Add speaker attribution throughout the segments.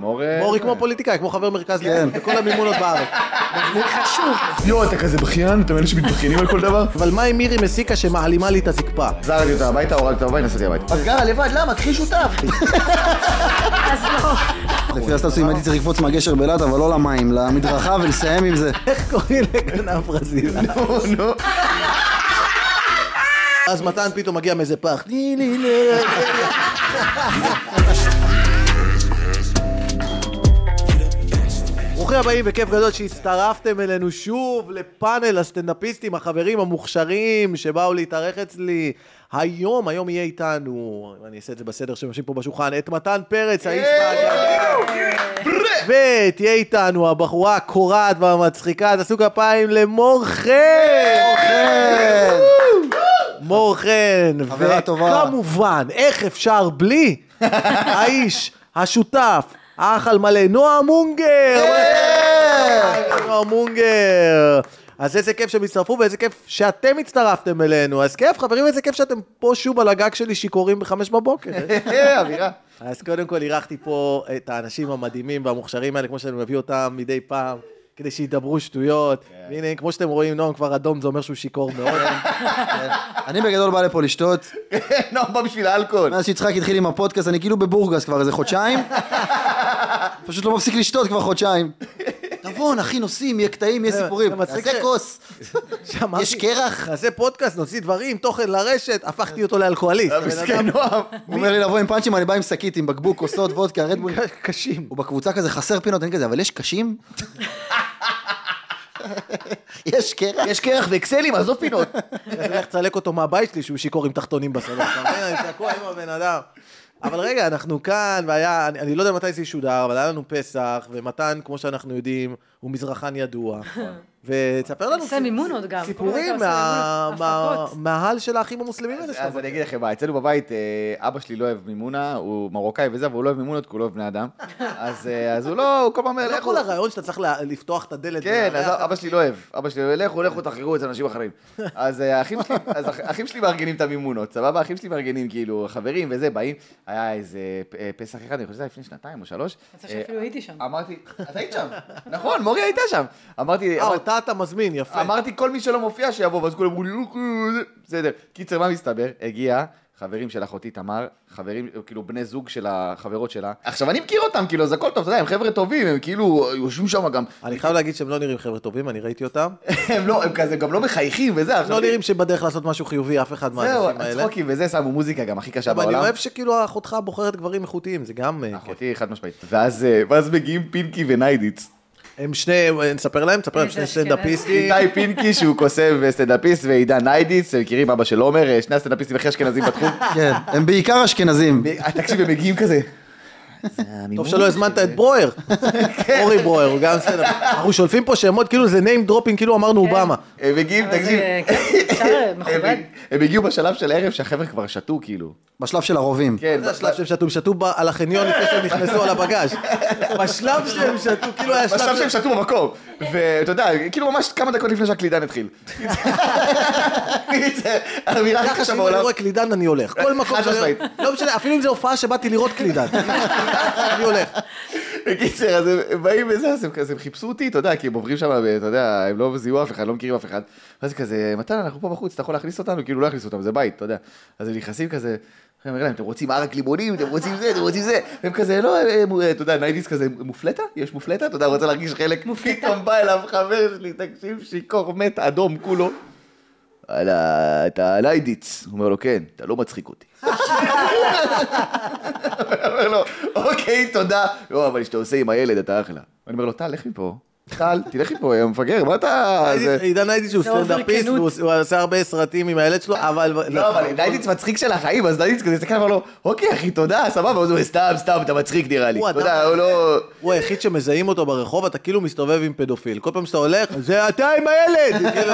Speaker 1: כן,
Speaker 2: מורה...
Speaker 3: מורי כמו פוליטיקאי, כמו חבר מרכז ליכוד, בכל המימונות בארץ.
Speaker 1: זה חשוב.
Speaker 2: יואו, אתה כזה בכיין? אתם אלה שמתבכיינים על כל דבר?
Speaker 3: אבל מה עם מירי מסיקה שמעלימה לי את הזקפה?
Speaker 2: זרקתי אותה הביתה, הורגת אותה הביתה, נסעתי הביתה.
Speaker 4: אז גרה לבד, למה? קחי שותף.
Speaker 1: אז לא.
Speaker 5: לפי הסטטוסים הייתי צריך לקפוץ מהגשר באילת, אבל לא למים, למדרכה ולסיים עם זה.
Speaker 3: איך קוראים לגנב ברזיל? אז מתן פתאום מגיע מאיזה פח. ני, ני, ני. ברוכים הבאים וכיף גדול שהצטרפתם אלינו שוב לפאנל הסטנדאפיסטים, החברים המוכשרים שבאו להתארח אצלי. היום, היום יהיה איתנו, אני אעשה את זה בסדר שיושבים פה בשולחן, את מתן פרץ, האיש מהגליל. ותהיה איתנו הבחורה הקורעת והמצחיקה, תעשו כפיים למור חן! מור חן.
Speaker 5: חברה טובה.
Speaker 3: וכמובן, איך אפשר בלי? האיש, השותף, האח על מלא, נועם מונגר!
Speaker 5: כן!
Speaker 3: נועם מונגר! אז איזה כיף שהם הצטרפו ואיזה כיף שאתם הצטרפתם אלינו. אז כיף, חברים, איזה כיף שאתם פה שוב על הגג שלי שיכורים בחמש בבוקר.
Speaker 2: אה, אווירה.
Speaker 3: אז קודם כל אירחתי פה את האנשים המדהימים והמוכשרים האלה, כמו שאני מביא אותם מדי פעם, כדי שידברו שטויות.
Speaker 5: כן.
Speaker 3: והנה, כמו שאתם רואים, נועם כבר אדום, זה אומר שהוא שיכור מאוד.
Speaker 5: אני בגדול בא לפה לשתות,
Speaker 2: אה, נועם בא בשביל האלכוהול.
Speaker 5: מאז שיצחק התחיל עם הפודקאסט, אני כאילו בבורגס כבר איזה חודשיים. פשוט לא מפסיק לשתות כבר חודשיים. תבון, אחי, נוסעים, יהיה קטעים, יהיה
Speaker 3: זה-
Speaker 5: סיפורים.
Speaker 3: זה מצחיק
Speaker 5: תעשה
Speaker 3: ש-
Speaker 5: כוס.
Speaker 3: שאמרתי,
Speaker 5: יש קרח? כן.
Speaker 3: נעשה פודקאסט, נוציא דברים, תוכן לרשת, הפכתי אותו
Speaker 5: אה,
Speaker 3: לאלכוהוליסט. הבן
Speaker 2: אה, מסכן
Speaker 3: אדם
Speaker 2: נועם.
Speaker 5: הוא אומר לי לבוא עם פאנצ'ים, אני בא עם שקית, עם בקבוק, כוסות, וודקה, רדבול.
Speaker 3: ק- קשים.
Speaker 5: הוא בקבוצה כזה חסר פינות, אין כזה, אבל יש קשים? יש קרח?
Speaker 4: יש קרח ואקסלים, עזוב פינות.
Speaker 3: אז אני הולך לצלק אותו מהבית שלי שהוא שיכור עם תחתונים בסלון. אתה מבין? אני תקוע עם הבן אדם. אבל רגע, אנחנו כאן, והיה, אני, אני לא יודע מתי זה ישודר, אבל היה לנו פסח, ומתן, כמו שאנחנו יודעים, הוא מזרחן ידוע. ותספר לנו
Speaker 1: נכון. עושה מימון עוד גם.
Speaker 3: סיפורים
Speaker 1: אתה עושה
Speaker 3: מה-
Speaker 1: מימון,
Speaker 3: מה-
Speaker 1: הפקות.
Speaker 3: מההל של האחים המוסלמים האלה
Speaker 2: אז
Speaker 3: שלך.
Speaker 2: אני אגיד לכם מה, אצלנו בבית אה, אבא שלי לא אוהב מימונה, הוא מרוקאי וזה, אבל הוא לא אוהב מימונות כי הוא לא אוהב בני אדם. אז אה, אז הוא לא, הוא כל פעם אומר,
Speaker 3: זה לא
Speaker 2: לכו.
Speaker 3: כל הרעיון שאתה צריך לה- לפתוח את הדלת.
Speaker 2: כן,
Speaker 3: ולארח
Speaker 2: אז אבא שלי לא אוהב. אבא שלי, לכו, לכו, תחררו אצל אנשים אחרים. אז אה, האחים שלי- אז האח- האחים שלי מארגנים את המימונות, סבבה? האחים שלי מארגנים, כאילו, חברים וזה, באים. היה איזה פ- אה, פסח אחד, אני חושב שזה היה לפני שנתיים או שלוש.
Speaker 1: אתה שאפילו
Speaker 2: אה,
Speaker 1: הייתי שם.
Speaker 2: אמרתי, את היית שם, נכון, מורי הייתה שם. אמרתי,
Speaker 3: אה,
Speaker 2: אמרתי-
Speaker 3: אותה אתה מזמין, יפה.
Speaker 2: אמרתי, כל מי שלא מופיע שיבוא, ואז כולם אמרו לי, "לא, לא, לא." בסדר. קיצר, מה מסתבר? הגיע חברים של אחותי תמר, חברים, כאילו בני זוג של החברות שלה. עכשיו, אני מכיר אותם, כאילו, אז הכל טוב, אתה יודע, הם חבר'ה טובים, הם כאילו יושבים שם גם.
Speaker 3: אני חייב להגיד שהם לא נראים חבר'ה טובים, אני ראיתי אותם.
Speaker 2: הם לא, הם כזה גם לא מחייכים וזה,
Speaker 3: הם
Speaker 2: עכשיו...
Speaker 3: לא נראים שבדרך לעשות משהו חיובי, אף אחד
Speaker 2: זהו,
Speaker 3: מהאנשים האלה.
Speaker 2: הצחוקים וזה, שמו מוזיקה גם הכי קשה
Speaker 3: אבל אני
Speaker 2: בעולם. נכון.
Speaker 3: אוהב שכאילו אחותך בוחרת גברים איכותיים, זה גם... אה, כיף.
Speaker 2: אחותי חד משמעית. ואז אה, ואז מגיעים פינקי וניידיץ.
Speaker 3: הם שני, נספר להם, נספר להם,
Speaker 1: זה
Speaker 3: שני
Speaker 1: אשכנז.
Speaker 3: סטנדאפיסטים.
Speaker 2: איתי פינקי שהוא קוסם וסטנדאפיסט ועידן ניידיץ, אתם מכירים אבא של עומר, אה, שני הסטנדאפיסטים הכי אשכנזים בתחום.
Speaker 5: כן, הם בעיקר אשכנזים.
Speaker 2: אה, תקשיב, הם מגיעים כזה. זה המימון
Speaker 3: טוב שלא הזמנת
Speaker 2: שזה-
Speaker 3: את ברויר. אורי ברויר, הוא גם סטנדאפיסט. אנחנו שולפים פה שמות, כאילו זה name dropping, כאילו אמרנו אובמה.
Speaker 2: הם מגיעים,
Speaker 1: אבל
Speaker 2: תקשיב.
Speaker 1: זה- כן, אפשר, מכובד.
Speaker 2: הם- הם הגיעו בשלב של הערב שהחבר'ה כבר שתו, כאילו.
Speaker 5: בשלב של הרובים.
Speaker 2: כן,
Speaker 3: זה השלב שהם שתו, הם שתו ב- על החניון לפני שהם נכנסו על הבגאז'. בשלב שהם שתו, כאילו היה
Speaker 2: בשלב
Speaker 3: שלב
Speaker 2: שהם
Speaker 3: של...
Speaker 2: שתו במקום, ואתה יודע, כאילו ממש כמה דקות לפני שהקלידן התחיל. זה אמירה הכי
Speaker 3: ככה
Speaker 2: קשה
Speaker 3: שאם אני
Speaker 2: בעולם.
Speaker 3: רואה קלידן אני הולך. כל מקום
Speaker 2: חד משמעית.
Speaker 3: שאני... לא משנה, אפילו אם זו הופעה שבאתי לראות קלידן. אני הולך.
Speaker 2: בקיצר, אז הם- הם באים וזה, אז הם כזה, הם חיפשו אותי, אתה יודע, כי הם עוברים שם, אתה יודע, הם לא זיהו אף אחד, לא מכירים אף אחד. ואז כזה, מתן, אנחנו פה בחוץ, אתה יכול להכניס אותנו? כאילו, לא יכניסו אותם, זה בית, אתה יודע. אז הם נכנסים כזה, אני אומר להם, אתם רוצים ערק לימונים, אתם רוצים זה, אתם רוצים זה. והם כזה, לא, הם, אה, אתה יודע, ניידיס כזה, מופלטה? יש מופלטה? אתה יודע, רוצה להרגיש חלק. פתאום בא אליו חבר שלי, תקשיב, שיכור מת, אדום כולו. וואלה, אתה ניידיץ. הוא אומר לו, כן, אתה לא מצחיק אותי. אומר לו, אוקיי, תודה. לא, אבל שאתה עושה עם הילד, אתה אחלה. אני אומר לו, טל, לך מפה. טל, תלך מפה, יא מפגר, מה אתה... זה-
Speaker 3: עידן הייתי שהוא
Speaker 1: זה אובר
Speaker 3: סטנדאפיסט,
Speaker 1: כנות.
Speaker 3: והוא הוא עשה הרבה סרטים עם הילד שלו, אבל...
Speaker 2: לא, אבל ניידיץ מצחיק של החיים, אז ניידיץ כזה הסתכל ואמר לו, אוקיי, אחי, תודה, סבבה. אז הוא אומר, סתם, סתם, אתה מצחיק נראה לי.
Speaker 3: הוא
Speaker 2: תודה,
Speaker 3: אדם-
Speaker 2: הוא לא...
Speaker 3: הוא היחיד שמזהים אותו ברחוב, אתה כאילו מסתובב עם פדופיל. כל פעם שאתה הולך, זה אתה עם הילד! כאילו,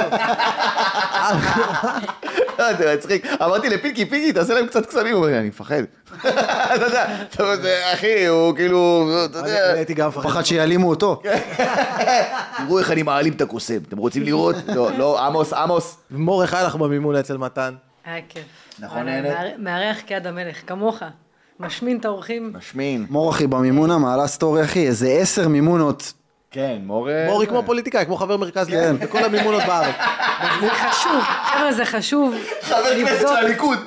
Speaker 2: לא, זה מצחיק. אמרתי לפינקי, פינקי, תעשה להם קצת קסמים. הוא אומר לי, אני מפחד. אתה יודע, אתה אומר, "זה, אחי, הוא כאילו, אתה
Speaker 3: אני
Speaker 2: יודע,
Speaker 3: אני הייתי גם
Speaker 5: הוא
Speaker 3: מפחד.
Speaker 5: פחד שיעלימו אותו.
Speaker 2: תראו איך אני מעלים את הקוסם. אתם רוצים לראות? לא, לא, עמוס, עמוס.
Speaker 3: מור, איך היה לך במימון אצל מתן?
Speaker 1: היה אה, כיף.
Speaker 2: נכון,
Speaker 1: וואלה,
Speaker 2: נהנית?
Speaker 1: מאר- מארח כיד המלך, כמוך. משמין את האורחים.
Speaker 2: משמין.
Speaker 5: מור אחי במימונה מעלה סטורי אחי, איזה עשר מימונות.
Speaker 2: כן, מור... אה,
Speaker 3: מורי כמו פוליטיקאי, כמו חבר מרכז ליכוד, בכל המימונות בארץ.
Speaker 1: זה חשוב, חבר'ה, זה חשוב.
Speaker 2: חבר כנסת של
Speaker 1: לבדוק.
Speaker 2: הליכוד. אה,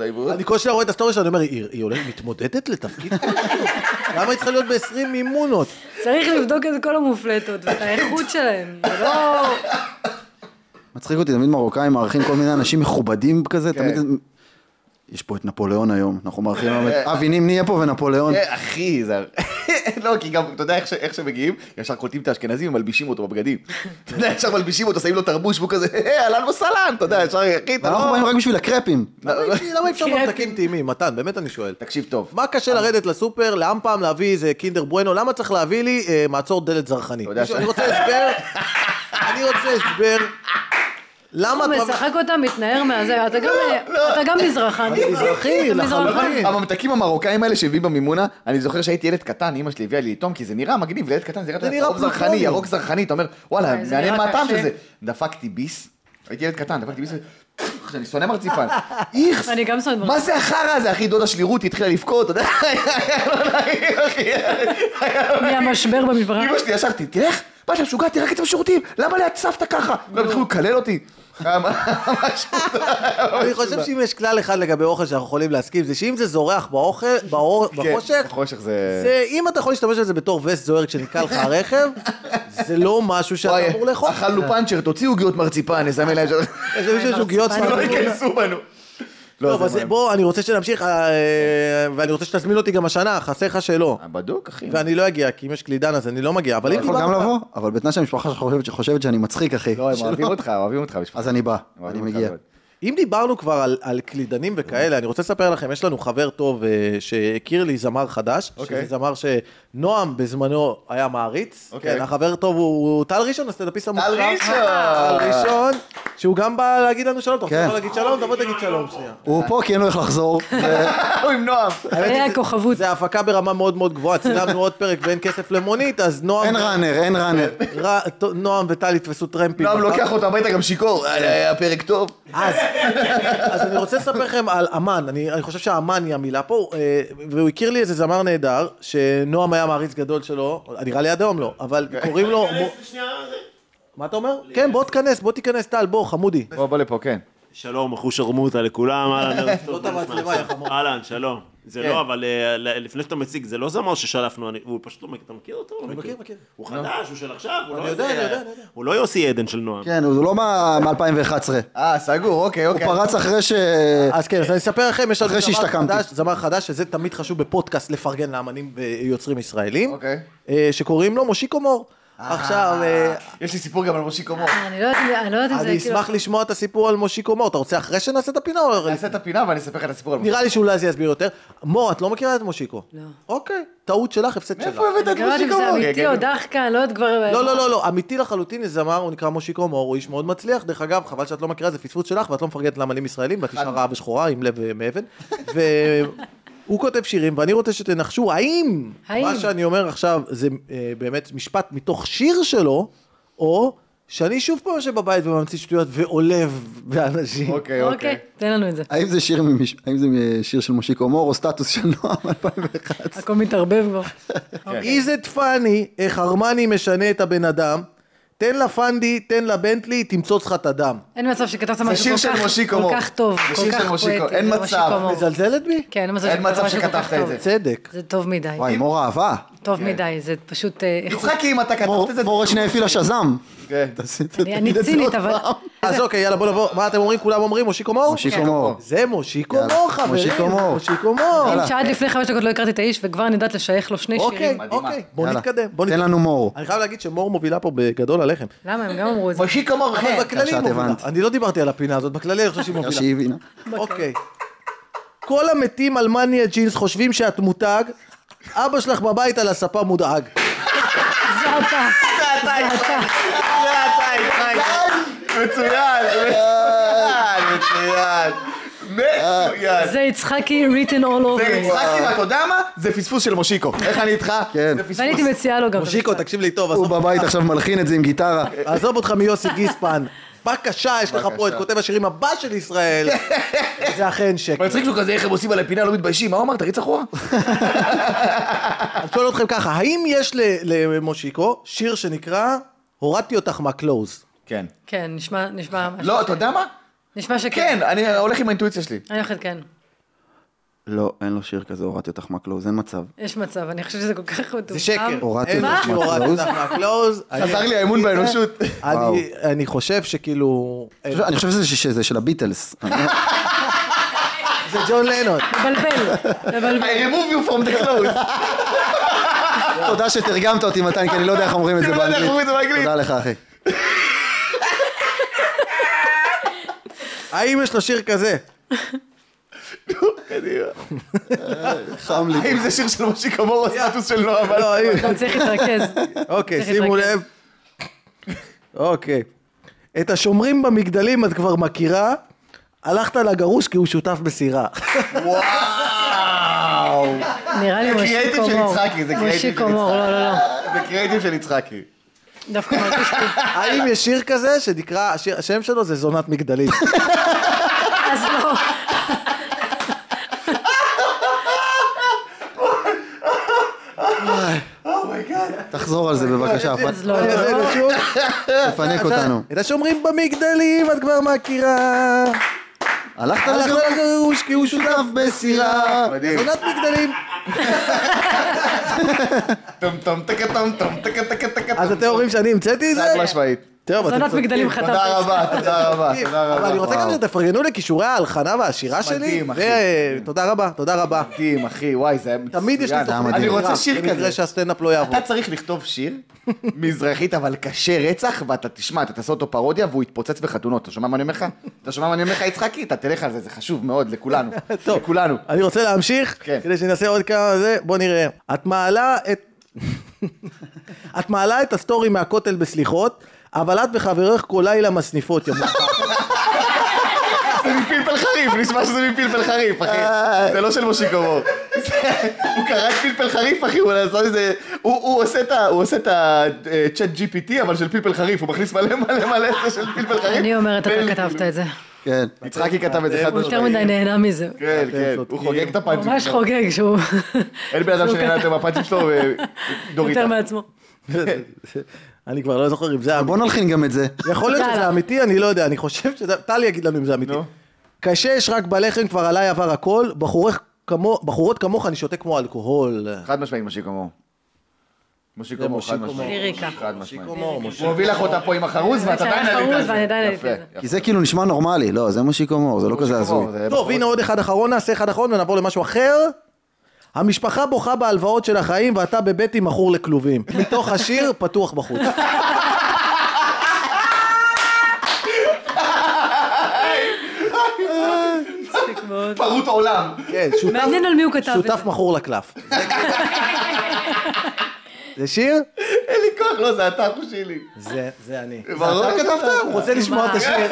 Speaker 2: אה, אה,
Speaker 3: אני כל שניה רואה את הסטורי שלה, אני אומר, היא היא הולכת, מתמודדת לתפקיד? למה היא צריכה להיות ב-20 מימונות?
Speaker 1: צריך לבדוק את כל המופלטות ואת האיכות שלהם. זה לא...
Speaker 5: מצחיק אותי, תמיד מרוקאים מארחים כל מיני אנשים מכובדים כזה,
Speaker 2: כן.
Speaker 5: תמיד... יש פה את נפוליאון היום, אנחנו מארחים היום את אבי נימני יהיה פה ונפוליאון.
Speaker 2: אה, אחי, זה... לא, כי גם, אתה יודע איך ש- איך שמגיעים, ישר קולטים את האשכנזים ומלבישים אותו בבגדים. אתה יודע, ישר מלבישים אותו, שמים לו תרבוש, והוא כזה, "אה, אהלן וסהלן, אתה יודע, ישר, אחי, אתה
Speaker 5: ואנחנו באים
Speaker 2: לא...
Speaker 5: רק בשביל הקרפים.
Speaker 2: לא, לא.
Speaker 3: למה אי אפשר
Speaker 1: קרפים.
Speaker 3: ממתקים טעימים? מתן, באמת אני שואל.
Speaker 2: תקשיב טוב,
Speaker 3: מה קשה לרדת לסופר, לאן פעם להביא איזה קינדר בואנו, למה צריך להביא לי אה, מעצור דלת זרחני?
Speaker 2: יודע
Speaker 3: מישהו-
Speaker 2: ש-
Speaker 3: אני רוצה הסבר, אני רוצה הסבר. למה
Speaker 1: הוא
Speaker 3: אתה... לא,
Speaker 1: משחק אותה, מתנער מהזה, אתה גם- אה, אתה גם מזרחני.
Speaker 3: אני מזרחי,
Speaker 1: אתה
Speaker 3: לחלוטין.
Speaker 2: הממתקים המרוקאים האלה שהביאים במימונה, אני זוכר שהייתי ילד קטן, אמא שלי הביאה לי לטעום, כי זה נראה מגניב, לילד קטן זה
Speaker 3: זה
Speaker 2: נראה
Speaker 3: נראה
Speaker 2: צהוב זרחני,
Speaker 3: פלוטוני.
Speaker 2: ירוק זרחני, אתה אומר, וואלה,
Speaker 1: זה
Speaker 2: מעניין
Speaker 1: נראה
Speaker 2: מה הטעם של
Speaker 1: קשה.
Speaker 2: זה. דפקתי ביס, הייתי ילד קטן, דפקתי ביס, ו- אני שונא מרציפן. איכס,
Speaker 1: אני גם שונאת
Speaker 2: מה
Speaker 1: מרציפן.
Speaker 2: זה החרא הזה, אחי, דודה שלי רותי התחילה לבכות, אתה יודע, היה לא נעים, אחי.
Speaker 1: מהמשבר במשפחה.
Speaker 2: אמא שלי ישבתי, תלך, מה אתה משוגע, תראה את השירותים, למה ליד סבתא ככה? והם התחילו לקלל אותי. היה משהו,
Speaker 3: אני חושב שאם יש כלל אחד לגבי אוכל שאנחנו יכולים להסכים, זה שאם זה זורח באוכל, באור-
Speaker 2: כן,
Speaker 3: בחושך,
Speaker 2: בחושך אה. זה...
Speaker 3: זה אם אתה יכול להשתמש בזה בתור וסט זוהר כשנתקע לך הרכב, זה לא משהו שאתה
Speaker 2: וואי,
Speaker 3: אמור לאכול.
Speaker 2: אכלנו פאנצ'ר, תוציאו עוגיות מרציפן, נזמן להם ש-
Speaker 3: יש מישהו שעוגיות
Speaker 1: מרציפן.
Speaker 2: לא
Speaker 3: ספרדיות.
Speaker 2: ייכנסו בנו.
Speaker 3: לא, אבל
Speaker 2: זה
Speaker 3: זה-
Speaker 2: מה-
Speaker 3: בוא, אני רוצה שנמשיך, אה, אה, ואני רוצה שתזמין אותי גם השנה, חסר לך שלא.
Speaker 2: אה, בדוק, אחי.
Speaker 3: ואני לא אגיע, כי אם יש קלידן אז אני לא מגיע, אבל אם
Speaker 5: אתה יכול
Speaker 3: דיברנו...
Speaker 5: גם לבוא, אבל בתנאי שהמשפחה שלך חושבת- חושבת שאני מצחיק אחי.
Speaker 2: לא, הם
Speaker 5: שלא.
Speaker 2: אוהבים אותך, אוהבים אותך בשבילך.
Speaker 5: אז אני בא,
Speaker 2: הם
Speaker 5: אני
Speaker 2: אוהבים אותך
Speaker 5: מגיע.
Speaker 2: מאוד.
Speaker 3: אם דיברנו כבר על, על קלידנים וכאלה, אני רוצה לספר לכם, יש לנו חבר טוב אה, שהכיר לי זמר חדש, okay.
Speaker 2: אוקיי.
Speaker 3: שזה זמר שנועם בזמנו היה מעריץ.
Speaker 2: אוקיי.
Speaker 3: כן, החבר טוב הוא הוא טל ראשון, הסטנדאפיסט המוכר.
Speaker 2: ראשון!
Speaker 3: טל ראשון, שהוא גם בא להגיד לנו שלום, אתה רוצה
Speaker 5: כן.
Speaker 3: לבוא להגיד שלום? תבוא תגיד שלום שנייה.
Speaker 5: הוא פה כי אין לו איך לחזור.
Speaker 2: הוא עם נועם.
Speaker 1: היה הכוכבות.
Speaker 3: זה הפקה ברמה מאוד מאוד גבוהה, צילמנו עוד פרק ואין כסף למונית, אז נועם...
Speaker 5: אין ראנר, אין ראנר.
Speaker 3: ר- ט- נועם וטל יתפסו טרמפים.
Speaker 2: נועם לא
Speaker 3: מחר.
Speaker 2: לוקח אותו הביתה גם שיכור, אה, היה פרק טוב.
Speaker 3: אז, אז אני רוצה לספר לכם על אמן, אני, אני חושב שאמן היא המילה פה, אה, והוא הכיר לי איזה זמר נהדר, שנועם היה מעריץ גדול שלו, נראה לי עד היום לא, אבל קוראים לו... מה אתה אומר? כן, בוא תיכנס, בוא תיכנס, טל, בוא, חמודי.
Speaker 2: בוא, בוא לפה, כן.
Speaker 6: שלום, אחו שרמוטה לכולם, אהלן, ערב טוב,
Speaker 3: זאת
Speaker 6: מה נשמע?
Speaker 3: המצלמה, כן. יא חמור.
Speaker 6: אהלן, שלום. זה לא, אבל אה, ל- לפני שאתה מציג, זה לא זמר ששלפנו, אני- הוא פשוט לא מכיר, אתה מכיר אותו? אני
Speaker 3: מכיר, מכיר.
Speaker 6: הוא חדש, הוא של עכשיו, הוא לא
Speaker 3: יודע,
Speaker 6: איזה-
Speaker 3: אני יודע, אני יודע.
Speaker 6: הוא לא יוסי עדן של נועם.
Speaker 5: כן, הוא לא מ-2011.
Speaker 2: אה, סגור, אוקיי,
Speaker 5: הוא
Speaker 2: אוקיי.
Speaker 5: פרץ אחרי ש...
Speaker 3: אז כן, אז אני אספר לכם, יש לנו
Speaker 5: אחרי
Speaker 3: זמר
Speaker 5: שהשתקמתי.
Speaker 3: חדש, זמר חדש, שזה תמיד חשוב בפודקאסט לפרגן לאמנים ויוצרים ישראלים,
Speaker 2: אוקיי.
Speaker 3: אה, שקוראים לו מושיקו מור. עכשיו, אה,
Speaker 2: יש לי סיפור גם על מושיקו מור.
Speaker 1: אה, אני לא יודעת אם זה- אני לא יודעת אם זה...
Speaker 3: אני
Speaker 1: כאילו-
Speaker 3: אשמח לשמוע את הסיפור על מושיקו מור, אתה רוצה אחרי שנעשה את הפינה? או-
Speaker 2: נעשה את הפינה ואני אספר לך את הסיפור על מושיקו.
Speaker 3: נראה לי שאולי זה יסביר יותר. מור, את לא מכירה את מושיקו?
Speaker 1: לא.
Speaker 3: אוקיי, טעות שלך, הפסד שלך.
Speaker 2: מאיפה הבאת את
Speaker 1: אני לא יודעת אם
Speaker 2: מושיקו
Speaker 1: זה
Speaker 2: מור? כן,
Speaker 1: אמיתי או דחקה, לא יודעת כבר...
Speaker 3: לא, לא, לא, לא, אמיתי לחלוטין, זה זמר, הוא נקרא מושיקו מור, הוא איש מאוד מצליח. דרך אגב, חבל שאת לא מכירה, זה פספוס שלך, ואת לא מפרגנת לאמנים ישראלים, ואת אישה רעה ושחורה עם לב אה, מאבן. והוא כותב שירים, ואני רוצה שתנחשו האם
Speaker 1: האם?
Speaker 3: מה שאני אומר עכשיו זה אה, באמת משפט מתוך שיר שלו, או שאני שוב פעם יושב בבית וממציא שטויות ועולב באנשים.
Speaker 2: אוקיי,
Speaker 1: אוקיי,
Speaker 2: אוקיי.
Speaker 1: תן לנו את זה.
Speaker 5: האם זה שיר ממש- האם זה שיר של מושיקו מור או סטטוס של נועם 2011?
Speaker 1: הכל מתערבב כבר.
Speaker 3: איז את פאני, איך הרמני משנה את הבן אדם. תן לה פנדי, תן לה בנטלי, תמצוץ לך את הדם.
Speaker 1: אין מצב שכתבת
Speaker 2: זה
Speaker 1: משהו
Speaker 2: שיר
Speaker 1: כל
Speaker 2: של
Speaker 1: כך,
Speaker 2: מושיקו
Speaker 1: כל
Speaker 2: מור.
Speaker 1: כך טוב,
Speaker 2: זה
Speaker 1: כל
Speaker 2: שיר של
Speaker 1: כך
Speaker 2: מושיקו,
Speaker 1: פואטי.
Speaker 2: אין
Speaker 1: זה
Speaker 2: מצב.
Speaker 1: מושיקו מור.
Speaker 3: מזלזלת בי?
Speaker 1: כן, אין מצב
Speaker 2: אין
Speaker 1: שכתבת
Speaker 2: מצב
Speaker 1: משהו כל
Speaker 2: שכתבת
Speaker 1: כך
Speaker 2: את
Speaker 1: טוב.
Speaker 2: זה. כן.
Speaker 3: צדק.
Speaker 1: זה טוב מדי,
Speaker 5: וואי, מור אהבה.
Speaker 1: טוב מדי, זה פשוט... אה, איכות.
Speaker 2: יצחקי, אם אתה כתבת את זה...
Speaker 5: מור שנייה הפעילה שזם.
Speaker 2: כן.
Speaker 5: תעשי את
Speaker 1: אני- אני
Speaker 5: תגיד את זה
Speaker 1: צינית,
Speaker 5: עוד
Speaker 1: אבל...
Speaker 5: פעם.
Speaker 3: אז אוקיי, יאללה, בוא נבוא. מה אתם אומרים? כולם אומרים מושיקו מור?
Speaker 5: מושיקו מור.
Speaker 3: זה מושיקו
Speaker 5: יאללה,
Speaker 3: מור, חברים.
Speaker 5: מושיקו מור.
Speaker 3: מושיקו מור.
Speaker 1: אם שעד לפני חמש דקות לא הכרתי את האיש וכבר אני יודעת לשייך לו שני
Speaker 3: אוקיי,
Speaker 1: שירים.
Speaker 3: אוקיי. בואו
Speaker 5: יאללה.
Speaker 3: נתקדם. בואו
Speaker 5: תן
Speaker 3: נתקדם.
Speaker 5: לנו מור.
Speaker 3: אני חייב להגיד שמור מובילה פה בגדול עליכם.
Speaker 1: למה, הם גם אמרו את זה.
Speaker 2: מושיקו מור,
Speaker 3: אבל
Speaker 2: כן.
Speaker 3: בכללי היא
Speaker 5: עכשיו את
Speaker 3: מובילה.
Speaker 5: הבנת.
Speaker 3: אני לא דיברתי על הפינה הזאת, בכללי אני חושב שהיא
Speaker 5: בגלל
Speaker 3: מובילה.
Speaker 5: שהיא הבינה.
Speaker 3: אוקיי. כל המתים על מניה ג'ינס חושבים שאת מותג, אבא שלך בבית על הספה מודאג.
Speaker 1: זה אתה.
Speaker 2: מצוין, מצוין, אה, מצוין. מצוין.
Speaker 1: זה יצחקי written all
Speaker 2: זה
Speaker 1: over.
Speaker 2: יצחקי, ואתה יודע מה? זה פספוס של מושיקו. איך אני איתך?
Speaker 5: כן.
Speaker 2: זה פספוס.
Speaker 1: ואני הייתי מציעה לו גם. את
Speaker 3: מושיקו,
Speaker 1: המשפט.
Speaker 3: תקשיב לי טוב,
Speaker 5: הוא
Speaker 3: עזוב-
Speaker 5: בבית עכשיו מלחין את זה עם גיטרה.
Speaker 3: עזוב אותך מיוסי גיספן. בבקשה, יש לך פה את
Speaker 2: בבקשה.
Speaker 3: כותב השירים הבא של ישראל. זה אכן שקר.
Speaker 2: מצחיק שהוא כזה, איך הם עושים על הפינה, לא מתביישים, מה הוא אמר? תריץ אחורה?
Speaker 3: אני שואל אתכם ככה, האם יש ל- למושיקו שיר שנקרא "הורדתי אותך מהקלוז"?
Speaker 2: כן.
Speaker 1: כן, נשמע, נשמע משהו.
Speaker 2: לא, אתה יודע מה?
Speaker 1: נשמע שכן.
Speaker 2: כן, אני הולך עם האינטואיציה שלי.
Speaker 1: אני הולכת כן.
Speaker 5: לא, אין לו שיר כזה, הורדתי אותך מהקלוז, אין מצב.
Speaker 1: יש מצב, אני חושבת שזה כל כך מטומטם.
Speaker 3: זה שקר.
Speaker 5: הורדתי
Speaker 3: אין
Speaker 5: אותך
Speaker 3: שיר, הורדתי
Speaker 5: מהקלוז?
Speaker 3: אותך מהקלוז.
Speaker 2: חזר
Speaker 3: אני-
Speaker 2: לי האמון באנושות.
Speaker 5: וואו.
Speaker 3: אני- אני חושב שכאילו...
Speaker 5: אני חושב שזה- שזה של הביטלס.
Speaker 3: זה ג'ון לנון.
Speaker 1: מבלבל, מבלבל.
Speaker 2: remove you from the clothes.
Speaker 5: תודה שתרגמת אותי, מתן, כי אני לא יודע איך אומרים את זה
Speaker 2: אני לא יודע איך
Speaker 5: באנגלית.
Speaker 2: אומרים את זה באנגלית.
Speaker 5: תודה לך, אחי.
Speaker 3: האם יש לו שיר כזה?
Speaker 5: חם לי.
Speaker 2: האם זה שיר של מושיקו מורו, סטטוס של נועה? אבל-
Speaker 3: לא, האם...
Speaker 1: גם צריך להתרכז.
Speaker 3: אוקיי,
Speaker 1: צריך
Speaker 3: שימו
Speaker 1: להתרכז.
Speaker 3: לב. אוקיי. את השומרים במגדלים את כבר מכירה, הלכת לגרוש כי הוא שותף בסירה.
Speaker 2: וואו.
Speaker 1: נראה לי
Speaker 2: זה
Speaker 1: מושיקו
Speaker 2: קריאייטיב של
Speaker 1: מור.
Speaker 2: יצחקי, זה קריאייטיב של
Speaker 1: מושיקו מור, לא, לא, לא.
Speaker 2: זה קריאייטיב של יצחקי.
Speaker 1: דווקא מרגיש לי.
Speaker 3: האם יש שיר כזה שנקרא, השיר- השם שלו זה זונת מגדלים.
Speaker 1: אז לא.
Speaker 5: תחזור על זה בבקשה,
Speaker 1: אז לא.
Speaker 3: אני אעשה את זה שוב.
Speaker 5: תפנק אותנו.
Speaker 3: את השומרים במגדלים את כבר מכירה,
Speaker 5: הלכת
Speaker 3: הלכת
Speaker 5: לגרום
Speaker 3: לגרוש כי הוא שותף בסירה.
Speaker 2: מדהים.
Speaker 3: זונת מגדלים.
Speaker 2: טום טום טקה טום טום טקה טקה טקה טום.
Speaker 3: אז אתם אומרים שאני המצאתי את זה?
Speaker 2: חד משמעית.
Speaker 3: טוב, אתם
Speaker 1: זונת
Speaker 3: צודקים.
Speaker 1: מגדלים חטפת.
Speaker 2: תודה רבה, תודה רבה, תודה
Speaker 3: אבל אני
Speaker 2: רבה.
Speaker 3: רוצה גם שתפרגנו לכישורי ההלחנה והשירה שלי.
Speaker 2: מדהים, אחי.
Speaker 3: ותודה רבה, תודה רבה.
Speaker 2: מדהים, אחי, וואי, זה היה מצוין.
Speaker 3: תמיד יש לי תוכנית.
Speaker 2: אני
Speaker 3: מהירה,
Speaker 2: רוצה שיר כזה.
Speaker 3: במקרה שהסטנדאפ לא יעבור.
Speaker 2: אתה צריך לכתוב שיר מזרחית אבל קשה רצח, ואתה תשמע, אתה תעשה אותו פרודיה והוא יתפוצץ בחתונות. אתה שומע מה אני אומר לך? אתה שומע מה אני אומר לך, יצחקי? אתה תלך על זה, זה חשוב מאוד לכולנו.
Speaker 3: טוב,
Speaker 2: לכולנו.
Speaker 3: אני רוצה להמשיך,
Speaker 2: כן.
Speaker 3: כדי שנעשה עוד כמה זה, בוא נראה. את מעלה את... את מעלה את הסטורי מהכותל בסליחות, אבל את וחברך כל לילה מסניפות, ימות.
Speaker 2: זה מפלפל חריף, נשמע שזה מפלפל חריף, אחי.
Speaker 3: אה.
Speaker 2: זה לא של מושיקו מור. זה- הוא קרא את פלפל חריף, אחי, הוא עשה איזה... הוא הוא עושה את ה- אה, הוא עושה את ה-chat GPT, אבל של פלפל חריף, הוא מכניס מלא מלא מלא זה של פלפל חריף.
Speaker 1: אני אומרת,
Speaker 2: פלפל.
Speaker 1: אתה כתבת את זה.
Speaker 5: כן.
Speaker 2: יצחקי כתב את זה חד
Speaker 1: הוא יותר
Speaker 2: משמעית.
Speaker 1: מדי נהנה מזה.
Speaker 2: כן,
Speaker 3: אתם
Speaker 2: כן, הוא
Speaker 3: צודקים.
Speaker 2: חוגג את הפאנצ'ים.
Speaker 1: ממש
Speaker 2: שלו.
Speaker 1: חוגג שהוא
Speaker 2: אין בן אדם שנהנה יותר מהפאנצ'ים שלו, אה, ודוריטה.
Speaker 1: יותר מעצמו.
Speaker 3: אני כבר לא זוכר אם זה אמיתי.
Speaker 5: בוא נלחין גם את זה.
Speaker 3: יכול להיות שזה
Speaker 1: יאללה.
Speaker 3: אמיתי, אני לא יודע, אני חושב שזה... טל יגיד לנו אם זה אמיתי.
Speaker 2: נו.
Speaker 3: קשה יש רק בלחם, כבר עליי עבר הכל, בחורך כמו- בחורות כמוך אני שותה כמו אלכוהול.
Speaker 2: חד משמעית מושיקו מור. מושיקו
Speaker 3: זה
Speaker 2: מור, חד
Speaker 3: מושיקו מור.
Speaker 2: משמעית.
Speaker 1: ליריקה.
Speaker 2: חד משמעית.
Speaker 3: מושיקו מור,
Speaker 2: הוא הוביל לך אותה פה עם החרוז, ואת
Speaker 1: שהיה
Speaker 2: עדיין עלית על
Speaker 1: חרוז,
Speaker 2: זה.
Speaker 1: ואני עדיין עליתי
Speaker 2: יפה,
Speaker 1: על זה.
Speaker 2: יפה.
Speaker 5: כי זה כאילו נשמע נורמלי, לא, זה מושיקו מור, זה לא כזה
Speaker 2: מושיקו
Speaker 5: הזוי.
Speaker 2: מור, זה
Speaker 3: טוב, הנה עוד אחד אחרון, נעשה אחד אחרון ונעבור למשהו אחר. המשפחה בוכה בהלוואות של החיים ואתה בבטי מכור לכלובים. מתוך השיר פתוח בחוץ.
Speaker 1: מצחיק מאוד.
Speaker 2: פרוט עולם.
Speaker 3: כן, שותף,
Speaker 1: מעניין על מי הוא כתב את זה.
Speaker 3: שותף מכור לקלף. זה שיר?
Speaker 2: אין לי כוח, לא, זה אתה אחו שלי.
Speaker 3: זה, זה אני.
Speaker 2: ברור.
Speaker 3: אתה כתבת? הוא רוצה לשמוע את השיר.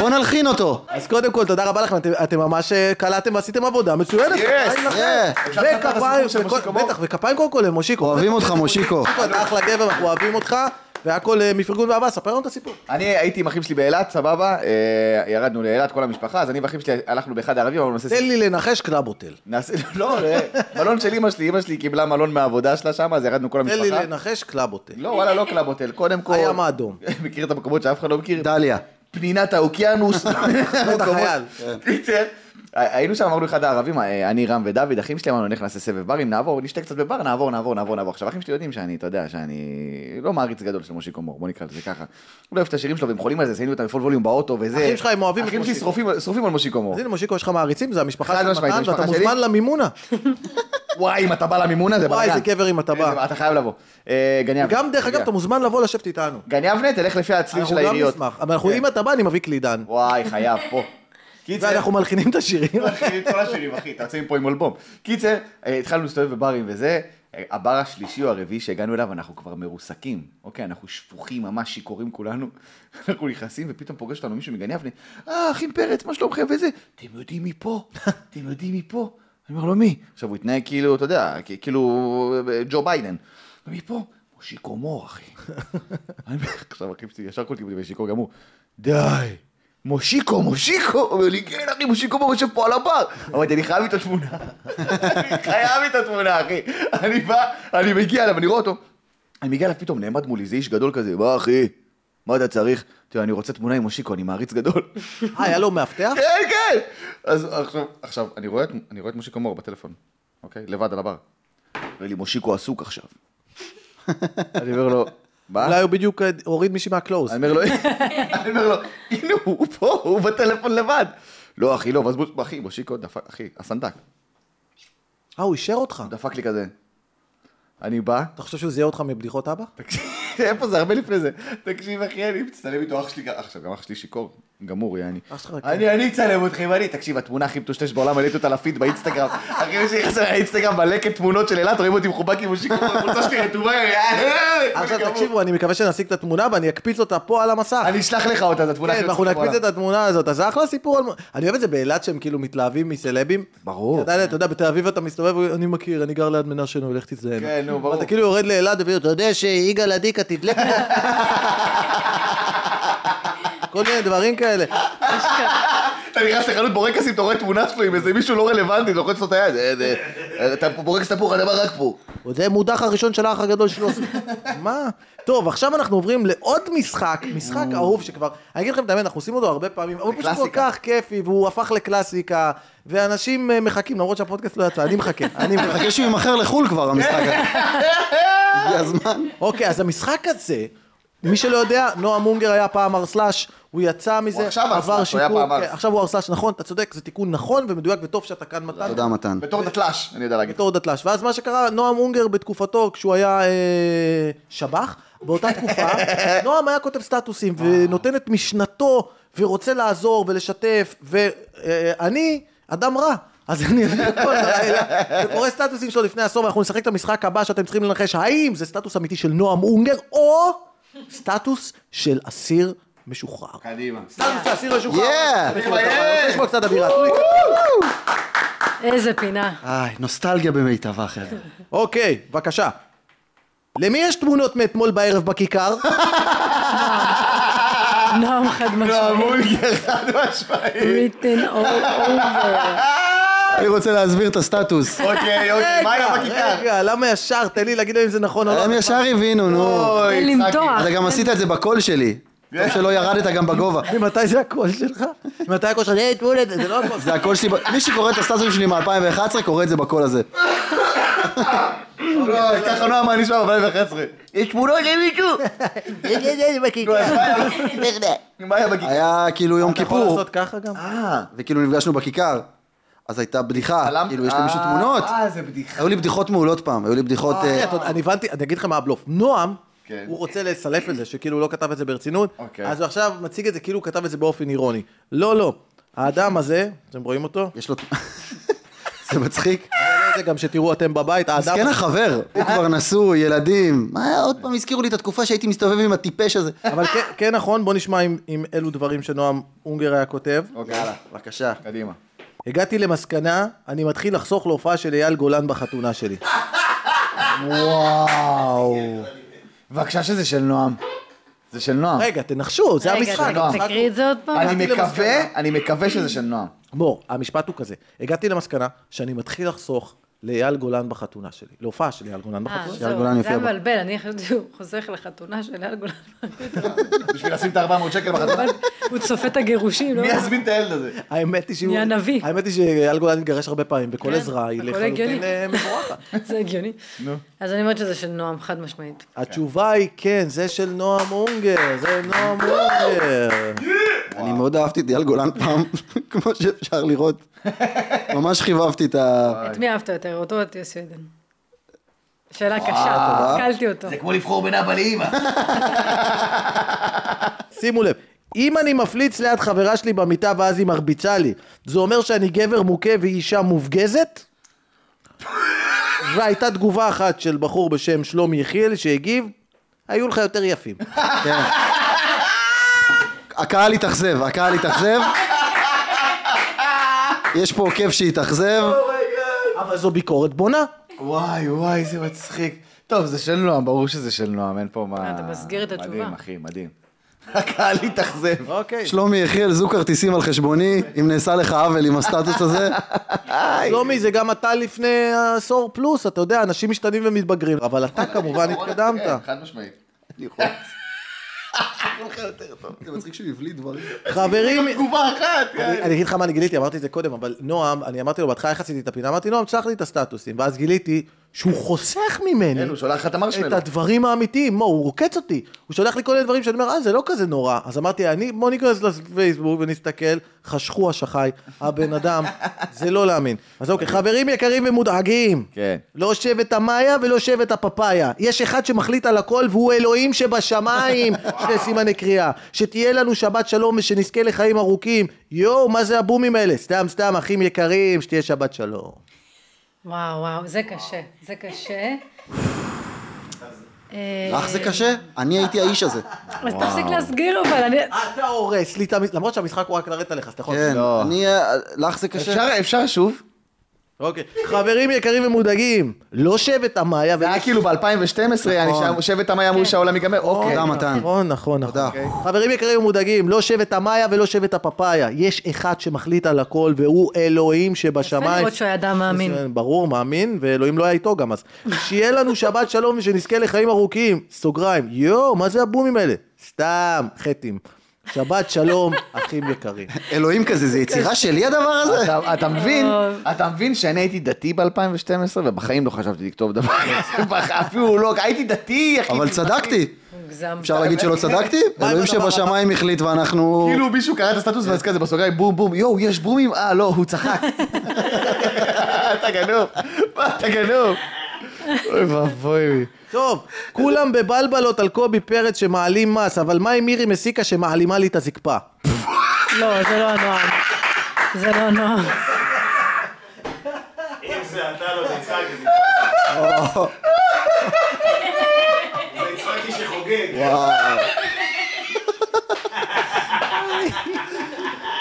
Speaker 5: בוא נלחין אותו.
Speaker 3: אז קודם כל, תודה רבה לכם, אתם- אתם ממש אה, קלעתם ועשיתם עבודה מצוינת.
Speaker 2: Yes,
Speaker 3: כפיים לכם.
Speaker 5: אה,
Speaker 2: אפשר לספר את הסיפור
Speaker 3: וכפיים,
Speaker 2: של
Speaker 3: וכל-
Speaker 2: מושיקו בור?
Speaker 3: בטח, וכפיים קודם כל למושיקו.
Speaker 5: אוהבים אותך, מושיקו.
Speaker 3: מושיקו, אתה אחלה גבר, אנחנו אוהבים אותך, והכל אה, מפרגון ואהבה, ספר לנו את הסיפור.
Speaker 2: אני הייתי עם אחים שלי באילת, סבבה, אה, ירדנו לאילת, כל המשפחה, אז אני ואחים שלי הלכנו באחד הערבים, אבל נעשה...
Speaker 3: תן לי לנחש קלאבוטל.
Speaker 2: נעשה... לא, אה, מלון של אמא שלי, אמא שלי קיבלה מלון מהעבודה שלה שם, אז ירדנו כל
Speaker 3: תן לי
Speaker 2: המשפחה.
Speaker 3: לנחש קלאבוטל.
Speaker 2: לא, וואלה, לא קלאב הוטל, קודם כל...
Speaker 3: הים האדום.
Speaker 2: מכיר את המקומות שאף אחד לא מכיר?
Speaker 5: דליה.
Speaker 2: פנינת האוקיינוס.
Speaker 3: בית החייל. כן.
Speaker 2: קיצר, היינו שם, אמרנו אחד הערבים, אה, אני, רם ודוד, אחים שלי, אמרנו, נלך נעשה סבב ברים, נעבור, נשתה קצת בבר, נעבור, נעבור, נעבור, נעבור. עכשיו, אחים שלי יודעים שאני, אתה יודע, שאני לא מעריץ גדול של מושיקו מור, בוא נקרא לזה ככה. הוא לא אוהב את השירים שלו, והם חולים על זה, עשינו אותם בפול ווליום באוטו, וזה...
Speaker 3: אחים שלך, הם אוהבים את
Speaker 2: אחים שלי
Speaker 3: מושיקו.
Speaker 2: שרופים- שרופים על מושיקו מור.
Speaker 3: אז הנה מושיקו, יש לך מעריצים, זה המשפחה
Speaker 2: חד
Speaker 3: של
Speaker 2: משמעית,
Speaker 3: מתן,
Speaker 2: זה
Speaker 3: ואתה
Speaker 2: המשפחה שלי. כן.
Speaker 3: מוזמן למימונה.
Speaker 2: וואי, אם אתה בא למימונה, זה בלאגן.
Speaker 3: לא- וואי, איזה גבר אם אתה בא.
Speaker 2: אתה חייב לבוא. אה, גני אבנה.
Speaker 3: גם, דרך אגב, אתה מוזמן לבוא לשבת איתנו.
Speaker 2: גני אבנה, תלך לפי הצליל
Speaker 3: אנחנו
Speaker 2: של
Speaker 3: גם
Speaker 2: העיריות.
Speaker 3: נשמח. אבל אנחנו-
Speaker 2: כן.
Speaker 3: אם אתה בא, אני מביא קלידן.
Speaker 2: וואי, חייב, פה. קיצר,
Speaker 3: ואנחנו מלחינים את השירים.
Speaker 2: מתחילים את כל השירים, אחי, אתה יוצא מפה עם אלבום. קיצר, אה, התחלנו להסתובב בברים וזה, אה, הבר השלישי או הרביעי שהגענו אליו, אנחנו כבר מרוסקים, אוקיי? אנחנו שפוכים, ממש שיכורים כולנו. אנחנו נכנסים, ופתאום פוגש אותנו מישהו מגן יבנה, אה, אחים פרץ, מה שלומכם וזה? אתם יודעים מי פה? אתם יודעים מי פה? אני אומר לו, מי? עכשיו, הוא התנהג כאילו, אתה יודע, כ- כאילו אה, ג'ו ביידן. ומי פה? מושיקו מור, אחי. אני אומר, עכשיו, אחי שלי ישר קולטים אותי בשיקו גמור. די. מושיקו, מושיקו, הוא אומר לי, כן אחי, מושיקו בו יושב פה על הבר. אמרתי, אני חייב איתו תמונה. אני חייב איתו תמונה, אחי. אני בא, אני מגיע אליו, אני רואה אותו. אני מגיע אליו, פתאום נעמד מולי, זה איש גדול כזה, מה אחי? מה אתה צריך? תראה, אני רוצה תמונה עם מושיקו, אני מעריץ גדול.
Speaker 3: אה, היה לו מאבטח?
Speaker 2: כן, כן. אז עכשיו, עכשיו, אני רואה את- אני רואה את מושיקו מור בטלפון, אוקיי? לבד על הבר. אומר לי, מושיקו עסוק עכשיו. אני אומר לו, מה?
Speaker 3: אולי הוא בדיוק אה, הוריד מישהי מהקלוז.
Speaker 2: אני אומר לו, אני אומר לו, הנה הוא פה, הוא בטלפון לבד. לא אחי, לא, ואז בוא, אחי, מושיקו דפק, אחי, הסנדק,
Speaker 3: אה, הוא אישר אותך.
Speaker 2: דפק לי כזה. אני בא,
Speaker 3: אתה חושב שהוא זיהה אותך מבדיחות אבא?
Speaker 2: תקשיב, איפה זה? הרבה לפני זה. תקשיב, אחי, אני מצטלם איתו, אח שלי, עכשיו, גם אח שלי שיכור, גמור, יעני.
Speaker 3: אח שלך, כן.
Speaker 2: אני, אני אצלם אתכם, אני, תקשיב, התמונה הכי מטושטשת בעולם, העליתי אותה לפיד באינסטגרם. אחי, מי שנכנס אליי לאינסטגרם, מלקת תמונות של אילת, רואים אותי מחובק עם מושיקו, הקבוצה שלי רטובה, יעני.
Speaker 3: עכשיו
Speaker 2: גמור.
Speaker 3: תקשיבו, אני מקווה שנשיג את התמונה ואני אקפיץ אותה פה על המסך.
Speaker 2: אני אשלח לך אותה, זו התמונה
Speaker 3: כן,
Speaker 2: של
Speaker 3: ואנחנו
Speaker 2: מושיקו
Speaker 3: נקפיץ את
Speaker 2: בעולם.
Speaker 3: התמונה הזאת, אז זה אחלה סיפור על... אני אוהב את זה באילת שהם כאילו מתלהבים מסלבים.
Speaker 2: ברור.
Speaker 3: אתה יודע, אתה יודע, בתל אביב אתה מסתובב, אני מכיר, אני גר ליד מנשה, נו, לך תזדיין.
Speaker 2: כן, נו, ברור.
Speaker 3: אתה כאילו יורד לאילת, ואתה יודע שיגאל עדיקה תדלק לי. כל מיני דברים כאלה.
Speaker 2: אתה נכנס לחנות בורקסים, אתה רואה תמונה שלו עם איזה מישהו לא רלוונטי, לוחץ לו את היד. אה, אה, אתה בורקס תפוח, אתה בא רק פה.
Speaker 3: זה מודח הראשון של האח הגדול שלו. מה? טוב, עכשיו אנחנו עוברים לעוד משחק, משחק אהוב שכבר, אני אגיד לכם את האמת, אנחנו עושים אותו הרבה פעמים, אבל הוא פשוט כל
Speaker 2: קלאסיקה.
Speaker 3: כך כיפי, והוא הפך לקלאסיקה, ואנשים אה, מחכים, למרות שהפודקאסט לא יצא, אני מחכה, אני מחכה.
Speaker 5: מחכה שהוא יימכר לחו"ל כבר, המשחק הזה. הגיע הזמן.
Speaker 3: אוקיי, אז המשחק הזה, מי שלא יודע, נועם אונגר היה פעם ארסלאש, הוא יצא מזה,
Speaker 2: עכשיו
Speaker 3: עבר
Speaker 2: ארסלש, הוא היה
Speaker 3: שיקום,
Speaker 2: פעם
Speaker 3: כן,
Speaker 2: ארס.
Speaker 3: עכשיו הוא ארסלאש, נכון, אתה צודק, זה תיקון נכון ומדויק וטוב שאתה כאן מתן.
Speaker 5: תודה, מתן.
Speaker 2: בתור דתל"ש, אני יודע להגיד.
Speaker 3: בתור דתל"ש. ואז מה שקרה, נועם אונגר בתקופתו, כשהוא היה אה, שב"ח, באותה תקופה, נועם היה כותב סטטוסים ונותן את משנתו ורוצה לעזור ולשתף, ואני אדם רע. אז אני כל הלילה וקורא סטטוסים שלו לפני עשור, ואנחנו נשחק את המשחק הבא שאתם צריכים לנחש האם זה סטטוס אמיתי של נועם אונגר, או סטטוס של אסיר משוחרר.
Speaker 2: קדימה.
Speaker 3: סטטוס של אסיר משוחרר.
Speaker 5: Yeah.
Speaker 3: אני רוצה לשמוע קצת אווירה. תנו לי קצת.
Speaker 1: איזה פינה.
Speaker 5: איי, נוסטלגיה במיטבה, חבר'ה.
Speaker 3: אוקיי, בבקשה. למי יש תמונות מאתמול בערב בכיכר?
Speaker 2: אה,
Speaker 1: נועם חד משמעית.
Speaker 2: המולגר חד משמעי.
Speaker 1: written all over.
Speaker 5: אני רוצה להסביר את הסטטוס.
Speaker 2: אוקיי, אוקיי, מה היה בכיכר?
Speaker 3: רגע, למה ישר? תן לי להגיד להם אם זה נכון או לא.
Speaker 5: הם ישר הבינו, נו.
Speaker 2: אוי,
Speaker 1: תן
Speaker 2: אה, יצחקי.
Speaker 1: למתוח.
Speaker 5: אתה גם עשית את זה בקול שלי.
Speaker 3: כן.
Speaker 5: טוב שלא ירדת גם בגובה.
Speaker 3: ממתי זה הקול שלך? ממתי הקול שלך? "היי, תמונה, זה לא הקול.
Speaker 5: זה הקול שלי, ב- מי שקורא את הסטטוסים שלי מ-2011 קורא את זה בקול הזה.
Speaker 2: אוי, ככה נועם היה נשמע ב-2011. יש תמונות לא, למישהו. מה היה בכיכר?
Speaker 5: היה כאילו יום
Speaker 3: אתה יכול
Speaker 5: כיפור,
Speaker 3: לעשות ככה גם?
Speaker 2: אה,
Speaker 5: וכאילו נפגשנו בכיכר. אז הייתה בדיחה,
Speaker 2: צלמת?
Speaker 5: כאילו יש למישהו תמונות.
Speaker 2: אה, זה בדיחה.
Speaker 5: היו לי בדיחות מעולות פעם, היו לי בדיחות... אה,
Speaker 3: אתה יודע, אני הבנתי, אני אגיד לך מה הבלוף. נועם,
Speaker 2: כן.
Speaker 3: הוא רוצה לסלף את זה, שכאילו הוא לא כתב את זה ברצינות,
Speaker 2: אוקיי.
Speaker 3: אז הוא עכשיו מציג את זה כאילו הוא כתב את זה באופן אירוני. לא, לא. האדם הזה, אתם רואים אותו?
Speaker 5: יש לו... זה מצחיק.
Speaker 3: זה גם שתראו אתם בבית, האדם...
Speaker 5: מסכן החבר, הוא כבר נשוי, ילדים. מה, עוד פעם הזכירו לי את התקופה שהייתי מסתובב עם הטיפש הזה.
Speaker 3: אבל כן- כן נכון, בוא נשמע אם- אם אלו דברים שנועם אונגר היה כותב.
Speaker 2: אוקיי, יאללה.
Speaker 5: בבקשה.
Speaker 2: קדימה.
Speaker 3: הגעתי למסקנה, אני מתחיל לחסוך להופעה של אייל גולן בחתונה שלי.
Speaker 2: וואו. בבקשה שזה של נועם. זה של נועם.
Speaker 3: רגע, תנחשו, זה
Speaker 1: רגע,
Speaker 3: המשחק.
Speaker 1: תגיד,
Speaker 3: המשחק-
Speaker 1: תקריא את זה עוד פעם. אה,
Speaker 2: אני
Speaker 3: הגעתי
Speaker 2: מקווה,
Speaker 3: למסקנה.
Speaker 2: אני מקווה שזה של נועם.
Speaker 3: בוא, המשפט הוא כזה. הגעתי למסקנה שאני מתחיל לחסוך לאייל גולן בחתונה שלי. להופעה של אייל גולן
Speaker 1: אה,
Speaker 3: בחתונה שלי.
Speaker 5: שאייל
Speaker 1: זהו,
Speaker 5: גולן
Speaker 1: זה
Speaker 5: יופיע
Speaker 1: היה
Speaker 5: בה.
Speaker 1: מבלבל, אני חושבת שהוא חוסך לחתונה של אייל גולן.
Speaker 2: בשביל לשים את ה-400 שקל בחזרה.
Speaker 1: אבל הוא צופה את הגירושים, לא?
Speaker 2: מי יזמין את הילד הזה?
Speaker 3: האמת היא שהוא...
Speaker 1: אה. נהיה נביא.
Speaker 3: האמת היא שאייל גולן התגרש הרבה פעמים, וכל
Speaker 1: כן,
Speaker 3: עזרה היא
Speaker 1: הכל
Speaker 3: לחלוטין
Speaker 1: הגיוני.
Speaker 3: אה, מבורכת.
Speaker 1: זה הגיוני. אז אני אומרת שזה של נועם, חד משמעית.
Speaker 3: התשובה היא כן, זה של נועם אונגר, זה נועם אונגר.
Speaker 5: אני מאוד אהבתי את אייל גולן פעם, כמו שאפשר לראות. ממש חיבבתי את ה...
Speaker 1: את מי אהבת יותר, אותו או את יוסי עדן? שאלה קשה, התקלתי אותו.
Speaker 2: כמו לבחור בין אבא לאמא.
Speaker 3: שימו לב, אם אני מפליץ ליד חברה שלי במיטה ואז היא מרביצה לי, זה אומר שאני גבר מוכה והיא אישה מופגזת? והייתה תגובה אחת של בחור בשם שלומי יחיאל שהגיב, היו לך יותר יפים.
Speaker 5: הקהל התאכזב, הקהל התאכזב. יש פה עוקב שהתאכזב.
Speaker 3: אבל זו ביקורת בונה.
Speaker 2: וואי, וואי, איזה מצחיק. טוב, זה של נועם, ברור שזה של נועם, אין פה מה...
Speaker 1: אה, אתה מסגיר את התשובה.
Speaker 2: מדהים, אחי, מדהים. הקהל התאכזב.
Speaker 3: אוקיי.
Speaker 5: שלומי יחיאל, זו כרטיסים על חשבוני, אם נעשה לך עוול עם הסטטוס הזה.
Speaker 3: שלומי, זה גם אתה לפני עשור פלוס, אתה יודע, אנשים משתנים ומתבגרים, אבל אתה כמובן התקדמת.
Speaker 2: כן, חד משמעית.
Speaker 5: זה מצחיק שהוא הבליט דברים.
Speaker 3: חברים,
Speaker 2: תגובה אחת,
Speaker 3: אני אני אגיד לך מה אני גיליתי, אמרתי את זה קודם, אבל נועם, אני אמרתי לו, בהתחלה איך עשיתי את הפינה? אמרתי, נועם, תשלח לי את הסטטוסים, ואז גיליתי שהוא חוסך ממני
Speaker 2: כן, הוא שולח לך את
Speaker 3: את
Speaker 2: המרשמלו.
Speaker 3: הדברים האמיתיים, מו, הוא רוקץ אותי, הוא שולח לי כל מיני דברים שאני אומר, אה, זה לא כזה נורא. אז אמרתי, אני, בוא ניכנס לפייסבוק ונסתכל, חשכו השחי, הבן אדם, זה לא להאמין. אז אוקיי, חברים יקרים ומודאגים,
Speaker 2: כן.
Speaker 3: לא שבט המאיה ולא שבט הפפאיה. יש אחד שמחליט על הכל והוא אלוהים שבשמיים. שני סימני קריאה. שתהיה לנו שבת שלום ושנזכה לחיים ארוכים. יואו, מה זה הבומים האלה? סתם, סתם, אחים יקרים, שתהיה שבת שלום.
Speaker 1: וואו, וואו, זה קשה, זה קשה. אה,
Speaker 5: לך זה קשה? אני הייתי האיש הזה.
Speaker 1: אז תפסיק להסגיר אבל, אני...
Speaker 3: אתה הורס לי את המ... למרות שהמשחק הוא רק לרדת עליך, אז אתה יכול...
Speaker 5: כן,
Speaker 2: לא.
Speaker 5: אני... אה, לך זה קשה?
Speaker 2: אפשר- אפשר שוב?
Speaker 3: אוקיי. חברים יקרים ומודאגים, לא שבט המאיה
Speaker 2: זה היה כאילו ב-2012, אני שם, שבט המים
Speaker 1: כן.
Speaker 2: אמרו שהעולם ייגמר, אוקיי.
Speaker 5: תודה, נכון. מתן.
Speaker 3: נכון, נכון, נכון.
Speaker 5: תודה.
Speaker 3: חברים יקרים ומודאגים, לא שבט המאיה ולא שבט הפפאיה. יש אחד שמחליט על הכל, והוא אלוהים שבשמיים.
Speaker 1: יפה לראות שהוא היה אדם מאמין.
Speaker 3: אז, אה, ברור, מאמין, ואלוהים לא היה איתו גם אז. שיהיה לנו שבת שלום ושנזכה לחיים ארוכים. סוגריים. יואו, מה זה הבומים האלה? סתם, חטים. שבת שלום, אחים יקרים.
Speaker 5: אלוהים כזה, זה יצירה שלי הדבר הזה?
Speaker 2: אתה- אתה מבין, אתה מבין שאני הייתי דתי ב-2012 ובחיים לא חשבתי לכתוב דבר כזה, בח- אפילו לא, הייתי דתי, אחי.
Speaker 5: אבל צדקתי.
Speaker 1: מוגזם.
Speaker 5: אפשר להגיד שלא צדקתי? אלוהים שבשמיים החליט ואנחנו...
Speaker 2: כאילו מישהו קרא את הסטטוס ואז כזה בסוגריים בום בום יואו יש בומים אה לא הוא צחק. אתה גנוב, מה, אתה גנוב. אוי ואבוי לי.
Speaker 3: טוב, כולם בבלבלות על קובי פרץ שמעלים מס, אבל מה עם מירי מסיקה שמעלימה לי את הזקפה?
Speaker 1: לא, זה לא נועם. זה לא נועם.
Speaker 6: אם זה אתה לא, זה יצחקי. זה יצחקי שחוגג.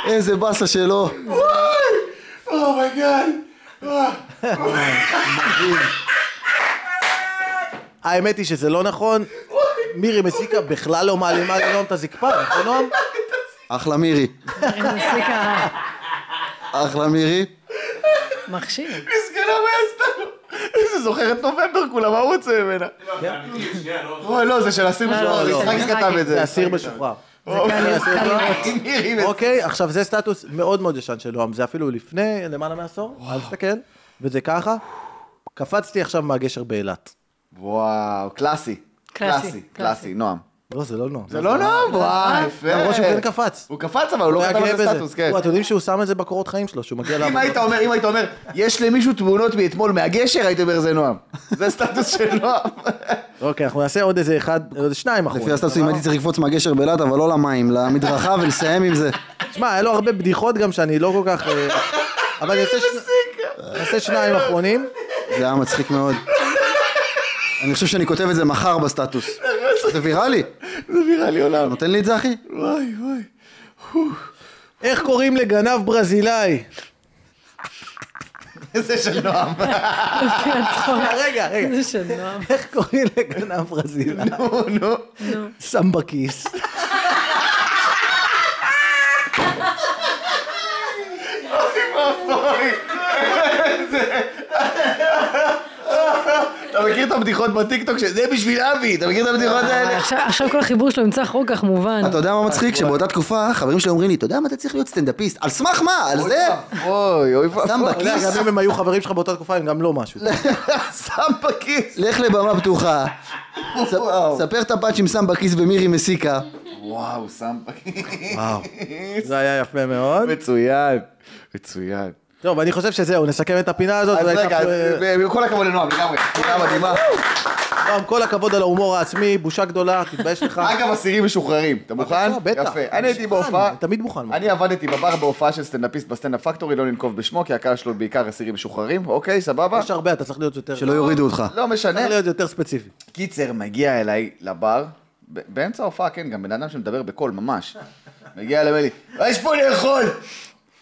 Speaker 5: איזה באסה שלו.
Speaker 2: אומייגאד.
Speaker 3: אה, האמת היא שזה לא נכון. מירי מסיקה בכלל לא מעלימה לנועם את הזקפה, נכון נועם?
Speaker 5: אחלה מירי.
Speaker 1: מסיקה
Speaker 5: אחלה מירי.
Speaker 1: מכשיר.
Speaker 2: מסכנה מה עשתה לו? איזה זוכרת נובמבר כולה מה הוא רוצה ממנה? אוי לא זה של אסיר משוחרר,
Speaker 3: לא.
Speaker 2: יצחקי כתב את
Speaker 3: זה
Speaker 2: זה.
Speaker 3: אסיר משוחרר.
Speaker 2: מירי מס-
Speaker 3: אוקיי, עכשיו זה סטטוס מאוד מאוד ישן של נועם, זה אפילו לפני למעלה מעשור, אל תסתכל, וזה ככה. קפצתי עכשיו מהגשר באילת.
Speaker 2: וואו, קלאסי. קלאסי, קלאסי,
Speaker 1: קלאסי.
Speaker 2: נועם.
Speaker 3: לא, זה לא נועם.
Speaker 2: זה לא נועם, וואו, יפה.
Speaker 3: למרות שהוא כן קפץ.
Speaker 2: הוא קפץ אבל הוא לא
Speaker 3: הוא היה
Speaker 2: כתב
Speaker 3: גאה
Speaker 2: על זה
Speaker 3: בזה.
Speaker 2: סטטוס, כן.
Speaker 3: וואי, אתם יודעים שהוא שם את זה בקורות חיים שלו, שהוא מגיע
Speaker 2: אם היית
Speaker 3: לעבודה.
Speaker 2: אומר, אם היית אומר, יש למישהו תמונות מאתמול מהגשר, היית אומר, זה נועם. זה סטטוס של נועם.
Speaker 3: אוקיי, אנחנו נעשה עוד איזה אחד, עוד שניים אחרונים.
Speaker 5: לפי הסטטוסים הייתי צריך לקפוץ מהגשר באילת, אבל לא למים, למדרכה ולסיים עם זה.
Speaker 3: שמע, היה לו הרבה בדיחות גם שאני לא כל כך... אה, אבל אני אעשה שני- נעשה שניים אחרונים.
Speaker 5: זה היה מצחיק מאוד. אני חושב שאני כותב את זה מחר בסטטוס. זה ויראלי.
Speaker 2: זה נראה לי עולם. לא.
Speaker 5: נותן לי את זה, אחי?
Speaker 2: וואי וואי.
Speaker 3: איך קוראים לגנב ברזילאי?
Speaker 2: זה של נועם. אה,
Speaker 3: רגע, רגע.
Speaker 1: זה של נועם.
Speaker 3: איך קוראים לגנב ברזילאי?
Speaker 2: נו, נו.
Speaker 3: שם בכיס.
Speaker 2: אתה מכיר את הבדיחות בטיקטוק? שזה בשביל אבי, אתה מכיר את הבדיחות האלה?
Speaker 1: עכשיו- עכשיו כל החיבור שלו נמצא כל כך מובן.
Speaker 5: אתה יודע מה מצחיק?
Speaker 2: אה,
Speaker 5: שבאותה תקופה חברים שלי אומרים לי, אתה יודע מה אתה צריך להיות סטנדאפיסט? על סמך מה? על זה?
Speaker 2: אוי, אוי ואבוי.
Speaker 5: שם
Speaker 3: אתה יודע,
Speaker 5: בכיס?
Speaker 3: גם אם הם היו חברים שלך באותה תקופה, הם גם לא משהו.
Speaker 2: שם בכיס.
Speaker 5: לך לבמה פתוחה. ס- ספר את הפאנץ' עם שם בכיס ומירי מסיקה.
Speaker 2: וואו, שם בכיס.
Speaker 3: וואו. זה היה יפה מאוד.
Speaker 2: מצוין. מצוין.
Speaker 3: טוב, אני חושב שזהו, נסכם את הפינה הזאת.
Speaker 2: אז
Speaker 3: והייתה
Speaker 2: רגע,
Speaker 3: פה,
Speaker 2: אז,
Speaker 3: אה,
Speaker 2: אה, כל הכבוד לנועם, לגמרי. תודה מדהימה.
Speaker 3: נועם, כל הכבוד על ההומור העצמי, בושה גדולה, תתבייש לך.
Speaker 2: אגב, אסירים משוחררים. אתה מוכן?
Speaker 3: בבקשה, בטח.
Speaker 2: יפה. אני הייתי
Speaker 3: מוכן,
Speaker 2: בהופעה...
Speaker 3: אני תמיד מוכן.
Speaker 2: אני עבדתי בבר בהופעה של סטנדאפיסט בסטנדאפ פקטורי, לא ננקוב בשמו, כי הקהל שלו בעיקר אסירים משוחררים. אוקיי, סבבה?
Speaker 3: יש הרבה, אתה צריך להיות יותר...
Speaker 5: שלא יורידו אותך.
Speaker 2: לא משנה.
Speaker 3: צריך להיות יותר ספציפי.
Speaker 2: קיצר, מגיע אליי לבר, ב- באמצע ההופעה, כן, גם בן אדם שמדבר בקול, ממש. מגיע אליי, אומר לי, "מה יש פה לאכול?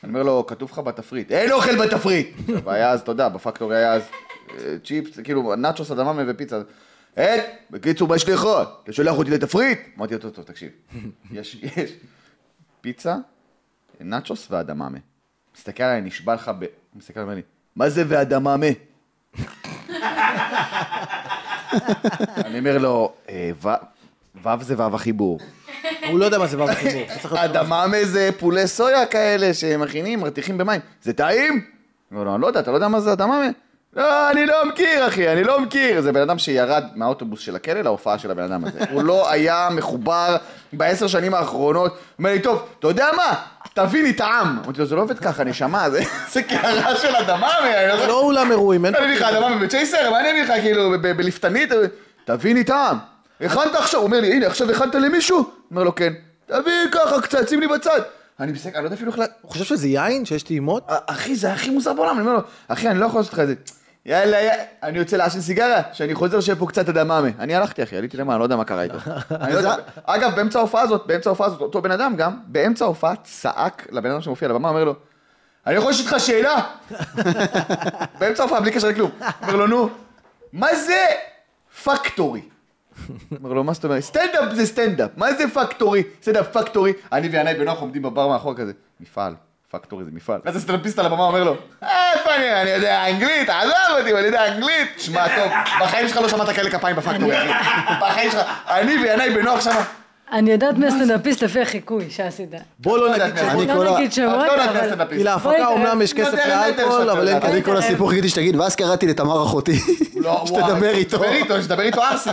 Speaker 2: אני אומר לו, כתוב לך בתפריט, אין אוכל בתפריט! והיה אז, אתה יודע, בפקטורי היה אז אה, צ'יפס, כאילו, נאצ'וס אדממה ופיצה. אין, בקיצור, מה יש לאכול? אתה שולח אותי לתפריט? אמרתי לו, טוב, טוב, תקשיב. יש, יש. פיצה, נאצ'וס ואדממה. מסתכל עליי, נשבע לך ב... הוא מסתכל ואומר לי, מה זה ואדממה? אני אומר לו, "אה, ו- ו' זה ו' החיבור.
Speaker 3: הוא לא יודע מה זה ו"ב חיבור. אתה צריך להיות-
Speaker 2: אדממה זה פולי סויה כאלה שמכינים, מרתיחים במים. זה טעים? הוא אומר לו, אני לא יודע, אתה לא יודע מה זה אדממה? לא, אני לא מכיר, אחי, אני לא מכיר. זה בן אדם שירד מהאוטובוס של הכלא להופעה של הבן אדם הזה. הוא לא היה מחובר בעשר שנים האחרונות. הוא אומר לי, טוב, אתה יודע מה? תביא לי את העם. אמרתי לו, זה לא עובד ככה, נשמה, זה- זה קערה של אדממה. אני לא
Speaker 3: לא אולם אירועים, אין...
Speaker 2: אני אביא לך אדמה בצ'ייסר, מה אני אביא לך כאילו ב- ב- בליפתנית? תביא לי טעם. הכנת עכשיו, הוא אומר לי, הנה עכשיו הכנת למישהו? אומר לו, כן. תביא ככה קצת, שים לי בצד. אני מסתכל, אני לא יודע אפילו איך... לה-
Speaker 3: הוא חושב שזה יין? שיש טעימות?
Speaker 2: אחי, זה הכי מוזר בעולם, אני אומר לו, אחי, אני לא יכול לעשות לך את זה. יאללה, יאללה, אני יוצא לעשן סיגריה, שאני חוזר שיהיה פה קצת אדממה. אני הלכתי, אחי, עליתי למה, אני לא יודע מה קרה איתו. אני לא יודע- אגב, באמצע ההופעה הזאת, באמצע ההופעה הזאת, אותו בן אדם גם, באמצע ההופעה צעק לבן אדם שמופיע על הבמה, אומר לו, אני יכול לשאול אותך שאלה? באמצע ההופעה, בלי קשר לכלום. אומר לו, נו, מה זה פקטורי? אומר לו, מה זאת אומרת? סטנדאפ זה סטנדאפ, מה זה פקטורי? סטנדאפ פקטורי. אני וינאי בנוח עומדים בבר מאחור כזה, מפעל, פקטורי זה מפעל. ואז הסטנדאפיסט על הבמה אומר לו, "אה, איפה אני, אני יודע אנגלית, עזוב אותי, אני יודע אנגלית. שמע, טוב, בחיים שלך לא שמעת כאלה כפיים בפקטורי, אחי. בחיים שלך, אני וינאי בנוח שמה.
Speaker 1: אני יודעת מי הסטנדאפיסט לפי החיקוי שעשית.
Speaker 3: בוא לא נגיד
Speaker 2: יודעת מה,
Speaker 3: שמות.
Speaker 5: אני כל
Speaker 1: לא
Speaker 5: ה-
Speaker 1: נגיד
Speaker 2: את
Speaker 1: שמות,
Speaker 2: לא יודעת מי
Speaker 1: אבל...
Speaker 2: הסטנדאפיסט.
Speaker 3: כי להפקה אומנם
Speaker 1: אה,
Speaker 3: יש
Speaker 2: נותן
Speaker 3: כסף
Speaker 2: להם יותר
Speaker 3: לאלכול,
Speaker 2: שאתה
Speaker 3: אבל אין
Speaker 2: יודע.
Speaker 5: אני
Speaker 3: כסף.
Speaker 5: כל הסיפור חיכיתי שתגיד, ואז קראתי לתמר אחותי,
Speaker 2: לא,
Speaker 5: שתדבר
Speaker 2: וואי,
Speaker 5: איתו.
Speaker 2: שתדבר איתו, שתדבר איתו ארסי.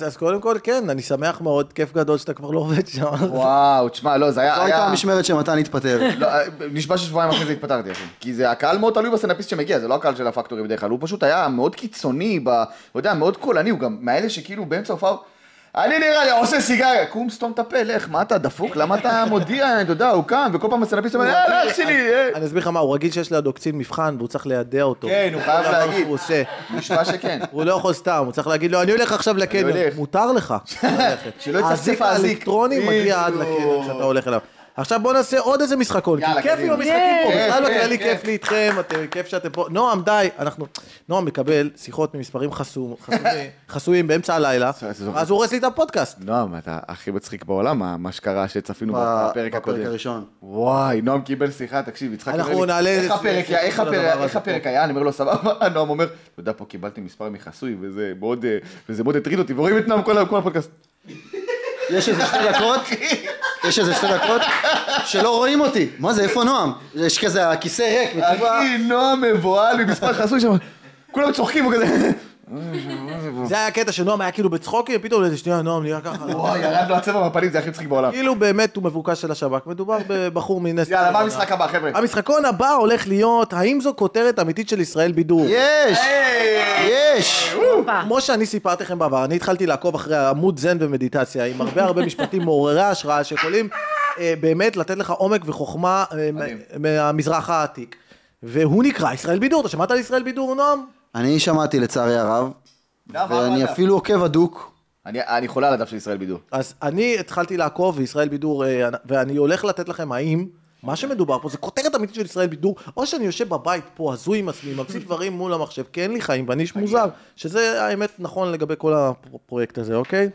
Speaker 3: אז קודם כל, כן, אני שמח מאוד, כיף גדול שאתה כבר לא עובד שם.
Speaker 2: וואו, תשמע, לא, זה היה...
Speaker 5: זו
Speaker 2: היה-
Speaker 5: הייתה המשמרת שמתן התפטר.
Speaker 2: לא, נשבע ששבועיים אחרי זה התפטרתי, אחי. כי זה, הקהל מאוד תלוי בסטנדאפיסט שמגיע, זה לא הקהל של הפקטורי בדרך כלל, הוא פשוט היה מאוד קיצוני, ב, לא יודע, מאוד קולני, הוא גם מאלה שכאילו באמצע הופעה, אני נראה לי עושה סיגריה, קום סתום את הפה, לך, מה אתה דפוק? למה אתה מודיע, אתה יודע, הוא קם, וכל פעם הסטנדאפיסט אומר, יאללה, אח שלי, אה."
Speaker 3: אני אסביר לך מה, הוא רגיל שיש לידו קצין מבחן והוא צריך לידע אותו.
Speaker 2: כן, הוא חייב
Speaker 3: כל דבר
Speaker 2: להגיד.
Speaker 3: שהוא עושה.
Speaker 2: נשבע שכן.
Speaker 3: הוא לא יכול סתם, הוא צריך להגיד לו, אני הולך עכשיו לקניון.
Speaker 2: הולך.
Speaker 3: מותר לך ללכת.
Speaker 2: שלא יצפצף
Speaker 3: האזיק
Speaker 2: האזיק.
Speaker 3: האלקטרוני מגיע עד
Speaker 2: בדיוק.
Speaker 3: לקניון כשאתה הולך אליו. עכשיו בוא נעשה עוד איזה משחקון, כי
Speaker 2: יאללה,
Speaker 3: כיף עם
Speaker 2: קדימה. כן,
Speaker 3: המשחקים פה,
Speaker 2: יאי,
Speaker 3: בכלל
Speaker 2: כיף,
Speaker 3: בכללי
Speaker 2: כיף.
Speaker 3: כיף לי איתכם, אתם- כיף שאתם פה. נועם, די, אנחנו... נועם מקבל שיחות ממספרים חסום- חסומי- חסויים באמצע הלילה,
Speaker 2: זה- זה-
Speaker 3: אז הוא הורס לי את הפודקאסט.
Speaker 2: נועם, לא, אתה הכי מצחיק בעולם, מה- מה שקרה שצפינו
Speaker 5: ב-
Speaker 2: בפרק
Speaker 5: בפרק
Speaker 2: הקודם.
Speaker 5: הראשון.
Speaker 2: וואי, נועם קיבל שיחה, תקשיב, יצחק
Speaker 3: אנחנו
Speaker 2: אומר לי,
Speaker 3: נעלה
Speaker 2: איך
Speaker 3: איזה-
Speaker 2: הפרק,
Speaker 3: איזה-
Speaker 2: איך
Speaker 3: כל
Speaker 2: הפרק-
Speaker 3: הדבר
Speaker 2: איך
Speaker 3: הזה
Speaker 2: הפרק
Speaker 3: פה.
Speaker 2: היה? אני אומר לו, סבבה, נועם אומר, אתה יודע, פה קיבלתי מספר מחסוי, וזה מאוד, אה, וזה מאוד הטריד אותי, ורואים את נועם כל כל הפודקאסט.
Speaker 5: יש איזה שתי דקות, יש איזה שתי דקות שלא רואים אותי. מה זה, איפה נועם? יש כזה, הכיסא ריק,
Speaker 3: אה,
Speaker 5: בטבע.
Speaker 2: אחי, נועם מבוהל עם מספר חסוי שם, כולם צוחקים, הוא כזה, אה.
Speaker 3: זה היה הקטע שנועם היה כאילו בצחוקים, פתאום לאיזה שנייה נועם נהיה ככה.
Speaker 2: וואי, ירד לו הצבע מהפנים, זה הכי מצחיק בעולם.
Speaker 3: כאילו באמת הוא מבוקש של השב"כ, מדובר בבחור מנס...
Speaker 2: יאללה, מה
Speaker 3: ציונה.
Speaker 2: המשחק הבא, חבר'ה?
Speaker 3: המשחקון הבא הולך להיות, האם זו כותרת אמיתית של ישראל בידור?
Speaker 5: יש,
Speaker 2: היי!
Speaker 5: יש.
Speaker 1: הופה.
Speaker 3: כמו שאני סיפרתי לכם בעבר, אני התחלתי לעקוב אחרי עמוד זן ומדיטציה, עם הרבה הרבה משפטים מעוררי השראה שיכולים אה, באמת לתת לך עומק וחוכמה אה, מה- מהמזרח העתיק. והוא נקרא ישראל בידור, אתה שמעת על ישראל בידור, נועם?
Speaker 5: אני שמעתי לצערי הרב,
Speaker 2: למה, מה
Speaker 5: ואני
Speaker 2: אתה?
Speaker 5: אפילו עוקב הדוק.
Speaker 2: אני- אני חולה על הדף של ישראל בידור.
Speaker 3: אז אני התחלתי לעקוב, וישראל בידור, אה, ואני הולך לתת לכם האם מה שמדובר פה זה כותרת אמיתית של ישראל בידור, או שאני יושב בבית פה הזוי עם עצמי, ממציא דברים מול המחשב, כי אין לי חיים ואני איש מוזר, שזה האמת נכון לגבי כל הפרויקט הזה, אוקיי?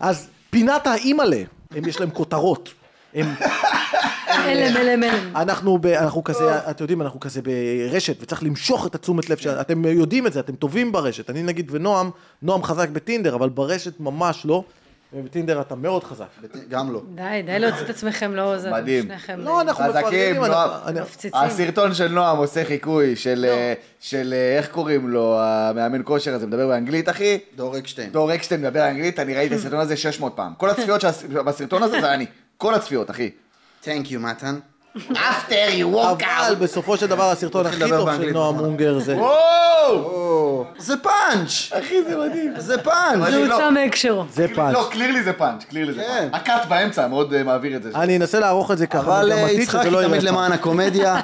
Speaker 3: אז פינת האימא'לה, הם יש להם כותרות. הם,
Speaker 1: אלם, אלם, אלם.
Speaker 3: אנחנו, ב, אנחנו כזה, אתם יודעים, אנחנו כזה ברשת, וצריך למשוך את התשומת לב, אתם יודעים את זה, אתם טובים ברשת. אני נגיד ונועם, נועם חזק בטינדר, אבל ברשת ממש לא. ובטינדר אתה מאוד חזק.
Speaker 5: גם לא.
Speaker 1: די, די להוציא את עצמכם לא זה, אתם
Speaker 2: מדהים.
Speaker 1: שניכם.
Speaker 3: לא, אנחנו
Speaker 2: חזקים,
Speaker 3: מפרגנים,
Speaker 2: נועם.
Speaker 3: אנחנו... לא. אני-
Speaker 1: מפציצים.
Speaker 2: הסרטון של נועם עושה חיקוי של, אה, של אה, איך קוראים לו, המאמן כושר הזה, מדבר באנגלית, אחי?
Speaker 5: דור אקשטיין.
Speaker 2: דור אקשטיין מדבר אנגלית, אני ראיתי את הסרטון הזה 600 פעם. כל הצפיות שהס- בסרטון הזה זה אני. כל הצפיות, אחי.
Speaker 5: Thank you, מתן.
Speaker 4: after you walk
Speaker 3: אבל
Speaker 4: out.
Speaker 3: בסופו של דבר הסרטון
Speaker 5: הוא
Speaker 3: הכי
Speaker 5: התחיל לדבר
Speaker 3: טוב של
Speaker 5: באנגלית,
Speaker 3: נועם
Speaker 5: נכון.
Speaker 3: אונגר זה...
Speaker 2: וואו!
Speaker 5: זה פאנץ'!
Speaker 2: אחי, זה מדהים.
Speaker 5: זה פאנץ'!
Speaker 1: זה
Speaker 2: לא.
Speaker 1: הוצא מהקשרו.
Speaker 3: זה פאנץ'.
Speaker 2: לא, קלירלי זה פאנץ', קלירלי זה
Speaker 5: כן.
Speaker 2: פאנץ'. הקאט באמצע מאוד אה, מעביר את זה.
Speaker 3: אני אנסה לערוך את זה ככה,
Speaker 5: אבל אה,
Speaker 3: מגמתית,
Speaker 5: יצחק
Speaker 3: שזה לא
Speaker 5: תמיד
Speaker 3: יראה
Speaker 5: למען הקומדיה.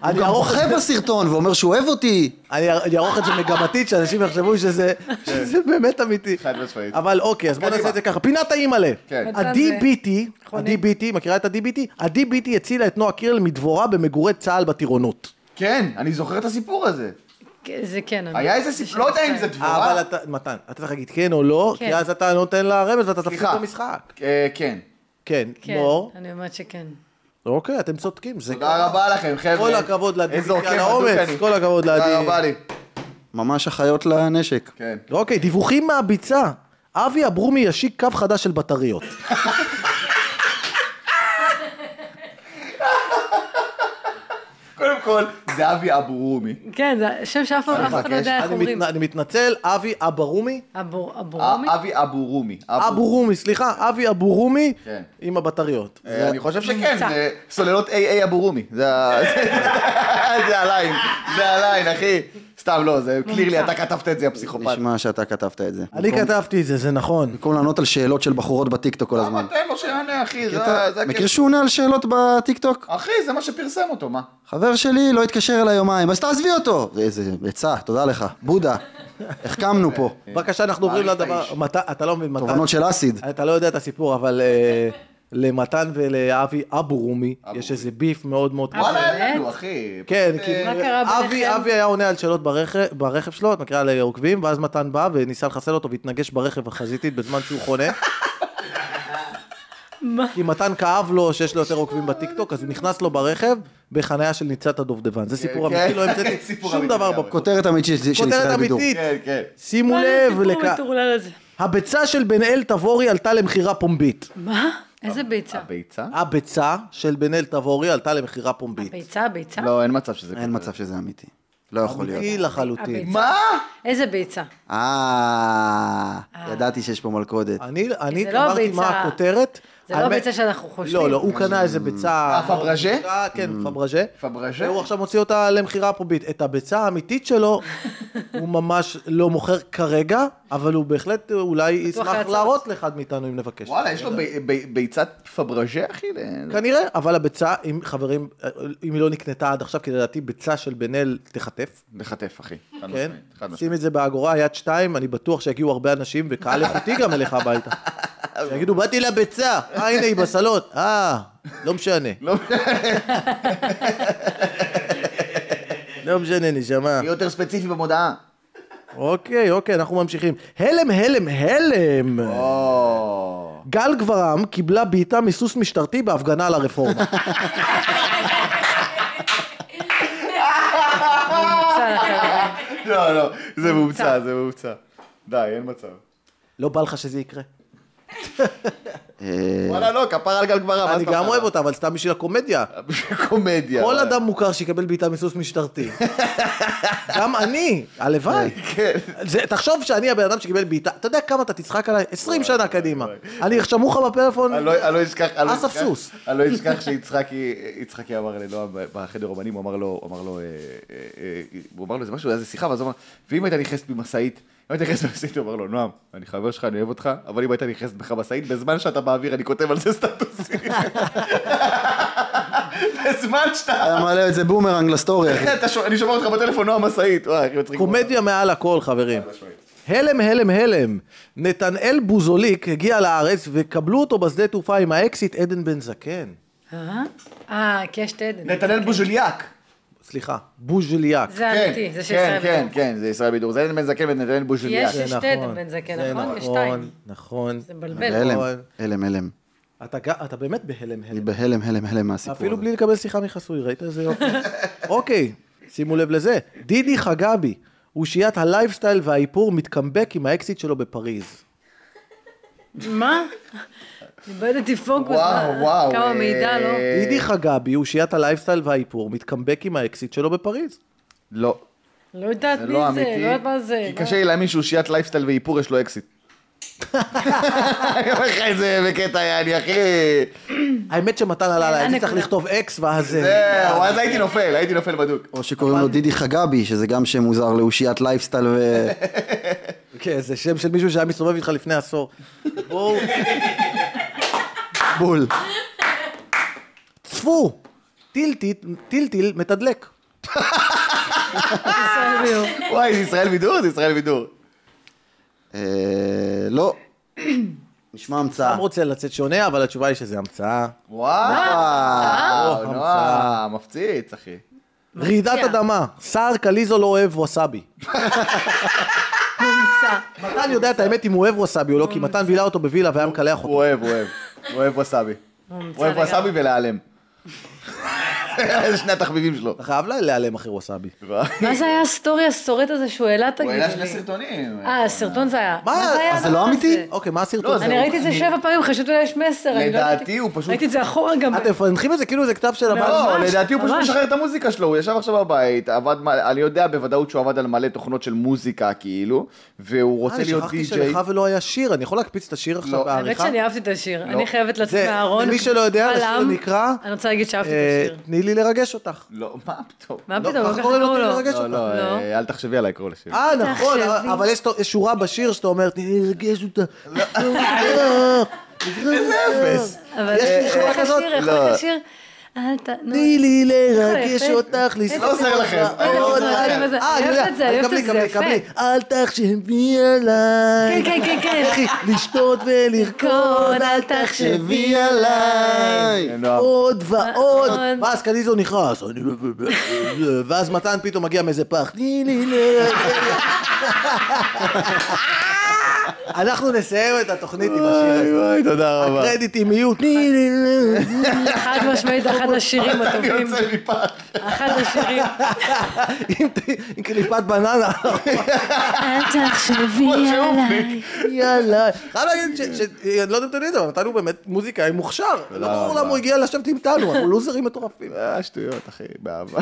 Speaker 5: הוא גם
Speaker 3: ארוך
Speaker 5: בוכה בסרטון ואומר שהוא אוהב אותי.
Speaker 3: אני אני אערוך את זה מגמתית, שאנשים יחשבו שזה שזה באמת אמיתי.
Speaker 2: חד משמעית.
Speaker 3: אבל אוקיי, אז בואו נעשה את זה ככה. פינת האימא'לה.
Speaker 2: כן.
Speaker 3: ה-DBT,
Speaker 1: חונק.
Speaker 3: ה-DBT, מכירה את ה-DBT? ה-DBT הצילה את נועה קירל מדבורה במגורי צה"ל בטירונות.
Speaker 2: כן, אני זוכר את הסיפור הזה.
Speaker 1: זה כן. אני-
Speaker 2: היה איזה סיפור, לא יודע אם זה דבורה.
Speaker 3: אבל אתה, מתן, אתה צריך להגיד כן או לא,
Speaker 1: כן.
Speaker 3: כי אז אתה נותן לה רמז ואתה תפסיק
Speaker 2: סליחה.
Speaker 3: את המשחק.
Speaker 2: אה, כן.
Speaker 3: כן,
Speaker 1: כן,
Speaker 3: מור.
Speaker 1: אני אומרת שכן.
Speaker 3: אוקיי, אתם צודקים. זה
Speaker 2: תודה רבה לכם, חבר'ה.
Speaker 3: כל הכבוד לעדי
Speaker 2: איזה עוקב
Speaker 3: על האומץ,
Speaker 2: בדוק אני.
Speaker 3: כל הכבוד לעדי.
Speaker 2: תודה רבה לי.
Speaker 5: ממש אחיות לנשק.
Speaker 2: כן.
Speaker 3: אוקיי, דיווחים מהביצה. אבי אברומי ישיק קו חדש של בטריות.
Speaker 2: קודם כל, זה אבי אברומי.
Speaker 1: כן, זה שם שאף פעם אף אחד לא יודע איך
Speaker 3: אני
Speaker 1: אומרים.
Speaker 3: מת- אני מתנצל, אבי אברומי.
Speaker 1: אבור- אברומי?
Speaker 2: אבי אברומי.
Speaker 3: אברומי, סליחה, אבי אברומי
Speaker 2: כן.
Speaker 3: עם הבטריות.
Speaker 2: אה, אני חושב שכן,
Speaker 1: נמצא.
Speaker 2: זה סוללות AA אבורומי. זה ה- זה הליין, זה הליין, אחי. סתם לא, זה קלירלי, אתה כתבת את זה, הפסיכופת.
Speaker 5: נשמע שאתה כתבת את זה.
Speaker 3: אני כתבתי את זה, זה נכון.
Speaker 5: במקום לענות על שאלות של בחורות בטיקטוק כל הזמן.
Speaker 2: למה תן לו שיענה, אחי? זה-
Speaker 5: אתה
Speaker 2: אה, זה
Speaker 5: מכיר
Speaker 2: הכיף.
Speaker 5: שהוא עונה על שאלות בטיקטוק?
Speaker 2: אחי, זה מה שפרסם אותו, מה?
Speaker 5: חבר שלי לא התקשר אליי יומיים, אז תעזבי אותו! זה- זה עצה, תודה לך. בודה, החכמנו פה.
Speaker 3: בבקשה, אנחנו עוברים
Speaker 2: מעריך את
Speaker 3: לדבר...
Speaker 2: האיש.
Speaker 3: מת- אתה לא מבין, מתן.
Speaker 5: תובנות של אסיד.
Speaker 3: אתה לא יודע את הסיפור, אבל אה, למתן ולאבי אברומי יש איזה ביף מאוד מאוד
Speaker 1: אה,
Speaker 2: וואלה,
Speaker 1: באמת?
Speaker 2: אין לנו, אחי.
Speaker 3: כן,
Speaker 2: פשוט,
Speaker 3: כי
Speaker 2: אה,
Speaker 1: מה קרה
Speaker 3: אבי,
Speaker 1: ביניכם?
Speaker 3: אבי היה עונה על שאלות ברכב, ברכב שלו, את מכירה לעוקבים, ואז מתן בא וניסה לחסל אותו והתנגש ברכב החזיתית בזמן שהוא חונה.
Speaker 1: מה?
Speaker 3: כי מתן כאב לו שיש לו יותר עוקבים בטיקטוק, אז הוא נכנס לו ברכב בחניה של ניצת הדובדבן. זה סיפור
Speaker 2: כן,
Speaker 3: אמיתי, לא
Speaker 2: כן,
Speaker 3: המצאתי
Speaker 2: סיפור
Speaker 3: שום
Speaker 2: אמיתי
Speaker 3: דבר
Speaker 2: לגמרי.
Speaker 3: בפודקאסט.
Speaker 5: כותרת אמיתית של של
Speaker 3: כותרת
Speaker 5: ישראל בידור.
Speaker 3: אמיתית.
Speaker 2: כן, כן.
Speaker 3: שימו
Speaker 1: מה
Speaker 3: לב,
Speaker 1: הסיפור
Speaker 3: לכ-
Speaker 1: המטורלל הזה?
Speaker 3: הביצה של בן אל תבורי עלתה למכירה פומבית.
Speaker 1: מה? איזה ביצה?
Speaker 2: אה, הביצה?
Speaker 3: הביצה של בן אל תבורי עלתה למכירה פומבית.
Speaker 1: ביצה, ביצה?
Speaker 2: לא, אין מצב שזה...
Speaker 5: אין מצב שזה אמיתי. לא יכול להיות.
Speaker 3: אמיתי לחלוטין.
Speaker 1: הביצה.
Speaker 2: מה?
Speaker 1: איזה ביצה?
Speaker 5: אה, ידעתי שיש פה מלכודת.
Speaker 3: אני אני
Speaker 1: זה לא
Speaker 3: אמרתי
Speaker 1: ביצה-
Speaker 3: מה הכותרת.
Speaker 1: זה לא
Speaker 3: האמת-
Speaker 1: הביצה שאנחנו חושבים.
Speaker 3: לא, לא, הוא קנה איזה ביצה...
Speaker 2: פברג'ה?
Speaker 3: אה, כן, פברג'ה.
Speaker 2: פברג'ה?
Speaker 3: והוא עכשיו מוציא אותה למכירה פומבית. את הביצה האמיתית שלו, הוא ממש לא מוכר כרגע, אבל הוא בהחלט אולי
Speaker 1: בטוח
Speaker 3: ישמח
Speaker 1: יעצור.
Speaker 3: להראות לאחד מאיתנו אם נבקש.
Speaker 2: וואלה, יש לו בי- בי- ביצת פברג'ה, אחי? ל-
Speaker 3: כנראה, אבל הביצה, אם חברים, אם היא לא נקנתה עד עכשיו, כי לדעתי ביצה של בן אל תיחטף,
Speaker 2: בחטף, אחי. חד
Speaker 3: כן?
Speaker 2: משמעית, חד משמעית.
Speaker 3: שים את זה באגורה, יד שתיים, אני בטוח שיגיעו הרבה אנשים, וקהל איכותי גם אליך הביתה. שיגידו, באתי לביצה, אה, הנה היא בסלון, אה, לא משנה.
Speaker 2: לא-
Speaker 3: לא משנה, נשמה.
Speaker 2: מי יותר ספציפי במודעה?
Speaker 3: אוקיי, אוקיי, אנחנו ממשיכים. הלם, הלם, הלם!
Speaker 2: או...
Speaker 3: גל גברם קיבלה בעיטה מסוס משטרתי בהפגנה על הרפורמה.
Speaker 1: ביצה לחלוטין.
Speaker 2: לא, לא, זה מומצא, זה מומצא. די, אין מצב.
Speaker 3: לא בא לך שזה יקרה.
Speaker 2: וואלה, לא, כפר על גל גברם. מה
Speaker 3: אני
Speaker 2: אתה
Speaker 3: גם
Speaker 2: אומר?
Speaker 3: אוהב אותה, אבל סתם בשביל הקומדיה.
Speaker 2: קומדיה.
Speaker 3: כל
Speaker 2: וואלה.
Speaker 3: אדם מוכר שיקבל בעיטה מסוס משטרתי. גם אני, הלוואי.
Speaker 2: כן.
Speaker 3: זה- תחשוב שאני הבן אדם שקיבל בעיטה, אתה יודע כמה אתה תצחק עליי? 20 שנה קדימה. אני ירשמו לך בפלאפון,
Speaker 2: אני לא- אני לא אשכח, אני לא
Speaker 3: אסף
Speaker 2: אשכח-
Speaker 3: סוס.
Speaker 2: אני לא אשכח שיצחקי יצחקי אמר לנועם ב- בחדר אומנים, הוא אמר לו, הוא אמר לו, אה, אה, אה, הוא אמר לו איזה משהו, היה איזה שיחה, ואז הוא אמר, ואם הייתה נכנסת במשאית, אם הייתה נכנסת במשאית, הוא אמר לו, נועם, אני חבר שלך, אני אוהב אותך, אבל אם הייתה נכנסת בך משאית, בזמן שאתה באוויר, אני כותב על זה סטטוסים. בזמן שאתה,
Speaker 5: היה מעלה את זה בומרנג לסטורי, אחי.
Speaker 2: אתה שומע- אני שומע אותך בטלפון, נועם משאית, וואי, אחי, מצחיק.
Speaker 3: קומדיה מעל הכל, חברים. הלם, הלם, הלם. נתנאל בוזוליק הגיע לארץ וקבלו אותו בשדה תעופה עם האקסיט עדן בן זקן.
Speaker 1: אה? אה, כי יש את עדן.
Speaker 2: נתנאל בוז'וליאק.
Speaker 3: סליחה, בוז'וליאק.
Speaker 1: זה אמיתי, זה של
Speaker 2: כן,
Speaker 1: ישראל
Speaker 2: כן,
Speaker 1: ביתנו.
Speaker 2: כן, זה ישראל בידור. זה עדן בן זקן ונתנאל בוז'וליאק.
Speaker 1: יש- שתי עדן בן זקן,
Speaker 3: זה
Speaker 1: נכון? יש שתיים.
Speaker 3: נכון.
Speaker 1: זה מבלבל.
Speaker 5: הלם,
Speaker 3: נכון.
Speaker 5: הלם, הלם.
Speaker 3: אתה ג- אתה באמת בהלם,
Speaker 5: אני
Speaker 3: הלם.
Speaker 5: בהלם, הלם, הלם מהסיפור
Speaker 3: אפילו
Speaker 5: הזה.
Speaker 3: בלי לקבל שיחה מחסוי, ראית איזה יופי? אוקיי, שימו לב לזה. דידי חגבי, אושיית הלייפסטייל והאיפור מתקמבק עם האקסיט שלו בפריז.
Speaker 1: מה? איבדתי פוקוס.
Speaker 2: וואו,
Speaker 1: מה?
Speaker 2: וואו,
Speaker 1: כמה
Speaker 2: אה,
Speaker 1: מידע, לא?
Speaker 3: דידי חגבי, אושיית הלייפסטייל והאיפור, מתקמבק עם האקסיט שלו בפריז.
Speaker 2: לא,
Speaker 1: לא יודעת
Speaker 2: זה
Speaker 1: מי
Speaker 2: לא
Speaker 1: זה,
Speaker 2: אמיתי.
Speaker 1: לא יודעת מה זה.
Speaker 2: כי קשה לי להאמין שהוא שיית לייפסטייל ואיפור יש לו אקזיט. אני אומר לך את זה בקטע יעני, אחי.
Speaker 3: האמת שמתן עלה עליי, הייתי צריך
Speaker 1: הנקודה.
Speaker 3: לכתוב אקס ואז... אה,
Speaker 2: זהו, אז הייתי נופל, הייתי נופל בדוק.
Speaker 5: או שקוראים לו דידי חגבי, שזה גם שם מוזר לאושיית לייפסטייל ו...
Speaker 3: כן, זה שם של מישהו שהיה מסתובב איתך לפני עשור. בואו,
Speaker 5: בול.
Speaker 3: צפו! טילטיל, טילטיל מתדלק.
Speaker 1: ישראל ביום.
Speaker 2: וואי, זה ישראל בידור? זה ישראל בידור.
Speaker 5: אה, לא. נשמע המצאה.
Speaker 3: גם רוצה לצאת שונה, אבל התשובה היא שזה המצאה.
Speaker 2: וואו,
Speaker 1: אה?
Speaker 2: נועה, מפציץ, אחי.
Speaker 3: רעידת
Speaker 1: מפתיע.
Speaker 3: אדמה, סער קליזו לא אוהב ווסאבי.
Speaker 1: מומצא.
Speaker 3: מתן יודע את האמת אם הוא אוהב ווסאבי או לא, כי
Speaker 1: Mm.
Speaker 3: מתן בילה אותו בווילה והיה מקלח
Speaker 2: הוא
Speaker 3: אותו.
Speaker 2: אוהב, הוא אוהב. הוא אוהב ווסאבי.
Speaker 1: הוא
Speaker 2: הוא
Speaker 1: ממצא
Speaker 2: אוהב
Speaker 1: לגמרי.
Speaker 2: ווסאבי ולהיעלם. זה שני התחביבים שלו.
Speaker 3: אתה חייב לה- להיעלם אחרי ווסאבי.
Speaker 1: מה זה היה הסטורי הסורט הזה שהוא העלה,
Speaker 2: הוא
Speaker 1: תגיד
Speaker 2: העלה שני
Speaker 1: לי?
Speaker 2: סרטונים.
Speaker 1: אה, הסרטון זה היה.
Speaker 3: מה?
Speaker 1: זה היה
Speaker 3: אז זה
Speaker 1: הדבר
Speaker 5: לא
Speaker 1: הזה?
Speaker 5: אמיתי?
Speaker 3: אוקיי, מה
Speaker 2: לא,
Speaker 3: הסרטון?
Speaker 2: זה-
Speaker 1: אני ראיתי את זה שבע פעמים, חשבתי אולי יש מסר. אני לא
Speaker 2: לדעתי
Speaker 1: ידעתי.
Speaker 2: הוא פשוט-
Speaker 1: ראיתי את זה אחורה גם.
Speaker 3: אתם מפענחים את זה כאילו זה כתב של הבעל.
Speaker 2: לא,
Speaker 1: ממש,
Speaker 2: לדעתי הוא פשוט
Speaker 1: ממש.
Speaker 2: משחרר את המוזיקה שלו, הוא ישב עכשיו בבית, עבד, מ- אני יודע בוודאות שהוא עבד על מלא תוכנות של מוזיקה כאילו, והוא רוצה
Speaker 3: אני
Speaker 2: להיות
Speaker 3: אה, שכחתי
Speaker 2: די-ג'יי.
Speaker 3: שלך ולא היה שיר, אני יכול להקפיץ את השיר עכשיו
Speaker 2: לא.
Speaker 1: האמת
Speaker 3: בעריכה?
Speaker 1: שאני אהבתי את השיר. אני חייבת לצאת
Speaker 3: לא. זה-
Speaker 1: מהארון.
Speaker 3: למי שלא יודע,
Speaker 1: אבל
Speaker 3: השיר
Speaker 1: עם-
Speaker 3: נקרא-
Speaker 1: אני רוצה להגיד שאהבתי
Speaker 3: אה,
Speaker 1: את השיר.
Speaker 3: תני לי לרגש אותך.
Speaker 2: לא, מה פתאום?
Speaker 1: מה
Speaker 3: לא,
Speaker 1: פתאום?
Speaker 3: ככה
Speaker 1: ככה
Speaker 3: קוראים לו,
Speaker 1: קראו
Speaker 3: תני לי
Speaker 1: לו.
Speaker 3: לרגש
Speaker 2: לא,
Speaker 3: אותך.
Speaker 2: לא,
Speaker 1: לא.
Speaker 2: אה, אל תחשבי עליי לקרוא לשיר.
Speaker 3: אה, נכון,
Speaker 1: תחשבי.
Speaker 3: אבל יש יש שורה בשיר שאתה אומר, תני לי לרגש אותה. איזה
Speaker 2: לא. אפס.
Speaker 1: אבל אה,
Speaker 3: יש לי שורה
Speaker 1: איך
Speaker 3: כזאת?
Speaker 1: השיר, איך
Speaker 2: לא.
Speaker 1: הולך השיר? אל ת... נו, אה,
Speaker 3: תני לי לרגש
Speaker 1: יפה.
Speaker 3: אותך, לסלוח
Speaker 2: לא עוזר לכם.
Speaker 3: אה,
Speaker 2: לא עוזר
Speaker 3: אה,
Speaker 2: לכם.
Speaker 3: אה,
Speaker 1: אני אוהבת
Speaker 3: יודע.
Speaker 1: את זה, אני אוהבת
Speaker 3: קבלי,
Speaker 1: את זה,
Speaker 3: קבלי,
Speaker 1: יפה.
Speaker 3: קבלי. אל תחשבי עליי.
Speaker 1: כן, כן, כן, כן.
Speaker 3: לכי לשתות ולרקוד,
Speaker 1: קוד,
Speaker 3: אל
Speaker 1: אל
Speaker 3: תחשבי.
Speaker 1: תחשבי אה,
Speaker 5: עליי.
Speaker 2: אה, נועם.
Speaker 3: עוד ועוד,
Speaker 1: ועוד.
Speaker 3: ואז קליזו נכנס, אני לא- ואז מתן פתאום מגיע מאיזה פח, תני לי ל... אנחנו נסיים את התוכנית עם השיר
Speaker 2: וואי
Speaker 3: הזה.
Speaker 2: וואי, תודה רבה.
Speaker 3: הקרדיטים יהיו, תני לי ל...
Speaker 1: חד משמעית, אחד השירים
Speaker 2: אני
Speaker 1: הטובים.
Speaker 2: יוצא מפח.
Speaker 1: אחד השירים.
Speaker 3: עם- עם קליפת בננה.
Speaker 1: אל תחשבי עליי.
Speaker 3: יאללה. חייב להגיד ש... ש- אני לא יודע אם אתם יודעים את זה, אבל נתנו באמת מוזיקאי מוכשר. לא ברור
Speaker 2: רבה.
Speaker 3: למה הוא הגיע לשבת עם תנו, אנחנו לוזרים מטורפים.
Speaker 2: אה, שטויות, אחי, באהבה.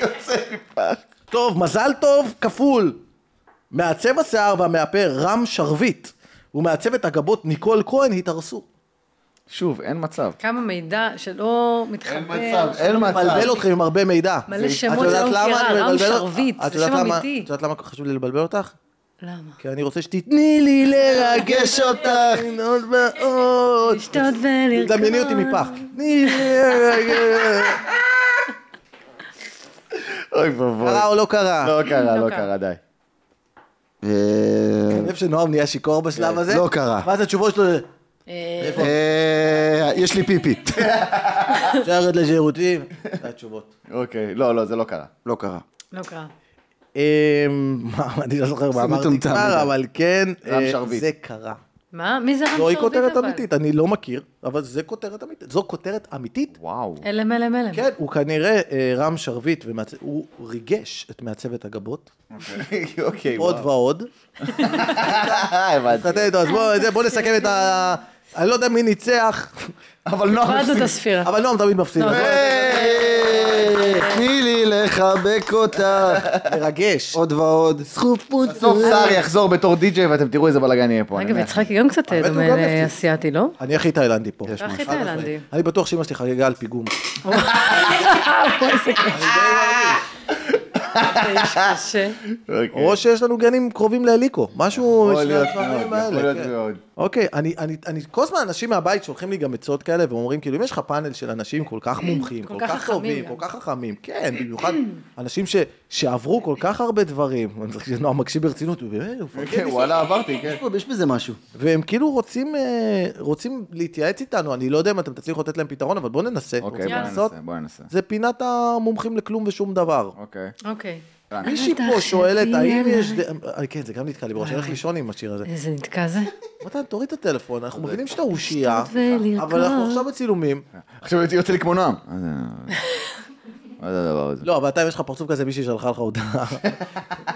Speaker 2: יוצא מפח.
Speaker 3: טוב, מזל טוב כפול. מעצב השיער והמאפר רם שרביט ומעצבת הגבות ניקול כהן התארסו.
Speaker 2: שוב, אין מצב.
Speaker 1: כמה מידע שלא מתחבר.
Speaker 2: אין מצב, אין
Speaker 3: מבלבל
Speaker 2: מצב.
Speaker 3: אתכם עם הרבה מידע.
Speaker 1: מלא
Speaker 3: את
Speaker 1: שמות
Speaker 3: יודעת
Speaker 1: שאני לא
Speaker 3: למה
Speaker 1: מכירה,
Speaker 3: אני
Speaker 1: רם
Speaker 3: מבלבל-
Speaker 1: שרביט,
Speaker 3: את
Speaker 1: זה
Speaker 3: יודעת
Speaker 1: שם
Speaker 3: למה-
Speaker 1: אמיתי.
Speaker 3: את יודעת למה חשוב לי לבלבל אותך?
Speaker 1: למה?
Speaker 3: כי אני רוצה שתתני לי לרגש אותך עוד ועוד.
Speaker 1: לשתות ולרקוד.
Speaker 3: דמייני אותי מפח. תני לי לרגש.
Speaker 2: אוי ואבוי.
Speaker 3: קרה או לא קרה?
Speaker 2: לא קרה, לא
Speaker 1: לא
Speaker 2: קרה, די.
Speaker 5: אה,
Speaker 3: אני חושב שנועם נהיה שיכור בשלב הזה.
Speaker 5: לא קרה.
Speaker 3: ואז התשובות שלו זה...
Speaker 1: אה,
Speaker 5: אה, יש לי פיפי.
Speaker 3: שרת לשירותים. זה התשובות.
Speaker 2: אוקיי, לא, לא, זה לא קרה.
Speaker 5: לא קרה.
Speaker 1: לא קרה.
Speaker 3: אמ, מה, אני לא זוכר מה
Speaker 5: זה
Speaker 3: אמרתי
Speaker 5: מטומטם
Speaker 3: כבר,
Speaker 5: מדי.
Speaker 3: אבל כן,
Speaker 2: רם
Speaker 3: אה,
Speaker 2: שרביט.
Speaker 3: זה קרה.
Speaker 1: מה? מי זה רם שרביט אבל?
Speaker 3: זוהי כותרת אמיתית, אני לא מכיר, אבל זה כותרת אמיתית. זו כותרת אמיתית?
Speaker 2: וואו.
Speaker 1: אלם אלם אלם.
Speaker 3: כן, הוא כנראה אה, רם שרביט, ומעצב- הוא ריגש את מעצבת הגבות,
Speaker 2: אוקיי,
Speaker 3: עוד
Speaker 2: וואו.
Speaker 3: ועוד.
Speaker 2: אה, הבנתי.
Speaker 3: אתה יודע, אז בוא- זה- בוא נסכם את ה... אני לא יודע מי ניצח,
Speaker 2: אבל נועם
Speaker 1: הורדנו לא את
Speaker 2: הפסיק.
Speaker 1: הספירה.
Speaker 3: אבל נועם תמיד מפסיד.
Speaker 1: לא,
Speaker 3: אז בוא
Speaker 5: אה, תני לי לחבק אותך.
Speaker 3: לרגש.
Speaker 5: עוד ועוד.
Speaker 3: סחופות.
Speaker 2: בסוף סער יחזור בתור די-ג'יי ואתם תראו איזה בלאגן יהיה פה. אני
Speaker 1: אה. אגב,
Speaker 2: אומר.
Speaker 1: יצחקי גם קצת
Speaker 3: הוא
Speaker 1: דומה
Speaker 3: גם יפציע.
Speaker 1: לאסיאתי, לא?
Speaker 3: אני הכי תאילנדי פה.
Speaker 1: אתה הכי אה, תאילנדי.
Speaker 3: אני בטוח שאמא שלי חגגה על פיגום.
Speaker 1: אתה איש קשה.
Speaker 2: אוקיי.
Speaker 3: או שיש לנו גנים קרובים להליקו, משהו...
Speaker 2: יכול
Speaker 3: שני
Speaker 2: להיות
Speaker 3: הדברים
Speaker 2: מאוד,
Speaker 3: האלה,
Speaker 2: יכול להיות
Speaker 3: כן.
Speaker 2: מאוד.
Speaker 3: אוקיי, אני, אני, אני, כל הזמן אנשים מהבית שולחים לי גם עצות כאלה ואומרים, כאילו, אם יש לך פאנל של אנשים כל כך מומחים, כל,
Speaker 1: כל כך
Speaker 3: כך,
Speaker 1: חכמים
Speaker 3: טובים,
Speaker 1: גם.
Speaker 3: כל כך חכמים, כן, במיוחד אנשים ש, שעברו כל כך הרבה דברים, אני צריך שנועם מקשיב ברצינות, הוא באמת, הוא מפרגן
Speaker 2: כן,
Speaker 3: לי.
Speaker 2: וואלה, עברתי, כן.
Speaker 5: יש פה- יש בזה משהו.
Speaker 3: והם כאילו רוצים, אה, רוצים להתייעץ איתנו, אני לא יודע אם אתם תצליחו לתת להם פתרון, אבל בואו ננסה.
Speaker 2: אוקיי,
Speaker 3: רוצים
Speaker 2: בוא
Speaker 3: לנסות?
Speaker 2: ננסה, בוא ננסה.
Speaker 3: זה פינת המומחים לכלום ושום דבר.
Speaker 2: אוקיי.
Speaker 1: אוקיי.
Speaker 3: מישהי פה שואלת, האם יש... ד- אה, כן, זה גם נתקע לי בראש, אני הולך לישון עם השיר הזה.
Speaker 1: איזה נתקע זה.
Speaker 3: מתן, תוריד את הטלפון, אנחנו מבינים שאתה אושייה,
Speaker 1: ולרקוד.
Speaker 3: אבל אנחנו עכשיו בצילומים.
Speaker 2: עכשיו יוצא לי כמו נועם. מה זה- מה זה הדבר הזה?
Speaker 3: לא, אבל אתה, אם יש לך פרצוף כזה, מישהי שלחה לך הודעה.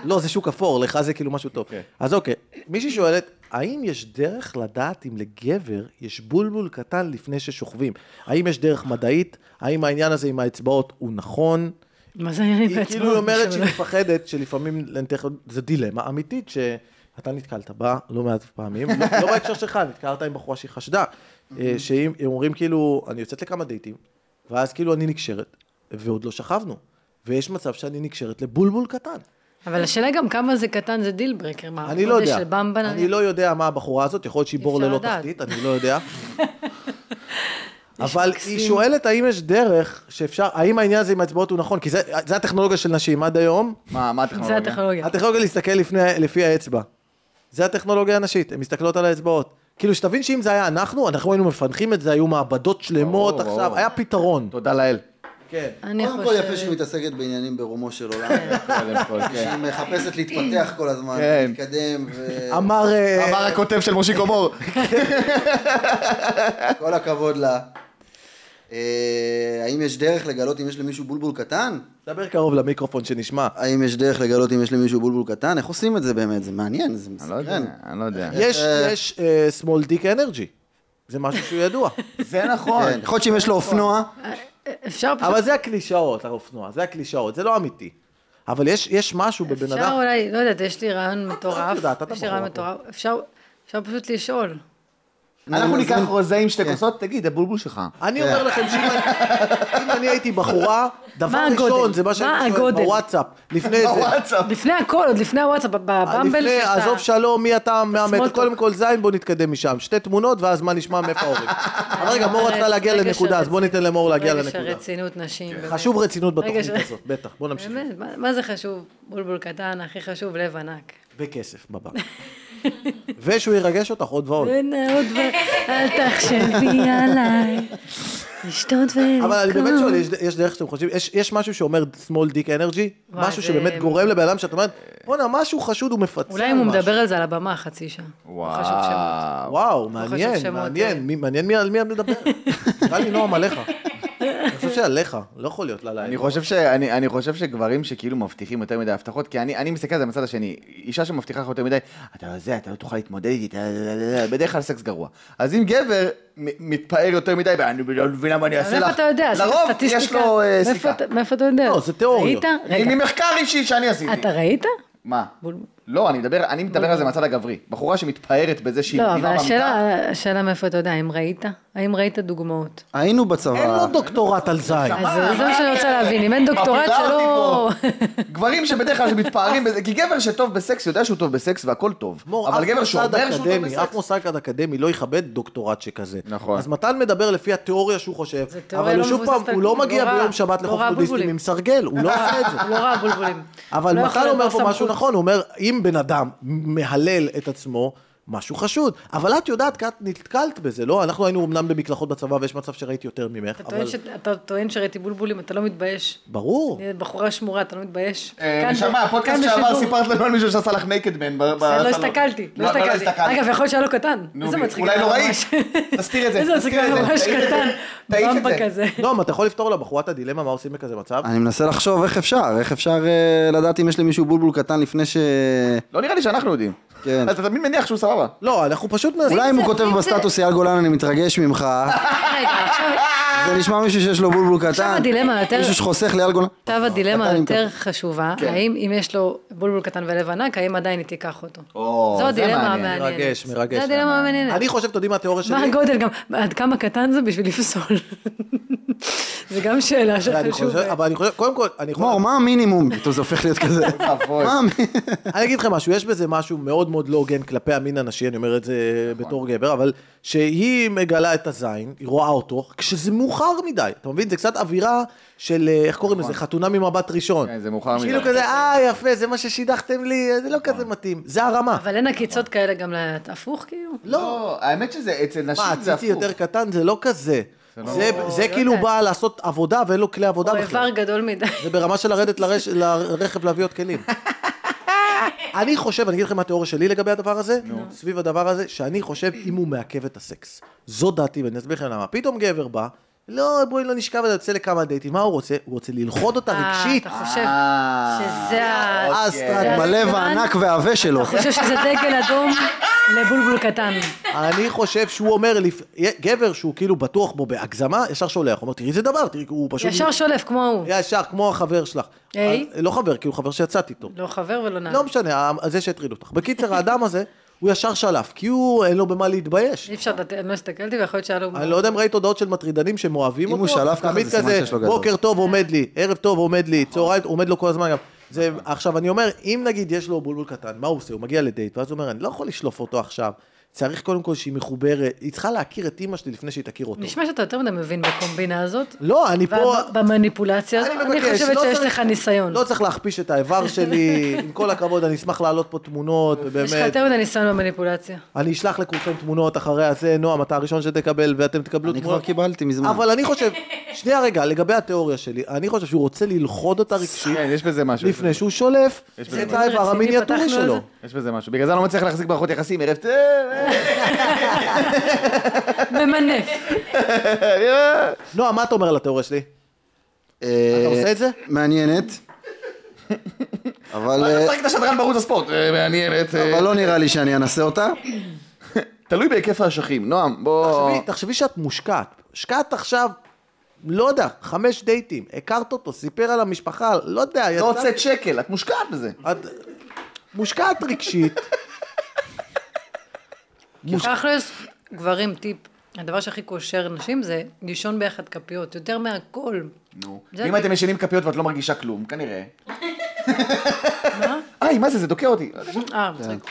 Speaker 3: לא, זה שוק אפור, לך זה כאילו משהו טוב. אז אוקיי, מישהי שואלת, האם יש דרך לדעת אם לגבר יש בולבול קטן לפני ששוכבים? האם יש דרך מדעית? האם העניין הזה עם האצבעות הוא נכון?
Speaker 1: מה זה העניין עם
Speaker 3: היא
Speaker 1: האצבעות?
Speaker 3: כאילו אומרת שהיא מפחדת שלפעמים, אני אתן לך- זו דילמה אמיתית שאתה נתקלת בה לא מעט פעמים, לא- לא בהקשר שלך, נתקלת עם בחורה שהיא חשדה, אה, שהם הם אומרים כאילו, אני יוצאת לכמה דייטים, ואז כאילו אני נקשרת, ועוד לא שכבנו, ויש מצב שאני נקשרת לבולבול קטן.
Speaker 1: אבל השאלה גם כמה זה קטן זה דיל ברקר. מה,
Speaker 3: אני לא יודע,
Speaker 1: אה, של במבן?
Speaker 3: אני לא יודע מה הבחורה הזאת, יכול להיות שהיא בור
Speaker 1: אפשר
Speaker 3: ללא
Speaker 1: לדעת.
Speaker 3: תחתית, אני לא יודע. אבל
Speaker 1: מקסים.
Speaker 3: היא שואלת האם יש דרך שאפשר, האם העניין הזה עם האצבעות הוא נכון, כי זה זה הטכנולוגיה של נשים עד היום,
Speaker 2: מה, מה
Speaker 1: זה
Speaker 2: הטכנולוגיה?
Speaker 1: הטכנולוגיה.
Speaker 3: הטכנולוגיה להסתכל לפני, לפי האצבע. זה הטכנולוגיה הנשית, הן מסתכלות על האצבעות. כאילו, שתבין שאם זה היה אנחנו, אנחנו היינו מפענחים את זה, היו מעבדות שלמות
Speaker 2: ברור,
Speaker 3: עכשיו,
Speaker 2: ברור.
Speaker 3: היה פתרון.
Speaker 2: תודה לאל.
Speaker 3: כן.
Speaker 1: אני
Speaker 5: קודם כל יפה
Speaker 1: חושבת-
Speaker 5: שהיא מתעסקת בעניינים ברומו של עולם.
Speaker 2: קודם כל,
Speaker 5: שהיא
Speaker 2: כן.
Speaker 5: מחפשת להתפתח כל הזמן,
Speaker 2: כן.
Speaker 5: להתקדם, וכל
Speaker 3: אמר... אה,
Speaker 2: אמר הכותב של מושיקו מור.
Speaker 5: הכבוד לה. אה, האם יש דרך לגלות אם יש למישהו בולבול קטן?
Speaker 3: דבר קרוב למיקרופון שנשמע.
Speaker 5: האם יש דרך לגלות אם יש למישהו בולבול קטן? איך עושים את זה באמת? זה מעניין, זה
Speaker 2: אני לא יודע,
Speaker 5: מסקרן.
Speaker 2: אני לא יודע.
Speaker 3: יש,
Speaker 5: אה,
Speaker 3: יש אה, small dick energy. זה משהו שהוא ידוע.
Speaker 2: זה נכון.
Speaker 5: כן, יכול להיות שאם יש לו אופנוע,
Speaker 1: אפשר פשוט...
Speaker 3: אבל זה הקלישאות, האופנוע, זה הקלישאות, זה לא אמיתי. אבל יש, יש משהו בבן
Speaker 1: אפשר
Speaker 3: אדם...
Speaker 1: אולי, לא יודעת, יש לי רעיון מטורף.
Speaker 3: יודעת, את
Speaker 1: יש לי רעיון
Speaker 3: הבחורה
Speaker 1: מטורף. אפשר אפשר פשוט לשאול.
Speaker 2: אנחנו
Speaker 5: אני
Speaker 2: ניקח
Speaker 5: מזמין-
Speaker 2: רוזה עם שתי כוסות, תגיד, הבולבול שלך.
Speaker 3: אני אומר לכם שאם אני- אם אני הייתי בחורה, דבר
Speaker 1: מה
Speaker 3: ראשון,
Speaker 1: הגודל?
Speaker 3: זה מה
Speaker 1: מה
Speaker 3: שאני שואל
Speaker 1: הגודל?
Speaker 3: בוואטסאפ, לפני זה.
Speaker 2: וואטסאפ.
Speaker 1: לפני הכל, עוד לפני הוואטסאפ, בבמבל
Speaker 3: אה. לפני,
Speaker 1: שאתה-
Speaker 3: עזוב שלום, מי אתה מאמץ,
Speaker 1: small talk.
Speaker 3: קודם כל זין, בוא נתקדם משם. שתי תמונות, ואז מה נשמע מאיפה ההורים. אבל רגע, מור
Speaker 1: אומרת,
Speaker 3: רצתה להגיע
Speaker 1: רגע
Speaker 3: לנקודה, אז בוא
Speaker 1: שרצינות-
Speaker 3: ניתן למור להגיע
Speaker 1: רגע של
Speaker 3: לנקודה. כן.
Speaker 1: רצינות נשים. באמת.
Speaker 3: חשוב רצינות
Speaker 1: רגע
Speaker 3: בתוכנית
Speaker 1: של-
Speaker 3: הזאת, בטח, בוא נמשיך.
Speaker 1: באמת, מה- מה זה חשוב? בולבול קטן, הכי חשוב, לב ענק.
Speaker 3: וכסף בבנק. ושהוא ירגש אותך עוד ועוד.
Speaker 1: אין עוד דבר, אל תחשבי עליי. לשתות ולקום.
Speaker 3: אבל אני באמת שואל, יש-
Speaker 1: כן.
Speaker 3: יש דרך שאתם חושבים, יש- יש משהו שאומר small dick energy?
Speaker 1: וואי,
Speaker 3: משהו
Speaker 1: זה-
Speaker 3: שבאמת גורם לבן אדם שאת אומרת, בואנה, משהו חשוד הוא מפצל משהו.
Speaker 1: אולי אם הוא מדבר על זה על הבמה חצי שעה. לא חשוב
Speaker 2: וואו.
Speaker 1: שמות.
Speaker 3: וואו,
Speaker 1: חושב
Speaker 3: מעניין,
Speaker 1: שמות,
Speaker 3: מעניין,
Speaker 1: אה.
Speaker 3: מי- מעניין מי- על מי את מדברת. נראה לי נועם עליך. אני חושב שעליך, לא יכול להיות לה
Speaker 2: אני
Speaker 3: להעיר.
Speaker 2: חושב, ש... אני, אני חושב שגברים שכאילו מבטיחים יותר מדי הבטחות, כי אני, אני מסתכל על זה מהצד השני, אישה שמבטיחה לך יותר מדי, אתה לא זה, אתה לא תוכל להתמודד איתי, אתה- בדרך כלל סקס גרוע. אז אם גבר מ- מתפאר יותר מדי, אני לא מבין למה אני אעשה לך,
Speaker 1: מאיפה אתה יודע? זה
Speaker 2: לרוב
Speaker 1: סטטיסטיקה?
Speaker 2: יש לו אה,
Speaker 1: מאיפה
Speaker 2: סיכה.
Speaker 1: אתה- מאיפה אתה יודע?
Speaker 3: לא, זה תיאוריות.
Speaker 1: ראית? רגע,
Speaker 2: ממחקר אישי שאני עשיתי.
Speaker 1: אתה ראית?
Speaker 2: מה?
Speaker 1: בול-
Speaker 2: לא, אני מדבר, אני מדבר על זה מהצד הגברי. בחורה שמתפארת בזה שהיא
Speaker 1: לא,
Speaker 2: מדהימה
Speaker 1: אבל
Speaker 2: במיטה,
Speaker 1: השאלה, השאלה מאיפה אתה יודע, האם ראית? האם ראית דוגמאות?
Speaker 5: היינו
Speaker 3: אין
Speaker 2: אה,
Speaker 3: לו
Speaker 5: בצבא.
Speaker 3: דוקטורט על זין.
Speaker 1: אז זה- זה מה שאני רוצה להבין, אם אין דוקטורט
Speaker 2: מפעילה אותי
Speaker 1: שלא...
Speaker 2: פה. גברים שבדרך כלל מתפארים בזה, כי גבר שטוב בסקס יודע שהוא טוב בסקס והכל טוב.
Speaker 3: מור,
Speaker 2: אבל
Speaker 3: אף
Speaker 2: גבר
Speaker 3: מוסד
Speaker 2: שאומר שהוא טוב
Speaker 3: אקדמי, אף
Speaker 2: בסקס...
Speaker 3: מוסד אקדמי לא יכבד דוקטורט שכזה.
Speaker 2: נכון.
Speaker 3: אז מתן מדבר לפי התיאוריה שהוא חושב,
Speaker 1: זה תיאוריה
Speaker 3: אבל הוא
Speaker 1: לא
Speaker 3: שוב פעם,
Speaker 1: מבוססת על
Speaker 3: הוא לא
Speaker 1: כלום,
Speaker 3: מגיע
Speaker 1: לא רע,
Speaker 3: ביום שבת
Speaker 1: לא
Speaker 3: לחוף
Speaker 1: רע,
Speaker 3: בודהיסטים
Speaker 1: בולבולים.
Speaker 3: עם סרגל, הוא לא עושה את זה.
Speaker 1: לא ראה בולבולים.
Speaker 3: אבל
Speaker 1: לא יכול
Speaker 3: מתן אומר
Speaker 1: להיות
Speaker 3: פה
Speaker 1: בר
Speaker 3: משהו
Speaker 1: סמכות.
Speaker 3: נכון, הוא אומר, אם בן אדם מהלל את עצמו, משהו חשוד. אבל את יודעת, כי את נתקלת בזה, לא? אנחנו היינו אמנם במקלחות בצבא, ויש מצב שראיתי יותר ממך,
Speaker 1: אתה
Speaker 3: אבל...
Speaker 1: טוען ש- אתה טוען שראיתי בולבולים, אתה לא מתבייש.
Speaker 3: ברור.
Speaker 1: אני בחורה שמורה, אתה לא מתבייש?
Speaker 2: אה,
Speaker 1: כאן-
Speaker 2: נשמה, הפודקאסט
Speaker 1: כאן
Speaker 2: שעבר
Speaker 1: בשידור.
Speaker 2: סיפרת לנו על מישהו שעשה לך נקד מן ב-
Speaker 1: זה
Speaker 2: בסלון.
Speaker 1: לא הסתכלתי,
Speaker 2: לא,
Speaker 1: לא הסתכלתי. אגב, יכול להיות שהיה לו קטן.
Speaker 2: נו,
Speaker 1: איזה
Speaker 2: ו-
Speaker 1: מצחיק.
Speaker 2: אולי
Speaker 1: היה
Speaker 2: לא
Speaker 1: לו
Speaker 2: ראית.
Speaker 1: ממש.
Speaker 2: תסתיר את זה,
Speaker 1: איזה מצחיק,
Speaker 2: תסתיר את
Speaker 1: היה
Speaker 2: זה,
Speaker 1: לו ממש
Speaker 2: תעיף את זה,
Speaker 1: קטן.
Speaker 2: תעיף את
Speaker 1: במבה
Speaker 2: זה.
Speaker 1: כזה.
Speaker 3: נועם, לא, אתה יכול לפתור לבחורה את הדילמה, מה עושים בכזה
Speaker 2: אה.
Speaker 3: מצב?
Speaker 5: אני מנסה לחשוב איך אפשר, איך אפשר אה, לדעת אם יש למישהו בולבול קטן לפני ש...
Speaker 2: לא נראה לי שאנחנו יודעים.
Speaker 5: כן.
Speaker 2: אתה תמיד מניח שהוא סבבה.
Speaker 3: לא, אנחנו פשוט... נ-
Speaker 5: אולי אם הוא
Speaker 1: זה,
Speaker 5: כותב
Speaker 1: ואם זה-
Speaker 5: בסטטוס אייל גולן אני מתרגש ממך,
Speaker 1: רגע, עכשיו
Speaker 5: זה נשמע מישהו שיש לו בולבול קטן.
Speaker 1: הדילמה היותר-
Speaker 5: מישהו שחוסך לאייל גולן.
Speaker 3: נכון,
Speaker 1: עכשיו הדילמה
Speaker 5: קטן עם
Speaker 1: היותר חשובה,
Speaker 3: כן.
Speaker 1: האם אם יש לו בולבול קטן ולב ענק, האם עדיין היא תיקח אותו?
Speaker 2: או,
Speaker 1: זו
Speaker 2: זה
Speaker 1: הדילמה
Speaker 2: מעניין.
Speaker 1: המעניינת.
Speaker 3: מרגש, מרגש.
Speaker 1: זו הדילמה המעניינת.
Speaker 3: אני חושב, אתם יודעים מה התיאוריה שלי?
Speaker 1: מה הגודל גם, עד כמה קטן זה בשביל לפסול? זה גם שאלה
Speaker 3: ואני
Speaker 1: שחשוב.
Speaker 3: חושב- אבל אני חושב, קודם כל, אני יכול...
Speaker 5: מור, מה המינימום? פתאום זה הופך להיות כזה.
Speaker 2: אבוי.
Speaker 5: מה המ-
Speaker 3: אני אגיד לכם משהו, יש בזה משהו מאוד מאוד לא הוגן כלפי המין הנשי, אני אומר את זה בתור גבר, אבל שהיא מגלה את הזין, היא רואה אותו, כשזה מאוחר מדי, אתה מבין? זה קצת אווירה של, אה, איך קוראים לזה? חתונה ממבט ראשון.
Speaker 2: נכון. כן, זה מאוחר
Speaker 3: כאילו
Speaker 2: מדי. נכון.
Speaker 3: כזה, אה, יפה, זה מה ששידכתם לי, זה לא כזה מתאים. זה הרמה.
Speaker 1: אבל אין עקיצות כאלה גם להפוך כאילו?
Speaker 2: לא, האמת שזה אצל נשים
Speaker 3: מה,
Speaker 2: זה
Speaker 3: הציצי
Speaker 2: הפוך.
Speaker 3: יותר קטן זה לא כזה. זה- זה כאילו
Speaker 1: יודעת.
Speaker 3: בא לעשות עבודה ואין לו כלי עבודה
Speaker 1: או
Speaker 3: בכלל.
Speaker 1: לא איבר גדול מדי.
Speaker 3: זה ברמה של לרדת לרש... לרכב להביא עוד כלים. אני חושב, אני אגיד לכם מה התיאוריה שלי לגבי הדבר הזה, סביב הדבר הזה, שאני חושב אם הוא מעכב את הסקס. זו דעתי, ואני אסביר לכם למה. פתאום גבר בא, לא, בואי לא נשכב, אני יוצא לכמה דייטים, מה הוא רוצה? הוא רוצה ללכוד אותה
Speaker 1: אה,
Speaker 3: רגשית.
Speaker 1: אתה חושב
Speaker 2: אה,
Speaker 1: שזה ה...
Speaker 2: אוקיי.
Speaker 3: אסטרט.
Speaker 1: זה
Speaker 5: בלב
Speaker 1: הסימן?
Speaker 5: הענק והעבה שלו.
Speaker 1: אתה חושב שזה דגל אדום לבולבול קטן.
Speaker 3: אני חושב שהוא אומר, לפ- גבר שהוא כאילו בטוח בו בהגזמה, ישר שולח. הוא אומר, תראי איזה דבר, תראי, הוא פשוט...
Speaker 1: ישר שולף כמו ההוא.
Speaker 3: ישר, כמו החבר שלך.
Speaker 1: היי.
Speaker 3: אה, לא חבר, כאילו חבר שיצאת איתו.
Speaker 1: לא חבר ולא נער.
Speaker 3: לא משנה, ה- זה שהטריד אותך. בקיצר, האדם הזה, הוא ישר שלף, כי הוא, אין לו במה להתבייש.
Speaker 1: אי אפשר לדעת, אני לא הסתכלתי ויכול להיות שהיה לו...
Speaker 3: אני לא יודע אם ראית הודעות של מטרידנים שהם אוהבים
Speaker 5: אם
Speaker 3: אותו.
Speaker 5: הוא שלף ככה,
Speaker 3: תמיד
Speaker 5: זה סימן
Speaker 3: כזה,
Speaker 5: שיש לו גדול.
Speaker 3: בוקר טוב עומד לי, ערב טוב עומד לי,
Speaker 1: נכון.
Speaker 3: צהריים עומד לו כל הזמן גם. זה, עכשיו, אני אומר, אם נגיד יש לו בולבול קטן, מה הוא עושה? הוא מגיע לדייט, ואז הוא אומר, אני לא יכול לשלוף אותו עכשיו. צריך קודם כל שהיא מחוברת, היא צריכה להכיר את אימא שלי לפני שהיא תכיר אותו.
Speaker 1: נשמע שאתה יותר מדי מבין בקומבינה הזאת.
Speaker 3: לא, אני פה...
Speaker 1: במניפולציה הזאת, אני
Speaker 3: מבקש,
Speaker 1: חושבת
Speaker 3: לא
Speaker 1: שיש
Speaker 3: צריך-
Speaker 1: לך ניסיון.
Speaker 3: לא צריך להכפיש את האיבר שלי, עם כל הכבוד, אני אשמח להעלות פה תמונות,
Speaker 1: יש לך
Speaker 3: ובאמת,
Speaker 1: יותר מדי ניסיון במניפולציה.
Speaker 3: אני אשלח לכולכם תמונות אחרי הזה, נועם, אתה הראשון שתקבל, ואתם תקבלו
Speaker 5: אני כבר
Speaker 3: תמונות.
Speaker 5: קיבלתי מזמן.
Speaker 3: אבל אני חושב, שנייה רגע, לגבי התיאוריה שלי, אני חושב שהוא רוצה ללכוד אותה רגשית,
Speaker 2: כן, יש בזה משהו.
Speaker 3: לפני שהוא שולף
Speaker 2: יש בזה
Speaker 3: את
Speaker 2: משהו.
Speaker 3: האיבר
Speaker 1: רציני,
Speaker 3: המיניאטורי
Speaker 1: פתחנו על
Speaker 3: שלו.
Speaker 1: זה?
Speaker 2: יש בזה משהו. בגלל זה אני לא מצליח להחזיק מערכות יחסים, ערב טוב. אה,
Speaker 1: ממנף.
Speaker 2: אה.
Speaker 3: נועה, מה אתה אומר על התיאוריה שלי?
Speaker 5: אה,
Speaker 3: אתה עושה את זה?
Speaker 5: מעניינת. אבל
Speaker 2: אתה
Speaker 5: אה,
Speaker 2: משחק את השדרן בערוץ הספורט. אה, מעניינת. אה,
Speaker 5: אבל לא נראה לי שאני אנסה אותה.
Speaker 2: תלוי בהיקף האשכים. נועם, בוא...
Speaker 3: תחשבי, תחשבי שאת מושקעת. השקעת עכשיו, לא יודע, חמש דייטים, הכרת אותו, סיפר על המשפחה, לא יודע,
Speaker 2: לא
Speaker 3: יצא...
Speaker 2: הוצאת שקל, את מושקעת בזה.
Speaker 3: את מושקעת רגשית.
Speaker 1: תכלס, גברים, טיפ. הדבר שהכי קושר נשים זה לישון ביחד כפיות, יותר מהכל.
Speaker 2: נו.
Speaker 1: זה
Speaker 2: אם
Speaker 1: אני.
Speaker 2: אתם ישנים כפיות ואת לא מרגישה כלום, כנראה.
Speaker 1: מה?
Speaker 2: היי, מה זה, זה דוקע אותי.
Speaker 1: אה,
Speaker 3: כן.
Speaker 1: מצחיק.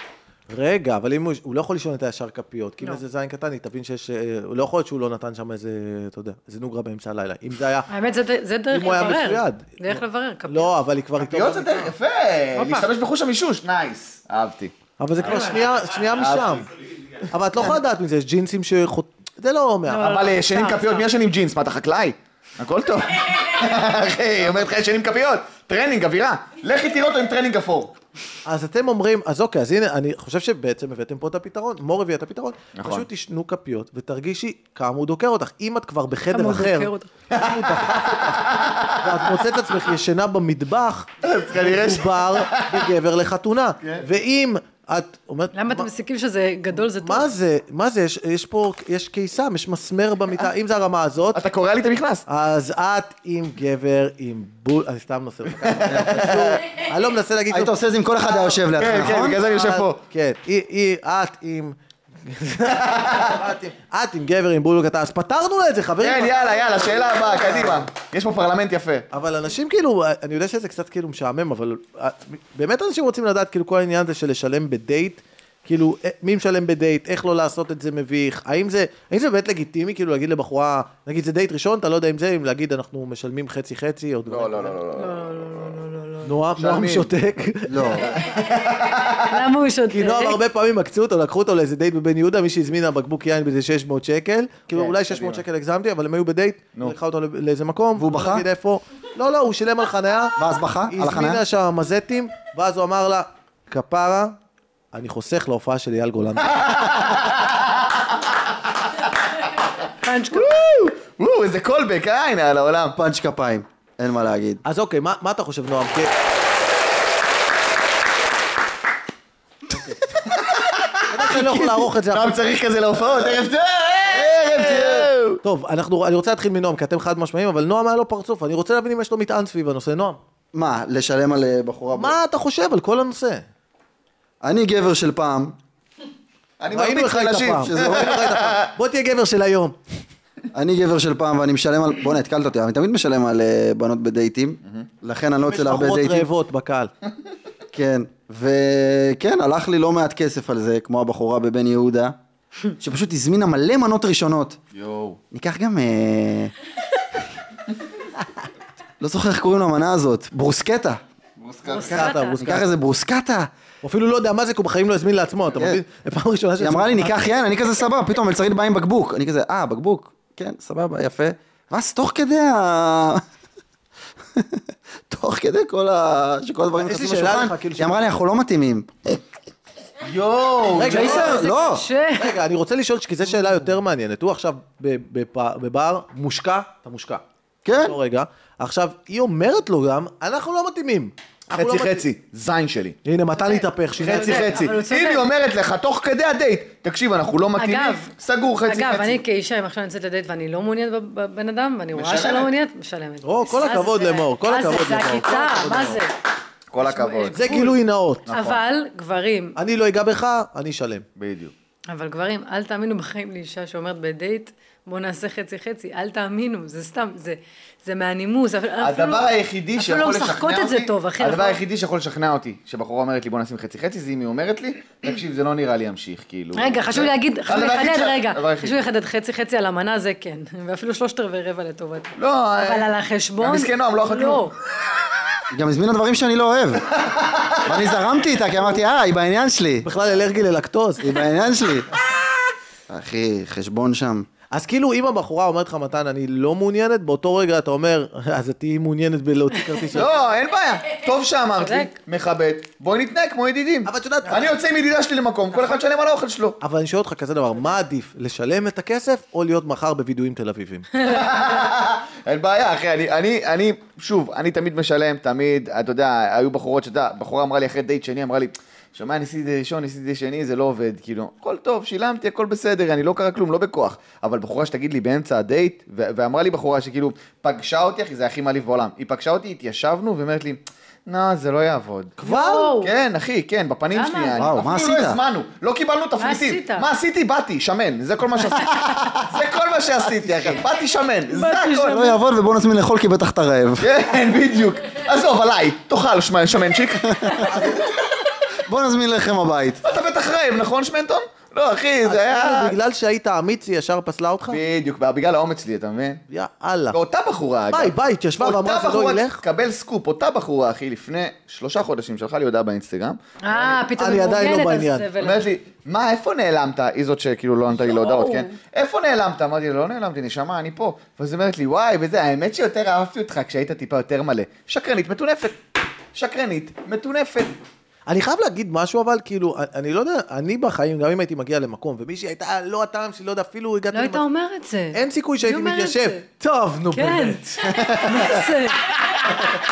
Speaker 3: רגע, אבל אם הוא, הוא לא יכול לישון את הישר כפיות, כי אם
Speaker 1: לא.
Speaker 3: איזה זין קטן, היא תבין שיש... אה, הוא לא יכול להיות שהוא לא נתן שם איזה, אתה יודע, איזה נוגרה באמצע הלילה. אם זה היה...
Speaker 1: האמת, זה ד- זה דרך
Speaker 3: אם הוא היה
Speaker 1: לברר.
Speaker 3: מצויד.
Speaker 1: דרך לברר, כפיות.
Speaker 3: לא, אבל היא כבר איתו.
Speaker 2: כפיות זה
Speaker 3: במקרה.
Speaker 2: דרך, יפה.
Speaker 1: הופה.
Speaker 2: להשתמש בחוש המישוש, נייס. אהבתי.
Speaker 3: אבל זה
Speaker 1: אה.
Speaker 3: כבר שנייה, שנייה
Speaker 2: אה,
Speaker 3: משם. אבל את לא יכולה לדעת מזה, יש ג'ינסים שחוט... זה לא אומר.
Speaker 1: לא,
Speaker 2: אבל אה,
Speaker 1: לא,
Speaker 2: ישנים
Speaker 1: סתם,
Speaker 2: כפיות,
Speaker 1: סתם.
Speaker 2: מי ישנים ג'ינס? מה, אתה חקלאי? הכל טוב. אחי, היא אומרת לך ישנים כפיות. טרנינג, אווירה. לכי תראה אותו עם טרנינג אפור.
Speaker 3: אז אתם אומרים, אז אוקיי, אז הנה, אני חושב שבעצם הבאתם פה את הפתרון, מור הביא את הפתרון.
Speaker 2: נכון.
Speaker 3: פשוט תשנו כפיות ותרגישי כמה הוא דוקר אותך. אם את כבר בחדר
Speaker 1: כמה הוא
Speaker 3: אחר,
Speaker 1: דוקר אותך.
Speaker 3: כמה הוא דחף אותך, ואת מוצאת את עצמך ישנה במטבח,
Speaker 2: כנראה ש- כן.
Speaker 3: מדובר בגבר לחתונה. ואם את אומרת...
Speaker 1: למה אתם
Speaker 3: "מה-
Speaker 1: מסיקים שזה גדול זה טוב?
Speaker 3: מה זה, מה זה, יש- יש פה, יש קיסם, יש מסמר במיטה, אם זה הרמה הזאת,
Speaker 2: אתה קורע לי את המכנס.
Speaker 3: אז את עם גבר עם בול, אני סתם נושא לך כמה דברים קשור. אני לא מנסה להגיד...
Speaker 5: היית
Speaker 3: כלום.
Speaker 5: עושה את זה עם כל אחד היושב
Speaker 2: כן,
Speaker 5: לידך,
Speaker 2: כן,
Speaker 5: נכון?
Speaker 2: בגלל זה אני יושב פה.
Speaker 3: כן, היא- היא, את עם... את עם- את עם גבר עם בול קטן, אז פתרנו לה את זה,
Speaker 2: כן,
Speaker 3: חברים.
Speaker 2: יאללה, יאללה, שאלה הבאה, קדימה. יש פה פרלמנט יפה.
Speaker 3: אבל אנשים כאילו, אני יודע שזה קצת כאילו משעמם, אבל אה, באמת אנשים רוצים לדעת כאילו כל העניין הזה של לשלם בדייט, כאילו אה, מי משלם בדייט, איך לא לעשות את זה מביך, האם זה, האם זה באמת לגיטימי כאילו להגיד לבחורה, נגיד זה דייט ראשון, אתה לא יודע אם זה, אם להגיד אנחנו משלמים חצי חצי, או דברים.
Speaker 2: לא, לא, לא, לא, לא.
Speaker 3: נועם, נועם
Speaker 2: משלמים.
Speaker 3: שותק,
Speaker 5: לא.
Speaker 1: למה הוא שותק?
Speaker 3: כי נועם הרבה פעמים עקצו אותו, לקחו אותו לאיזה דייט בבן יהודה, מי שהזמינה בקבוק יין באיזה 600
Speaker 5: כן,
Speaker 3: שקל, כאילו אולי 600 שקל הגזמתי, אבל הם היו בדייט, לקחה אותו לא- לאיזה מקום,
Speaker 5: והוא
Speaker 3: לא
Speaker 5: בכה?
Speaker 3: נגיד איפה, לא, לא, הוא שילם על חניה,
Speaker 5: ואז בכה?
Speaker 3: היא
Speaker 5: על החניה?
Speaker 3: הזמינה שם מזטים, ואז הוא אמר לה, כפרה, אני חוסך להופעה של אייל גולן.
Speaker 1: פאנץ' כפיים.
Speaker 2: וואו, איזה קולבק, אה, הנה, על העולם.
Speaker 5: פאנץ' כפיים, אין מה להגיד.
Speaker 3: אז אוקיי, מה מה אתה חושב, נועם? כי- אוקיי. אני לא יכול לערוך את זה
Speaker 2: פעם צריך כזה להופעות, ערב טוב! ערב טוב!
Speaker 3: טוב, אנחנו, אני רוצה להתחיל מנועם, כי אתם חד משמעיים, אבל נועם היה לו פרצוף, אני רוצה להבין אם יש לו מטען סביב הנושא. נועם,
Speaker 5: מה, לשלם על אה, בחורה? ב-
Speaker 3: מה אתה חושב על כל הנושא?
Speaker 5: אני גבר של פעם,
Speaker 2: אה, אני
Speaker 3: ראינו
Speaker 2: מרביץ
Speaker 3: לך את
Speaker 2: לאנשים.
Speaker 3: הפעם,
Speaker 2: שזה-
Speaker 3: ראינו לך את הפעם. בוא תהיה גבר של היום.
Speaker 5: אני גבר של פעם ואני משלם על... בוא'נה, התקלת אותי, אבל אני תמיד משלם על אה, בנות בדייטים, לכן אני לא יוצא להרבה
Speaker 3: משפחות
Speaker 5: דייטים.
Speaker 3: רעבות בקהל.
Speaker 5: כן, וכן, הלך לי לא מעט כסף על זה, כמו הבחורה בבן יהודה, שפשוט הזמינה מלא מנות ראשונות.
Speaker 2: יואו.
Speaker 5: ניקח גם... אה, לא זוכר איך קוראים למנה הזאת, ברוסקטה.
Speaker 3: קטע, מוזכר.
Speaker 5: ניקח איזה ברוסקטה.
Speaker 3: הוא אפילו לא יודע מה זה, כי הוא בחיים לא הזמין לעצמו, אתה
Speaker 5: כן.
Speaker 3: מבין? פעם ראשונה
Speaker 5: היא אמרה לי, ניקח יין, אני כזה סבבה, פתאום המלצרית באה עם בקבוק. אני כזה, אה, בקבוק, כן, סבבה, יפה. ואז תוך כדי ה... תוך כדי כל ה... שכל הדברים
Speaker 3: יש לי
Speaker 5: נכנסים
Speaker 3: שאלה
Speaker 5: לשולחן,
Speaker 3: אליך, כאילו,
Speaker 5: היא אמרה לי, אנחנו לא מתאימים.
Speaker 2: יואו!
Speaker 3: רגע,
Speaker 5: ג'ייסר,
Speaker 1: איזה
Speaker 5: לא.
Speaker 1: קשה.
Speaker 3: רגע, אני רוצה לשאול, כי זו שאלה יותר מעניינת. הוא עכשיו ב- בפ- בבר, מושקע, אתה מושקע.
Speaker 5: כן.
Speaker 3: באותו רגע. עכשיו, היא אומרת לו גם, אנחנו לא מתאימים. אנחנו לא
Speaker 2: חצי
Speaker 3: מתאימים."
Speaker 2: חצי, זין שלי.
Speaker 3: הנה, מתן התהפך, שינה את
Speaker 2: חצי
Speaker 1: אבל
Speaker 2: חצי.
Speaker 1: הוא צודק.
Speaker 2: אם היא אומרת לך, תוך כדי הדייט, תקשיב, אנחנו לא מתאימים,
Speaker 1: אגב,
Speaker 2: סגור חצי
Speaker 1: אגב, אני
Speaker 2: חצי.
Speaker 1: כאישה, אם עכשיו אני יוצאת לדייט ואני לא מעוניינת בב- בבן אדם, ואני רואה
Speaker 2: משלמת.
Speaker 1: שאני לא מעוניינת, משלמת.
Speaker 3: או, כל
Speaker 1: מה זה,
Speaker 3: הכבוד
Speaker 1: זה-
Speaker 3: לאמור, כל
Speaker 1: מה זה,
Speaker 3: הכבוד
Speaker 1: זה
Speaker 3: לאמור, כל
Speaker 1: עקיצה,
Speaker 3: הכבוד
Speaker 1: מה
Speaker 3: לאמור. נכון.
Speaker 1: זה?
Speaker 2: כל הכבוד.
Speaker 3: זה גילוי נאות.
Speaker 5: נכון.
Speaker 1: אבל, גברים,
Speaker 3: אני לא אגע בך, אני אשלם.
Speaker 2: בדיוק.
Speaker 1: אבל גברים, אל תאמינו בחיים לאישה שאומרת בדייט, בוא נעשה חצי חצי, אל תאמינו, זה סתם, זה, זה מהנימוס. אפילו-
Speaker 2: הדבר היחידי
Speaker 1: אפילו
Speaker 2: שיכול
Speaker 1: לא
Speaker 2: לשכנע אותי...
Speaker 1: משחקות את זה טוב, אחי. נכון?
Speaker 2: הדבר
Speaker 1: אנחנו-
Speaker 2: היחידי שיכול לשכנע אותי, שבחורה אומרת לי בוא נשים חצי חצי, זה אם היא אומרת לי, תקשיב, זה לא נראה לי ימשיך, כאילו...
Speaker 1: רגע, חשוב לי להגיד, חשוב לי
Speaker 2: הדבר היחיד
Speaker 1: לחדד,
Speaker 2: ש-
Speaker 1: רגע,
Speaker 2: הדבר היחיד.
Speaker 1: חשוב לי לחדד חצי חצי על המנה זה כן, ואפילו שלושת רבעי רבע לטובת.
Speaker 2: לא,
Speaker 1: אבל
Speaker 2: אה,
Speaker 1: על החשבון...
Speaker 2: המסכן נועם לא אכל כלום.
Speaker 1: לא,
Speaker 5: היא גם הזמינה דברים שאני לא אוהב. ואני זרמתי איתה, כי אמרתי, אה, היא בעניין שלי.
Speaker 3: בכלל אלרגי ללקטוז.
Speaker 5: היא בעניין שלי. אחי, חשבון שם.
Speaker 3: אז כאילו אם הבחורה אומרת לך מתן אני לא מעוניינת, באותו רגע אתה אומר אז את תהיי מעוניינת בלהוציא כרטיס של...
Speaker 2: לא, אין בעיה. טוב שאמרת לי,
Speaker 1: צודק.
Speaker 2: מכבד, בואי נתנהג כמו ידידים.
Speaker 3: אבל את יודעת- נכון.
Speaker 2: אני יוצא עם ידידה שלי למקום, כל אחד ישלם על האוכל שלו.
Speaker 3: אבל אני שואל אותך כזה דבר, מה עדיף, לשלם את הכסף או להיות מחר בווידואים תל אביבים?
Speaker 2: אין בעיה, אחי, אני, אני, אני, שוב, אני תמיד משלם, תמיד, אתה יודע, היו בחורות שאתה, יודע, בחורה אמרה לי אחרי דייט שני, אמרה לי, שמע, ניסיתי ראשון, ניסיתי שני, זה לא עובד, כאילו, הכל טוב, שילמתי, הכל בסדר, אני לא קרה כלום, לא בכוח. אבל בחורה שתגיד לי באמצע הדייט, ו- ואמרה לי בחורה שכאילו, פגשה אותי, אחי, זה הכי מעליב בעולם. היא פגשה אותי, התיישבנו, ואומרת לי, נא, זה לא יעבוד.
Speaker 1: וואו.
Speaker 2: כן, אחי, כן, בפנים
Speaker 1: למה?
Speaker 2: שלי. אני-
Speaker 5: וואו, מה
Speaker 2: אפילו
Speaker 5: עשית?
Speaker 2: לא הזמנו, לא קיבלנו תפריטים.
Speaker 1: עשית?
Speaker 2: מה עשיתי? באתי, שמן, זה כל מה שעשיתי. זה כל מה שעשיתי, אחי. באתי שמן, זה הכל.
Speaker 5: לא יעבוד ובוא נזמין לאכול כי בטח אתה רעב.
Speaker 2: כן, בדיוק. עזוב, עליי, תאכל שמ- שמנצ'יק.
Speaker 5: בוא נזמין לחם הבית.
Speaker 2: אתה בטח רעב, נכון, שמנטון? לא, אחי, זה היה...
Speaker 3: אה, כאילו, בגלל שהיית אמיץ היא ישר פסלה אותך?
Speaker 2: בדיוק, בגלל האומץ שלי, אתה מבין?
Speaker 3: יאללה.
Speaker 2: ואותה בחורה, לא, אגב.
Speaker 3: מה, היא באה, התיישבה
Speaker 2: אותה
Speaker 3: ואמרה, "זה לא
Speaker 2: בחורה,
Speaker 3: ילך"?
Speaker 2: קבל סקופ, אותה בחורה, אחי, לפני שלושה חודשים, שלחה לי הודעה באינסטגרם.
Speaker 1: אה, פתאום
Speaker 3: אני
Speaker 1: היא
Speaker 3: עדיין לא
Speaker 1: מעוניינת,
Speaker 3: בעניין.
Speaker 1: אז זה ולא.
Speaker 2: אומרת לי, מה, איפה נעלמת? היא זאת שכאילו לא נתנה לי להודעות, כן? איפה נעלמת? אמרתי לה, לא נעלמתי, נשמה, אני פה. ואז היא אומרת לי, וואי, וזה, האמת שיותר אהבתי אותך כשהיית טיפה יותר מלא. שקרנית מטונפת. שקרנית מטונפת.
Speaker 3: אני חייב להגיד משהו אבל, כאילו, אני לא יודע, אני בחיים, גם אם הייתי מגיע למקום, ומישהי הייתה לא הטעם שלי, לא יודע, אפילו הגעתי...
Speaker 1: לא היית
Speaker 3: למצב-
Speaker 1: אומר את זה.
Speaker 3: אין סיכוי שהייתי
Speaker 1: אני אומרת
Speaker 3: מתיישב.
Speaker 1: זה.
Speaker 3: טוב, נו
Speaker 1: כן.
Speaker 3: באמת. לא,
Speaker 1: מה זה?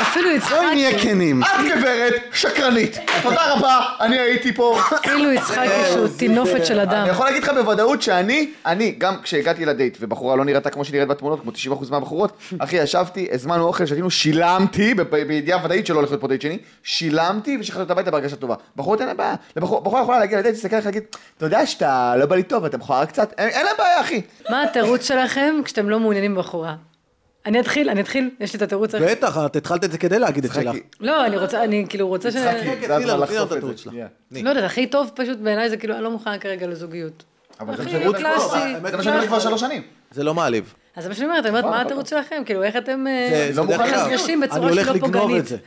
Speaker 1: אפילו
Speaker 5: בואי לא נהיה
Speaker 1: יצחקי,
Speaker 5: כנים.
Speaker 2: את גברת שקרנית. תודה רבה, אני הייתי פה.
Speaker 1: אפילו יצחקי
Speaker 3: אה,
Speaker 1: שהוא טינופת של אדם.
Speaker 2: אני יכול להגיד לך בוודאות שאני, אני, גם כשהגעתי לדייט, ובחורה לא נראתה כמו שנראית בתמונות, כמו 90% מהבחורות, אחי, ישבתי, הזמנו אוכל, שתינו, שילמתי, ב- ב- בידיעה ודאית שלא הולך להיות פה דייט שני, שילמתי ושחררתי אותה הביתה בהרגשה טובה. בחורות אין לה בעיה. לבחור- בחורה יכולה להגיע לדייט, להסתכל עליך ולהגיד, אתה יודע שאתה לא בא לי טוב, אתה מכוער קצת, אין- אין לה בעיה, אחי.
Speaker 1: מה התירוץ שלכם כשאתם לא מעוניינים בבחורה? אני אתחיל, אני אתחיל, יש לי את התירוץ. הראשון.
Speaker 3: בטח, את התחלת את זה כדי להגיד את שלך.
Speaker 2: צחקי,
Speaker 1: לא, אני רוצה, אני כאילו רוצה ש...
Speaker 2: צחקי, זה
Speaker 3: כן, תני לנו,
Speaker 2: הזמן
Speaker 3: תני לנו
Speaker 2: לחשוף
Speaker 3: את
Speaker 2: את
Speaker 3: הטעות
Speaker 2: זה. כן.
Speaker 3: שלך.
Speaker 2: שנייה.
Speaker 1: לא יודעת, הכי טוב פשוט בעיניי זה כאילו, אני לא מוכנה כרגע לזוגיות.
Speaker 2: אבל זה
Speaker 1: הכי
Speaker 2: מה שאני אומר
Speaker 1: קלאסי.
Speaker 2: כבר- זה מה שאני אומר כבר שלוש שנים.
Speaker 3: זה לא מעליב.
Speaker 1: אז זה מה שאני אומרת, אני אומרת, מה התירוץ שלכם? כאילו, איך אתם... אה,
Speaker 3: זה- זה
Speaker 2: לא מוכן
Speaker 3: דרך אגב.
Speaker 1: נפגשים בצורה
Speaker 3: אני הולך
Speaker 1: שהיא לא
Speaker 3: לגנוב
Speaker 1: פוגענית.
Speaker 3: את זה.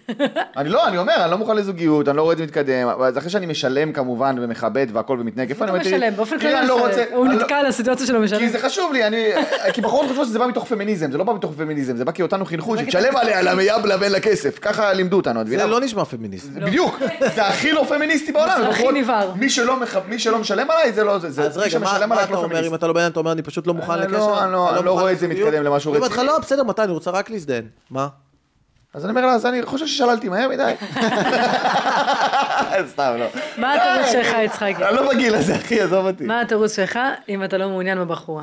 Speaker 2: אני לא, אני אומר, אני לא מוכן לזוגיות, אני לא רואה את זה מתקדם, אבל זה אחרי שאני משלם כמובן ומכבד והכל ומתנהג יפה,
Speaker 1: הוא
Speaker 2: אני
Speaker 1: לא
Speaker 2: אומר, תראי,
Speaker 1: משלם, באופן
Speaker 2: תראי,
Speaker 1: כללי
Speaker 2: אני
Speaker 1: לא
Speaker 2: לא רוצה,
Speaker 1: משלם. הוא
Speaker 2: אני לא-
Speaker 1: נתקע על הסיטואציה שלו משלם.
Speaker 2: כי זה חשוב לי, אני, כי בחורות חושבות שזה בא מתוך פמיניזם, זה לא בא מתוך פמיניזם, זה בא כי אותנו חינכו, שתשלם עליה, למיאבלה ואין לה כסף, ככה לימדו אותנו, את מבינה?
Speaker 3: זה לא נשמע פמיניסט.
Speaker 2: זה בדיוק, זה הכי לא פמיניסטי בעולם,
Speaker 1: זה הכי
Speaker 2: בחורות-
Speaker 1: נבער.
Speaker 2: מי שלא מכב- מי שלא משלם עליי, זה לא זה, זה-
Speaker 3: אז
Speaker 2: מי
Speaker 3: רגע, מה
Speaker 2: שמשלם
Speaker 3: מה
Speaker 2: עליי
Speaker 3: אתה
Speaker 2: לא
Speaker 3: אומר
Speaker 2: פמיניסט.
Speaker 3: אם אתה לא בעניין, אתה אומר אני פשוט לא מוכן
Speaker 2: אני
Speaker 3: לקשר?
Speaker 2: לא- אני לא- אני לא
Speaker 3: מוכן
Speaker 2: רואה את זה
Speaker 3: לזוגיות?
Speaker 2: מתקדם למשהו
Speaker 3: היא אומרת
Speaker 2: רציני.
Speaker 3: לך, לא, בסדר, מתן, אני רוצה רק להזדהן. מה?
Speaker 2: אז אני אומר לה, אז אני חושב ששללתי מהר מדי. סתם, לא.
Speaker 1: מה התירוץ שלך, יצחקי?
Speaker 2: אני לא בגיל הזה, אחי, עזוב אותי.
Speaker 1: מה התירוץ שלך אם אתה לא מעוניין בבחורה?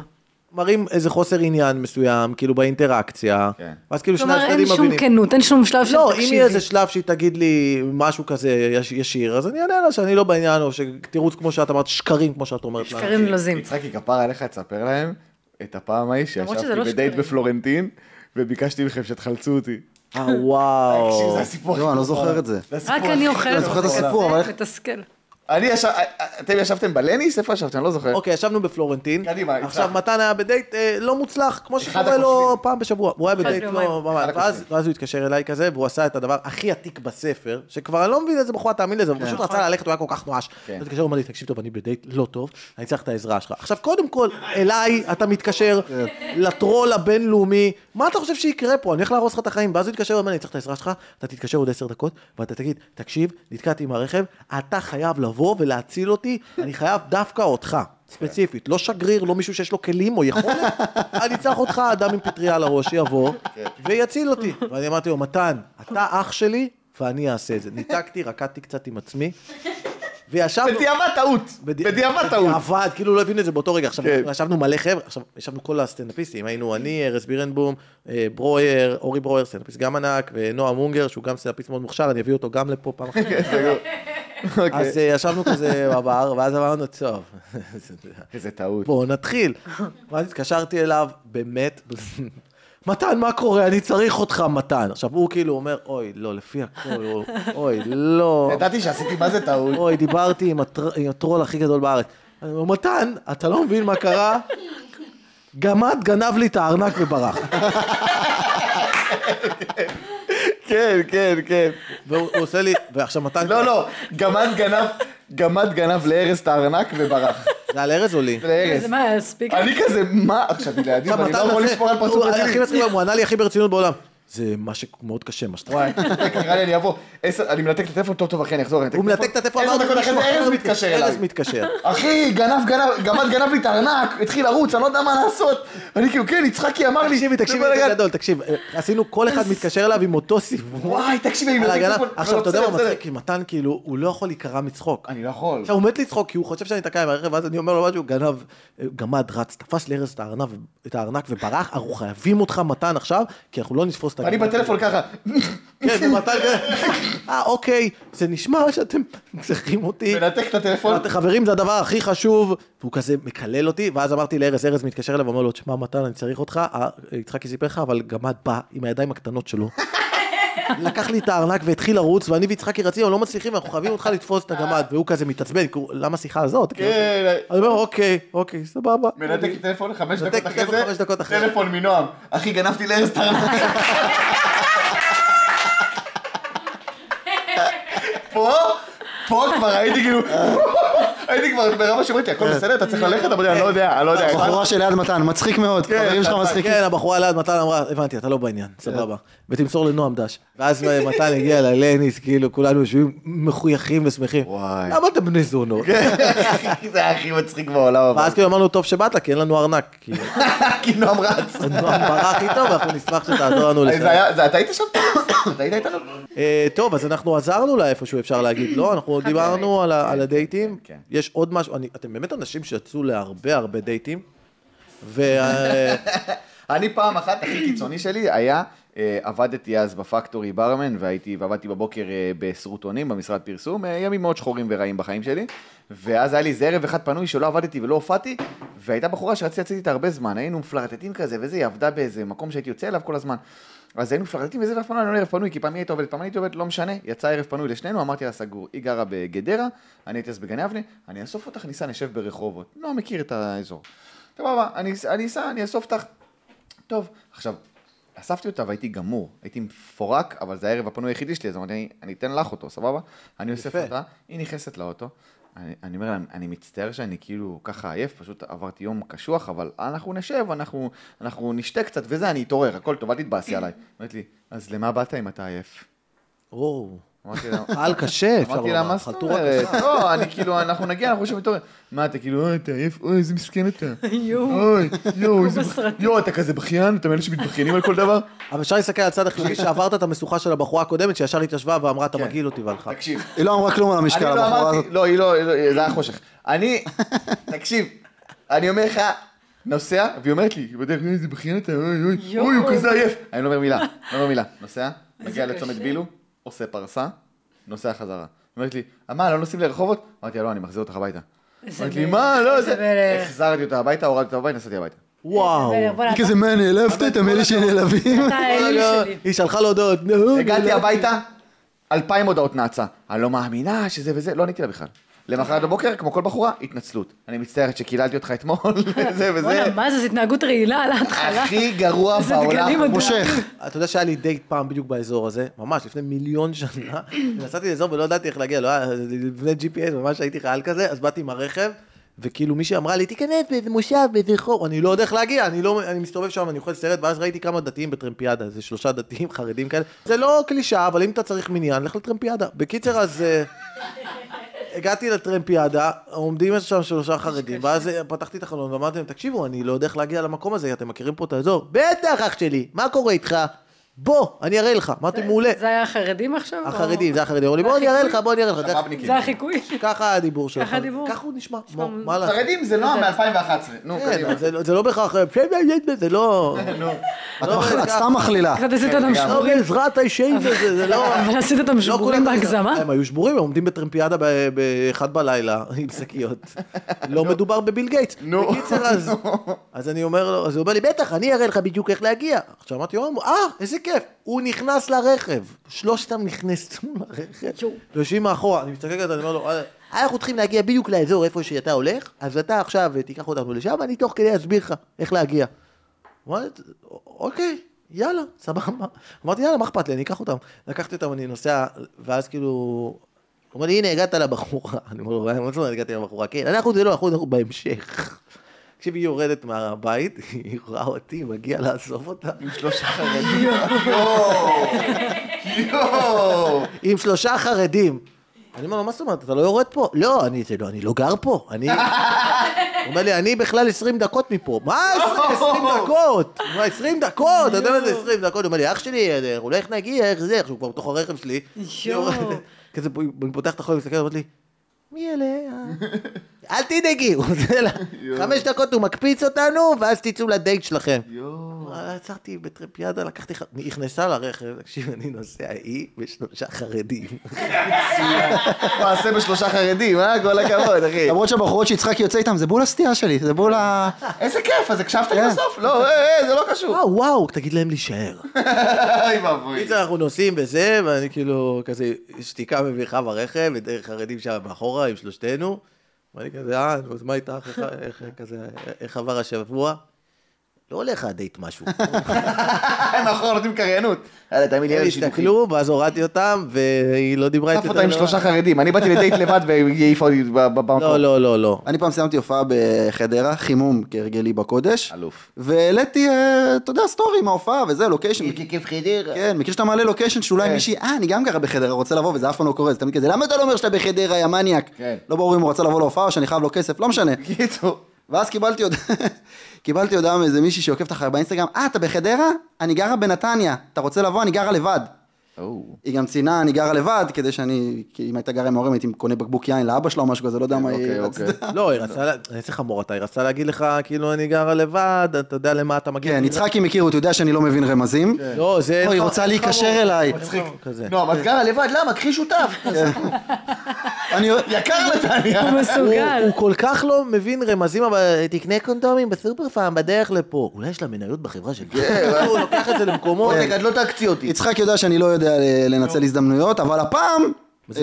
Speaker 3: מראים איזה חוסר עניין מסוים, כאילו באינטראקציה.
Speaker 2: כן.
Speaker 3: ואז כאילו שני
Speaker 1: כלומר, אין
Speaker 3: הצדדים
Speaker 1: שום
Speaker 3: מבינים.
Speaker 1: כנות, אין שום שלב של
Speaker 3: לא, אם
Speaker 1: תקשיבי.
Speaker 3: יהיה איזה שלב שהיא תגיד לי משהו כזה יש- ישיר, אז אני אענה לה שאני לא בעניין, או שתירוץ כמו שאת אמרת, שקרים כמו שאת אומרת לנו.
Speaker 1: שקרים נלוזים.
Speaker 2: יצחקי, כפרה עליך, תספר להם את הפעם ההיא
Speaker 1: למרות שזה
Speaker 2: שישבתי
Speaker 1: לא
Speaker 2: בדייט
Speaker 1: שקרים.
Speaker 2: בפלורנטין, וביקשתי מכם שתחלצו אותי.
Speaker 1: לא.
Speaker 3: אה, וואו.
Speaker 2: תקשיב, זה הסיפור הכי
Speaker 5: לא, אני לא
Speaker 2: טוב
Speaker 5: זוכר
Speaker 2: בעולם.
Speaker 5: את זה.
Speaker 2: זה הסיפור
Speaker 1: רק
Speaker 2: הכי
Speaker 1: אני
Speaker 2: טוב
Speaker 1: אוכלת,
Speaker 5: אני זוכר את הסיפור, אבל איך-
Speaker 1: מתסכל.
Speaker 2: אני ישב... אה, אתם ישבתם בלניס? איפה ישבתם? אני לא זוכר.
Speaker 3: אוקיי, ישבנו בפלורנטין.
Speaker 2: קדימה,
Speaker 3: עכשיו,
Speaker 2: יצחק.
Speaker 3: מתן היה בדייט אה, לא מוצלח, כמו שקורה לו
Speaker 2: הכושלים.
Speaker 3: פעם בשבוע. הוא היה בדייט
Speaker 1: ביומיים.
Speaker 3: לא ממש.
Speaker 2: אחד
Speaker 3: ואז-
Speaker 2: הכושלים.
Speaker 3: ואז הוא התקשר אליי כזה, והוא עשה את הדבר הכי עתיק בספר, שכבר אני לא מבין איזה בחורה תאמין לזה, הוא פשוט רצה ללכת, הוא היה כל כך נואש.
Speaker 2: כן.
Speaker 3: הוא התקשר, הוא אמר לי, תקשיב טוב, אני בדייט לא טוב, אני צריך את העזרה שלך. עכשיו, קודם כל, אליי אתה מתקשר,
Speaker 2: כן.
Speaker 3: לטרול הבינלאומי, מה אתה חושב שיקרה פה? אני הולך להרוס לך את החיים. ואז הוא התקשר, הוא אמר לי, אני צריך את העזרה שלך, אתה תתקשר עוד עשר דקות, ואתה תגיד, תקשיב, נתקעתי עם הרכב, אתה חייב לבוא ולהציל אותי, אני חייב דווקא אותך. ספציפית, לא שגריר, לא מישהו שיש לו כלים או יכולת, אני צריך אותך, אדם עם פטריה על הראש, יבוא
Speaker 2: כן.
Speaker 3: ויציל אותי. ואני אמרתי לו, מתן, אתה אח שלי ואני אעשה את זה. ניתקתי, רקדתי קצת עם עצמי, וישבנו...
Speaker 2: בדיעבד טעות.
Speaker 3: בד-
Speaker 2: בדיעבד טעות.
Speaker 3: בדיעבד, כאילו לא הבינו את זה באותו רגע. עכשיו,
Speaker 2: כן.
Speaker 3: ישבנו מלא חבר'ה, עכשיו, ישבנו כל הסטנדאפיסטים, היינו אני, ארז בירנבום, אה, ברויר, אורי
Speaker 2: כן.
Speaker 3: ברויר, סטנדאפיסט גם ענק, ונועם אונגר, שהוא גם סטנדאפיסט מאוד מוכשר, אני אביא אותו גם לפה פעם אחת.
Speaker 2: אוקיי.
Speaker 3: אז אה, ישבנו כזה בבר, ואז אמרנו, טוב,
Speaker 2: איזה טעות.
Speaker 3: בואו נתחיל. ואז התקשרתי אליו, באמת, מתן, מה קורה? אני צריך אותך, מתן. עכשיו, הוא כאילו אומר, אוי, לא, לפי הכל, הוא- אוי, לא.
Speaker 2: ידעתי שעשיתי מה זה טעות.
Speaker 3: אוי, דיברתי עם, הטר... עם הטרול הכי גדול בארץ. אני אומר, מתן, אתה לא מבין מה קרה? גמד גנב לי את הארנק וברח.
Speaker 2: כן, כן, כן.
Speaker 3: והוא הוא עושה לי, ועכשיו מתן...
Speaker 2: לא, לא, גמד גנב, גמד גנב לארז את הארנק וברח.
Speaker 3: זה על ארז או לי?
Speaker 2: לארז.
Speaker 1: זה מה, ספיק?
Speaker 2: אני כזה, מה? עכשיו, היא לידי, ואני לא יכול לשמור על פרצוף
Speaker 3: הוא- הכי
Speaker 2: רציני.
Speaker 3: מצחיק, הוא ענה לי הכי ברצינות בעולם. זה מה שמאוד קשה, מה שאתה...
Speaker 2: וואי, נראה לי אני אבוא, עשר- אני מנתק את הטלפון, טוב טוב אחי, אני אחזור, אני
Speaker 3: הוא מנתק את הטלפון,
Speaker 2: עשר
Speaker 3: אמרנו,
Speaker 2: דקות אחרי זה
Speaker 3: מישהו
Speaker 2: ארז
Speaker 3: אחר
Speaker 2: מתקשר
Speaker 3: ארז
Speaker 2: אליי.
Speaker 3: מתקשר.
Speaker 2: אחי, גנב, גנב, גמד גנב לי את הארנק, התחיל לרוץ, אני לא יודע מה לעשות. ואני כאילו, כן, יצחקי אמר לי,
Speaker 3: תקשיבי, תקשיבי,
Speaker 2: זה
Speaker 3: זה
Speaker 2: בלאגן.
Speaker 3: גדול, תקשיב, אה, עשינו, כל אחד מתקשר אליו עם אותו סיפור.
Speaker 2: וואי, תקשיבי, אני
Speaker 3: על
Speaker 2: מנתק את
Speaker 3: הגנה.
Speaker 2: הטלפון.
Speaker 3: עכשיו,
Speaker 2: לא,
Speaker 3: אתה יודע
Speaker 2: בסדר,
Speaker 3: מה
Speaker 2: בסדר.
Speaker 3: מצחיק? כי מתן, כאילו, הוא לא יכול להיקרע מצחוק.
Speaker 2: אני לא יכול.
Speaker 3: עכשיו, הוא מת לצחוק, כי הוא חושב שאני תקע עם הרכב, ואז אני אומר לו משהו, גנב, אה, גמד רץ, תפס לארז את הארנב- את הארנק וברח, אנחנו חייבים אותך, מתן, עכשיו, כי אנחנו לא נתפוס את הגנב.
Speaker 2: אני בטלפון ככה.
Speaker 3: כן, ומתן כזה, אה, אוקיי, זה נשמע שאתם צריכים אותי.
Speaker 2: מנתק את הטלפון.
Speaker 3: אמרתי, חברים, זה הדבר הכי חשוב, והוא כזה מקלל אותי, ואז אמרתי לארז, ארז מתקשר אליו ואומר לו, תשמע, מתן, אני צריך אותך, אה, יצחקי סיפר לך, אבל גמד בא עם הידיים הקטנות שלו. לקח לי את הארנק והתחיל לרוץ, ואני ויצחקי רצינו, לא מצליחים, אנחנו חייבים אותך לתפוס את הגמד, והוא כזה מתעצבן, כאילו, למה השיחה הזאת?
Speaker 2: כן.
Speaker 3: אני אומר, אוקיי, אוקיי, סבבה.
Speaker 2: מנתק את הטלפון חמש
Speaker 3: מנתק
Speaker 2: דקות
Speaker 3: את
Speaker 2: אחרי
Speaker 3: הטלפון חמש
Speaker 2: זה,
Speaker 3: דקות אחרי.
Speaker 2: טלפון מנועם. אחי, גנבתי לארז את הארנק. פה, פה כבר הייתי כאילו, הייתי כבר ברמה שאומרת לי, הכל בסדר, אתה צריך ללכת? אמרתי, אני לא יודע, אני לא יודע.
Speaker 5: הבחורה שליד מתן, מצחיק מאוד, חברים שלך מצחיקים.
Speaker 3: כן, הבחורה ליד מתן אמרה, הבנתי, אתה לא בעניין,
Speaker 2: כן.
Speaker 3: סבבה. ותמסור לנועם דש. ואז מתן הגיע ללניס, כאילו, כולנו יושבים מחויכים ושמחים.
Speaker 2: וואי.
Speaker 3: למה אתם בני זונות?
Speaker 2: זה היה הכי מצחיק בעולם. אבל.
Speaker 3: ואז כאילו אמרנו, טוב שבאת, כי אין לנו ארנק. כאילו,
Speaker 2: כי נועם רץ.
Speaker 3: נועם ברח איתו, ואנחנו נשמח שתעזור לנו
Speaker 2: זה
Speaker 3: לשם.
Speaker 2: היה- זה- אתה היית שם? אתה היית איתנו?
Speaker 3: אה, טוב, אז אנחנו עזרנו לה איפשהו, אפשר להגיד, לא? אנחנו עוד דיברנו על ה- על הדייטים.
Speaker 2: כן, כן.
Speaker 3: יש עוד משהו, אני- אתם באמת אנשים שיצאו להרבה הרבה דייטים. ו-
Speaker 2: אני פעם אחת, הכי קיצוני שלי היה, אה, עבדתי אז בפקטורי ברמן, והייתי, ועבדתי בבוקר אה, בסרוטונים, במשרד פרסום, אה, ימים מאוד שחורים ורעים בחיים שלי, ואז היה לי איזה ערב אחד פנוי שלא עבדתי ולא הופעתי, והייתה בחורה שרציתי לצאת איתה הרבה זמן, היינו מפלרטטים כזה, וזה, היא עבדה באיזה מקום שהייתי יוצא אליו כל הזמן. אז היינו מפלרטטים וזה, ואף פעם לא היה לנו ערב פנוי, כי פעם היא הייתה עובדת, פעם אני הייתי עובדת, לא משנה, יצא ערב פנוי לשנינו, אמרתי לה, סגור, היא גרה בגדרה, אני הייתי אז בגני אבני, אני אאסוף אותך, ניסע, נשב ברחובות, לא מכיר את האזור. סבבה, אני אני אסע, אני אאסוף אותך, טוב, עכשיו, אספתי אותה והייתי גמור, הייתי מפורק, אבל זה הערב הפנוי היחידי שלי, אז אמרתי, אני, אני אתן לך אותו, סבבה? אני אוסף
Speaker 3: יפה.
Speaker 2: אותה, היא נכנסת לאוטו, אני, אני אומר לה, אני מצטער שאני כאילו ככה עייף, פשוט עברתי יום קשוח, אבל אנחנו נשב, אנחנו, אנחנו נשתה קצת וזה, אני אתעורר, הכל טוב, אל תתבאסי עליי. אומרת לי, אז למה באת אם אתה עייף?
Speaker 3: או,
Speaker 2: אמרתי לה,
Speaker 3: קהל קשה, אפשר
Speaker 2: אמרתי לה,
Speaker 3: לומר,
Speaker 2: מה זאת
Speaker 3: חלטורה
Speaker 2: אומרת? לא, אני כאילו, אנחנו נגיע, אנחנו שם מתעורר. מה, אתה כאילו, אוי, אתה עייף, אוי, איזה מסכן אתה.
Speaker 1: יואו.
Speaker 2: אוי, יואו, איזה...
Speaker 1: בסרטים.
Speaker 2: יואו, אתה כזה בכיין, אתה מאלה שמתבכיינים על כל דבר?
Speaker 3: אבל אפשר להסתכל על הצד החיובי שעברת את המשוכה של הבחורה הקודמת, שישר התיישבה ואמרה, אתה מגעיל אותי והלכה.
Speaker 2: כן. תקשיב,
Speaker 5: היא לא אמרה כלום על
Speaker 2: אני
Speaker 5: המשקל,
Speaker 2: לא
Speaker 5: הבחורה הזאת.
Speaker 2: אמרתי, לא, היא לא, היא לא- זה היה חושך. אני, תקשיב, אני אומר לך, נוסע, והיא אומרת לי, בדרך כלל איזה בכיין אתה, אוי אוי,
Speaker 1: יואו.
Speaker 2: אוי, הוא כזה עייף. אני לא אומר מילה, לא אומר מילה. נוסע, מגיע
Speaker 1: קשה.
Speaker 2: לצומת בילו, עושה פרסה, נוסע חזרה. היא אומרת לי, "אה, מה, לא נוסעים לרחובות? אמרתי לה, לא, אני מחזיר אותך הביתה.
Speaker 1: איזה
Speaker 2: אמרתי לי,
Speaker 1: מלך,
Speaker 2: מה, לא,
Speaker 1: איזה
Speaker 2: זה...
Speaker 1: מלך.
Speaker 2: החזרתי אותה הביתה, הורדתי אותה הביתה, נסעתי הביתה.
Speaker 3: וואו.
Speaker 1: בסדר, בוא
Speaker 5: היא
Speaker 1: נעבור
Speaker 5: כזה, מה, נעלבת? אתם אלה שנעלבים?
Speaker 1: אתה
Speaker 3: לא,
Speaker 1: האלי שלי.
Speaker 3: היא שלחה לו הודעות. נו,
Speaker 2: הגעתי
Speaker 3: נו,
Speaker 2: הביתה, אלפיים הודעות נאצה. אני לא מאמינה שזה וזה, לא עניתי לה בכלל. למחרת בבוקר, כמו כל בחורה, התנצלות. אני מצטערת שקיללתי אותך אתמול, זה וזה.
Speaker 1: בוא'נה, מה זה, זו התנהגות רעילה על ההתחלה.
Speaker 2: הכי גרוע
Speaker 1: איזה
Speaker 2: בעולם.
Speaker 1: דגלים אדומים.
Speaker 5: מושך.
Speaker 3: אתה יודע שהיה לי דייט פעם בדיוק באזור הזה, ממש לפני מיליון שנה, ונסעתי לאזור ולא ידעתי איך להגיע, לא היה, לפני GPS ממש הייתי חייל כזה, אז באתי עם הרכב, וכאילו מישהי אמרה לי, תיכנס באיזה מושב, באיזה חור, אני לא יודע איך להגיע, אני לא, אני מסתובב שם, אני אוכל סרט, ואז ראיתי כמה דתיים בטרמפיאדה, איזה שלושה דתיים חרדים כאלה, זה לא קלישאה, אבל אם אתה צריך מניין, לך לטרמפיאדה. בקיצר, אז... אה, הגעתי לטרמפיאדה, עומדים שם שלושה חרדים, ואז אה, פתחתי את החלון ואמרתי להם, תקשיבו, אני לא יודע איך להגיע למקום הזה, אתם מכירים פה את האזור? בטח, אח שלי, מה קורה איתך? בוא, אני אראה לך. אמרתי, מעולה.
Speaker 1: זה היה החרדים עכשיו? או-
Speaker 3: החרדים, זה כן, החרדים, אמרו לי, בוא, אני אראה לך, בוא, אני אראה לך. דרך-
Speaker 2: מבניקים.
Speaker 1: זה החיקוי?
Speaker 3: ככה הדיבור שלך.
Speaker 1: ככה הדיבור.
Speaker 3: ככה הוא נשמע, בוא, מה לעשות?
Speaker 2: לא חרדים זה נועם מ-2011. נו,
Speaker 3: כן,
Speaker 2: קדימה.
Speaker 3: זה לא- זה לא בהכרח, זה לא...
Speaker 2: נו.
Speaker 5: את מח- את סתם מכלילה.
Speaker 1: קצת עשית אותם
Speaker 3: לא
Speaker 1: שבורים.
Speaker 3: בעזרת האישיים הזה, זה לא...
Speaker 1: אבל עשית אותם שבורים
Speaker 3: כולם-
Speaker 1: בהגזמה?
Speaker 3: הם היו שבורים, הם עומדים בטרמפיאדה ב- באחד בלילה עם שקיות. לא מדובר בביל גייטס.
Speaker 2: נו.
Speaker 3: בקיצר, אז- אז אני אומר לו, אז הוא אומר לי, בטח, אני אראה לך בדיוק איך להגיע. עכשיו אמרתי, "אה, אה, איזה כיף. הוא נכנס לרכב. שלושתם נכנסו לרכב.
Speaker 1: יואו.
Speaker 3: יושבים מאחורה, אני מסתכל כזה, אני אומר לו, "וואלה, אנחנו צריכים להגיע בדיוק לאזור איפה שאתה הולך, אז אתה עכשיו תיקח אותנו לשם, אני תוך כדי אסביר לך איך להגיע. אמרתי, אוקיי, יאללה, סבבה. אמרתי, יאללה, מה אכפת לי, אני אקח אותם. לקחתי אותם, אני נוסע, ואז כאילו... הוא אומר לי, הנה, הגעת לבחורה. אני אומר לו, מה זאת אומרת הגעתי לבחורה? כן, אנחנו זה לא, אנחנו אנחנו בהמשך. תקשיב, היא יורדת מהבית, היא רואה אותי, מגיע לאסוף אותה.
Speaker 2: עם שלושה חרדים. יואו! יואו!
Speaker 3: עם שלושה חרדים. אני אומר לו, מה זאת אומרת, אתה לא יורד פה? לא, אני, זה לא, אני לא גר פה, אני... הוא אומר לי, אני בכלל 20 דקות מפה. מה 20 דקות? מה 20 דקות? אתה יודע מה זה 20 דקות? הוא אומר לי, אח שלי, אה, אולי איך נגיע, איך זה, איך שהוא כבר בתוך הרכב שלי.
Speaker 1: יואו.
Speaker 3: כזה, פה, אני פותח את החול, מסתכל, אומר לי, מי אליה? אל תדאגי, הוא עושה לה, חמש דקות הוא מקפיץ אותנו, ואז תצאו לדייט שלכם. וואלה, אה, עצרתי בטרמפיאדה, לקחתי, ח- היא נכנסה לרכב, תקשיב, אני נוסע, היא ושלושה חרדים.
Speaker 2: מעשה בשלושה חרדים, אה? כל הכבוד, אחי.
Speaker 5: למרות שהבחורות שיצחק יוצא איתם, זה בול הסטייה שלי, זה בול ה...
Speaker 2: איזה כיף, אז הקשבת
Speaker 1: כן.
Speaker 2: לי בסוף? לא, אה, אה, זה לא קשור.
Speaker 3: וואו, וואו, תגיד להם להישאר.
Speaker 1: אה.
Speaker 2: אוי ואבוי.
Speaker 3: בקיצור, אנחנו נוסעים וזה, ואני כאילו, כזה, שתיקה מביכה ברכב, ודרך חרדים שם מאחורה עם שלושתנו. ואני כזה, אה, נו, אז מה איתך, איך- איך- כזה, איך עבר השבוע? לא הולך הדייט משהו.
Speaker 2: נכון, נותנים קריינות. יאללה, תאמין לי,
Speaker 3: הם
Speaker 2: אלה שידוכים.
Speaker 3: הסתכלו, ואז הורדתי אותם, והיא לא דיברה איתי.
Speaker 2: חטף אותה עם שלושה חרדים. אני באתי לדייט לבד והיא העיפה אותי ב- ב- במקום.
Speaker 3: לא, לא, לא, לא.
Speaker 5: אני פעם סיימתי הופעה בחדרה, חימום כהרגלי בקודש.
Speaker 2: אלוף.
Speaker 5: והעליתי, אה, אתה יודע, סטורי מההופעה וזה, לוקיישן.
Speaker 4: כיף חדרה.
Speaker 5: כן, מכיר שאתה מעלה לוקיישן שאולי
Speaker 2: כן.
Speaker 5: מישהי, אה, אני גם גרה בחדרה, רוצה לבוא, וזה אף פעם לא קורה, זה תמיד כזה, למה אתה לא אומר שאתה בחדרה, יא מניאק?
Speaker 2: כן.
Speaker 5: לא ברור אם הוא רצה לבוא להופעה או שאני חייב לו כסף, לא משנה.
Speaker 2: בקיצור.
Speaker 5: ואז קיבלתי הודעה, קיבלתי הודעה מאיזה מישהי שעוקבת אחריי באינסטגרם, אה, אתה בחדרה? אני גרה בנתניה, אתה רוצה לבוא? אני גרה לבד. היא גם ציינה, אני גרה לבד, כדי שאני, כי אם הייתה גרה עם ההורים, הייתי קונה בקבוק יין לאבא שלה או משהו כזה, לא יודע מה היא
Speaker 2: אוקיי,
Speaker 5: רצתה.
Speaker 2: אוקיי.
Speaker 3: לא, היא רצתה, לה- איזה חמור אתה, היא רצתה להגיד לך, כאילו, אני גרה לבד, אתה יודע למה אתה מגיע.
Speaker 5: כן, יצחקי מכיר, הוא יודע שאני לא מבין רמזים.
Speaker 2: כן.
Speaker 3: לא, זה...
Speaker 5: אוי, היא רוצה להיקשר אליי.
Speaker 3: מצחיק. כזה.
Speaker 2: נועם, את גרה לא, לבד, למה? קחי שותף.
Speaker 5: אני-
Speaker 2: יקר נתניה.
Speaker 1: הוא מסוגל.
Speaker 3: הוא כל כך לא מבין רמזים, אבל תקנה קונדומים בסופר פארם בדרך לפה. אולי יש לה מניות בחברה שלך. הוא לוקח את זה למקומות.
Speaker 2: רגע, את לא תעקצי אותי.
Speaker 5: יצחק יודע שאני לא יודע ל- לנצל הזדמנויות, אבל הפעם, אה,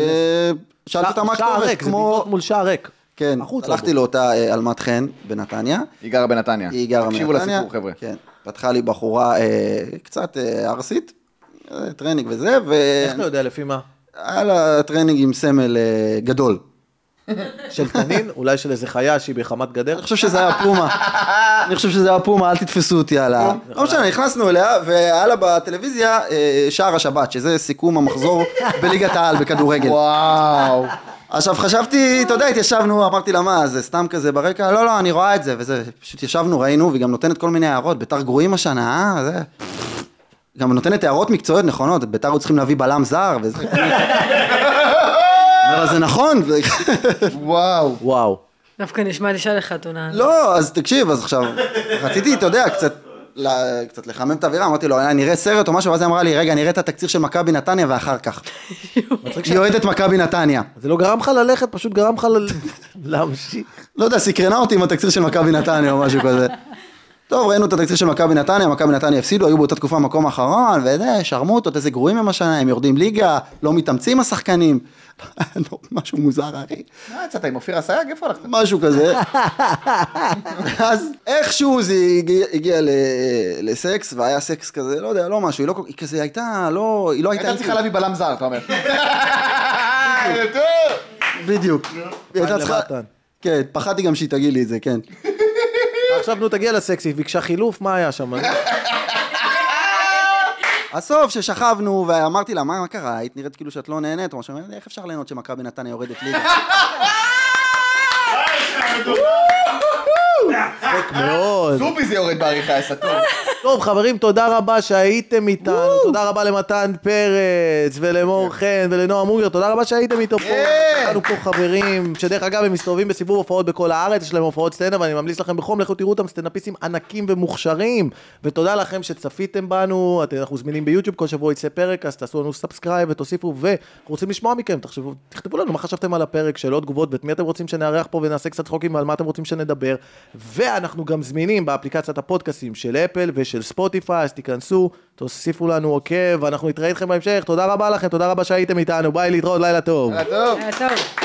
Speaker 5: שאלתי אותה מה
Speaker 3: שער
Speaker 5: הכתובת,
Speaker 3: ריק, זה בעיטות
Speaker 5: כמו...
Speaker 3: מול שער ריק.
Speaker 5: כן,
Speaker 3: החוצה
Speaker 5: הלכתי
Speaker 3: בו.
Speaker 5: לאותה אה, אלמת חן בנתניה,
Speaker 2: היא גרה בנתניה.
Speaker 5: היא גרה בנתניה.
Speaker 2: תקשיבו לסיפור, חבר'ה.
Speaker 5: כן, פתחה לי בחורה אה, קצת אה, ערסית, אה, טרנינג וזה,
Speaker 3: איך אתה יודע לפי מה?
Speaker 5: והיה לה טרנינג עם סמל אה, גדול.
Speaker 3: של תנין? אולי של איזה חיה שהיא בחמת גדר?
Speaker 5: אני חושב שזה היה פומה. אני חושב שזה היה פומה, אל תתפסו אותי על
Speaker 2: נכון.
Speaker 5: ה... לא משנה, נכנסנו אליה, והיה לה בטלוויזיה אה, שער השבת, שזה סיכום המחזור בליגת העל בכדורגל.
Speaker 2: וואו.
Speaker 5: עכשיו חשבתי, אתה יודע, התיישבנו, אמרתי לה, מה, זה סתם כזה ברקע? לא, לא, אני רואה את זה, וזה, פשוט ישבנו, ראינו, והיא גם נותנת כל מיני הערות, ביתר גרועים השנה, אה, זה... גם נותנת הערות מקצועיות נכונות, ביתר היו צריכים להביא בלם זר, וזה... אומר לה, זה נכון, זה-
Speaker 2: וואו.
Speaker 3: וואו.
Speaker 1: דווקא נשמע לי שהיה לך תונה.
Speaker 5: לא, אז תקשיב, אז עכשיו, רציתי, אתה יודע, קצת... ל- קצת לחמם את האווירה, אמרתי לו, "אה, נראה סרט או משהו, ואז היא אמרה לי, רגע, נראה את התקציר של מכבי נתניה ואחר כך. היא אוהדת מכבי נתניה.
Speaker 3: זה לא גרם לך ללכת, פשוט גרם לך ל- להמשיך.
Speaker 5: לא יודע, סקרנה אותי עם התקציר של מכבי נתניה או משהו כזה. טוב, ראינו את התקציר של מכבי נתניה, מכבי נתניה הפסידו, היו באותה תקופה מקום אחרון, וזה, שרמוטות, איזה גרועים הם השנה, הם יורדים ליגה, לא מתאמצים השחקנים. לא, משהו מוזר, אחי.
Speaker 2: מה יצאת עם אופיר אסייג? איפה הלכת?
Speaker 5: משהו כזה. אז איכשהו זה הגיע, הגיע ל, לסקס, והיה סקס כזה, לא יודע, לא משהו, היא, לא, כל- היא כזה הייתה, לא, היא לא הייתה...
Speaker 2: הייתה צריכה
Speaker 5: איתי.
Speaker 2: להביא בלם זר, אתה אומר. טוב.
Speaker 5: בדיוק. היא הייתה
Speaker 3: עד
Speaker 5: צריכה...
Speaker 3: למתן.
Speaker 5: כן, פחדתי גם שהיא תגיד לי את זה, כן.
Speaker 3: עכשיו נו תגיע לסקסי, ביקשה חילוף, מה היה שם?
Speaker 5: הסוף ששכבנו ואמרתי לה, מה מה קרה? היית נראית כאילו שאת לא נהנית או משהו, איך אפשר ליהנות שמכבי נתניה יורדת ליגה?
Speaker 3: מאוד.
Speaker 2: זובי זה יורד בעריכה, סתום.
Speaker 3: טוב, חברים, תודה רבה שהייתם איתנו. תודה רבה למתן פרץ, ולמור חן, ולנועם אוגר. תודה רבה שהייתם איתו פה. איתנו פה חברים, שדרך אגב, הם מסתובבים בסיבוב הופעות בכל הארץ, יש להם הופעות סטנדאפ, ואני ממליץ לכם בחום, לכו תראו אותם, סטנדאפיסטים ענקים ומוכשרים. ותודה לכם שצפיתם בנו, אתם- אנחנו זמינים ביוטיוב, כל שבוע יצא פרק, אז תעשו לנו סאבסקרייב ותוסיפו, ואנחנו רוצים לשמוע מכם, תחשבו, תכתבו לנו מה חשבתם על הפרק, שאלות, תגובות, ואת מי אתם רוצים שנארח פה ונעשה קצת צחוקים, ועל מה אתם רוצים שנדבר. ואנחנו גם זמינים באפליקציית הפודקאסים של אפל ושל ספוטיפיי, אז תיכנסו, תוסיפו לנו עוקב, ואנחנו נתראה איתכם בהמשך. תודה רבה לכם, תודה רבה שהייתם איתנו, ביי, להתראות, לילה טוב.
Speaker 2: יאללה, טוב.
Speaker 1: היה טוב.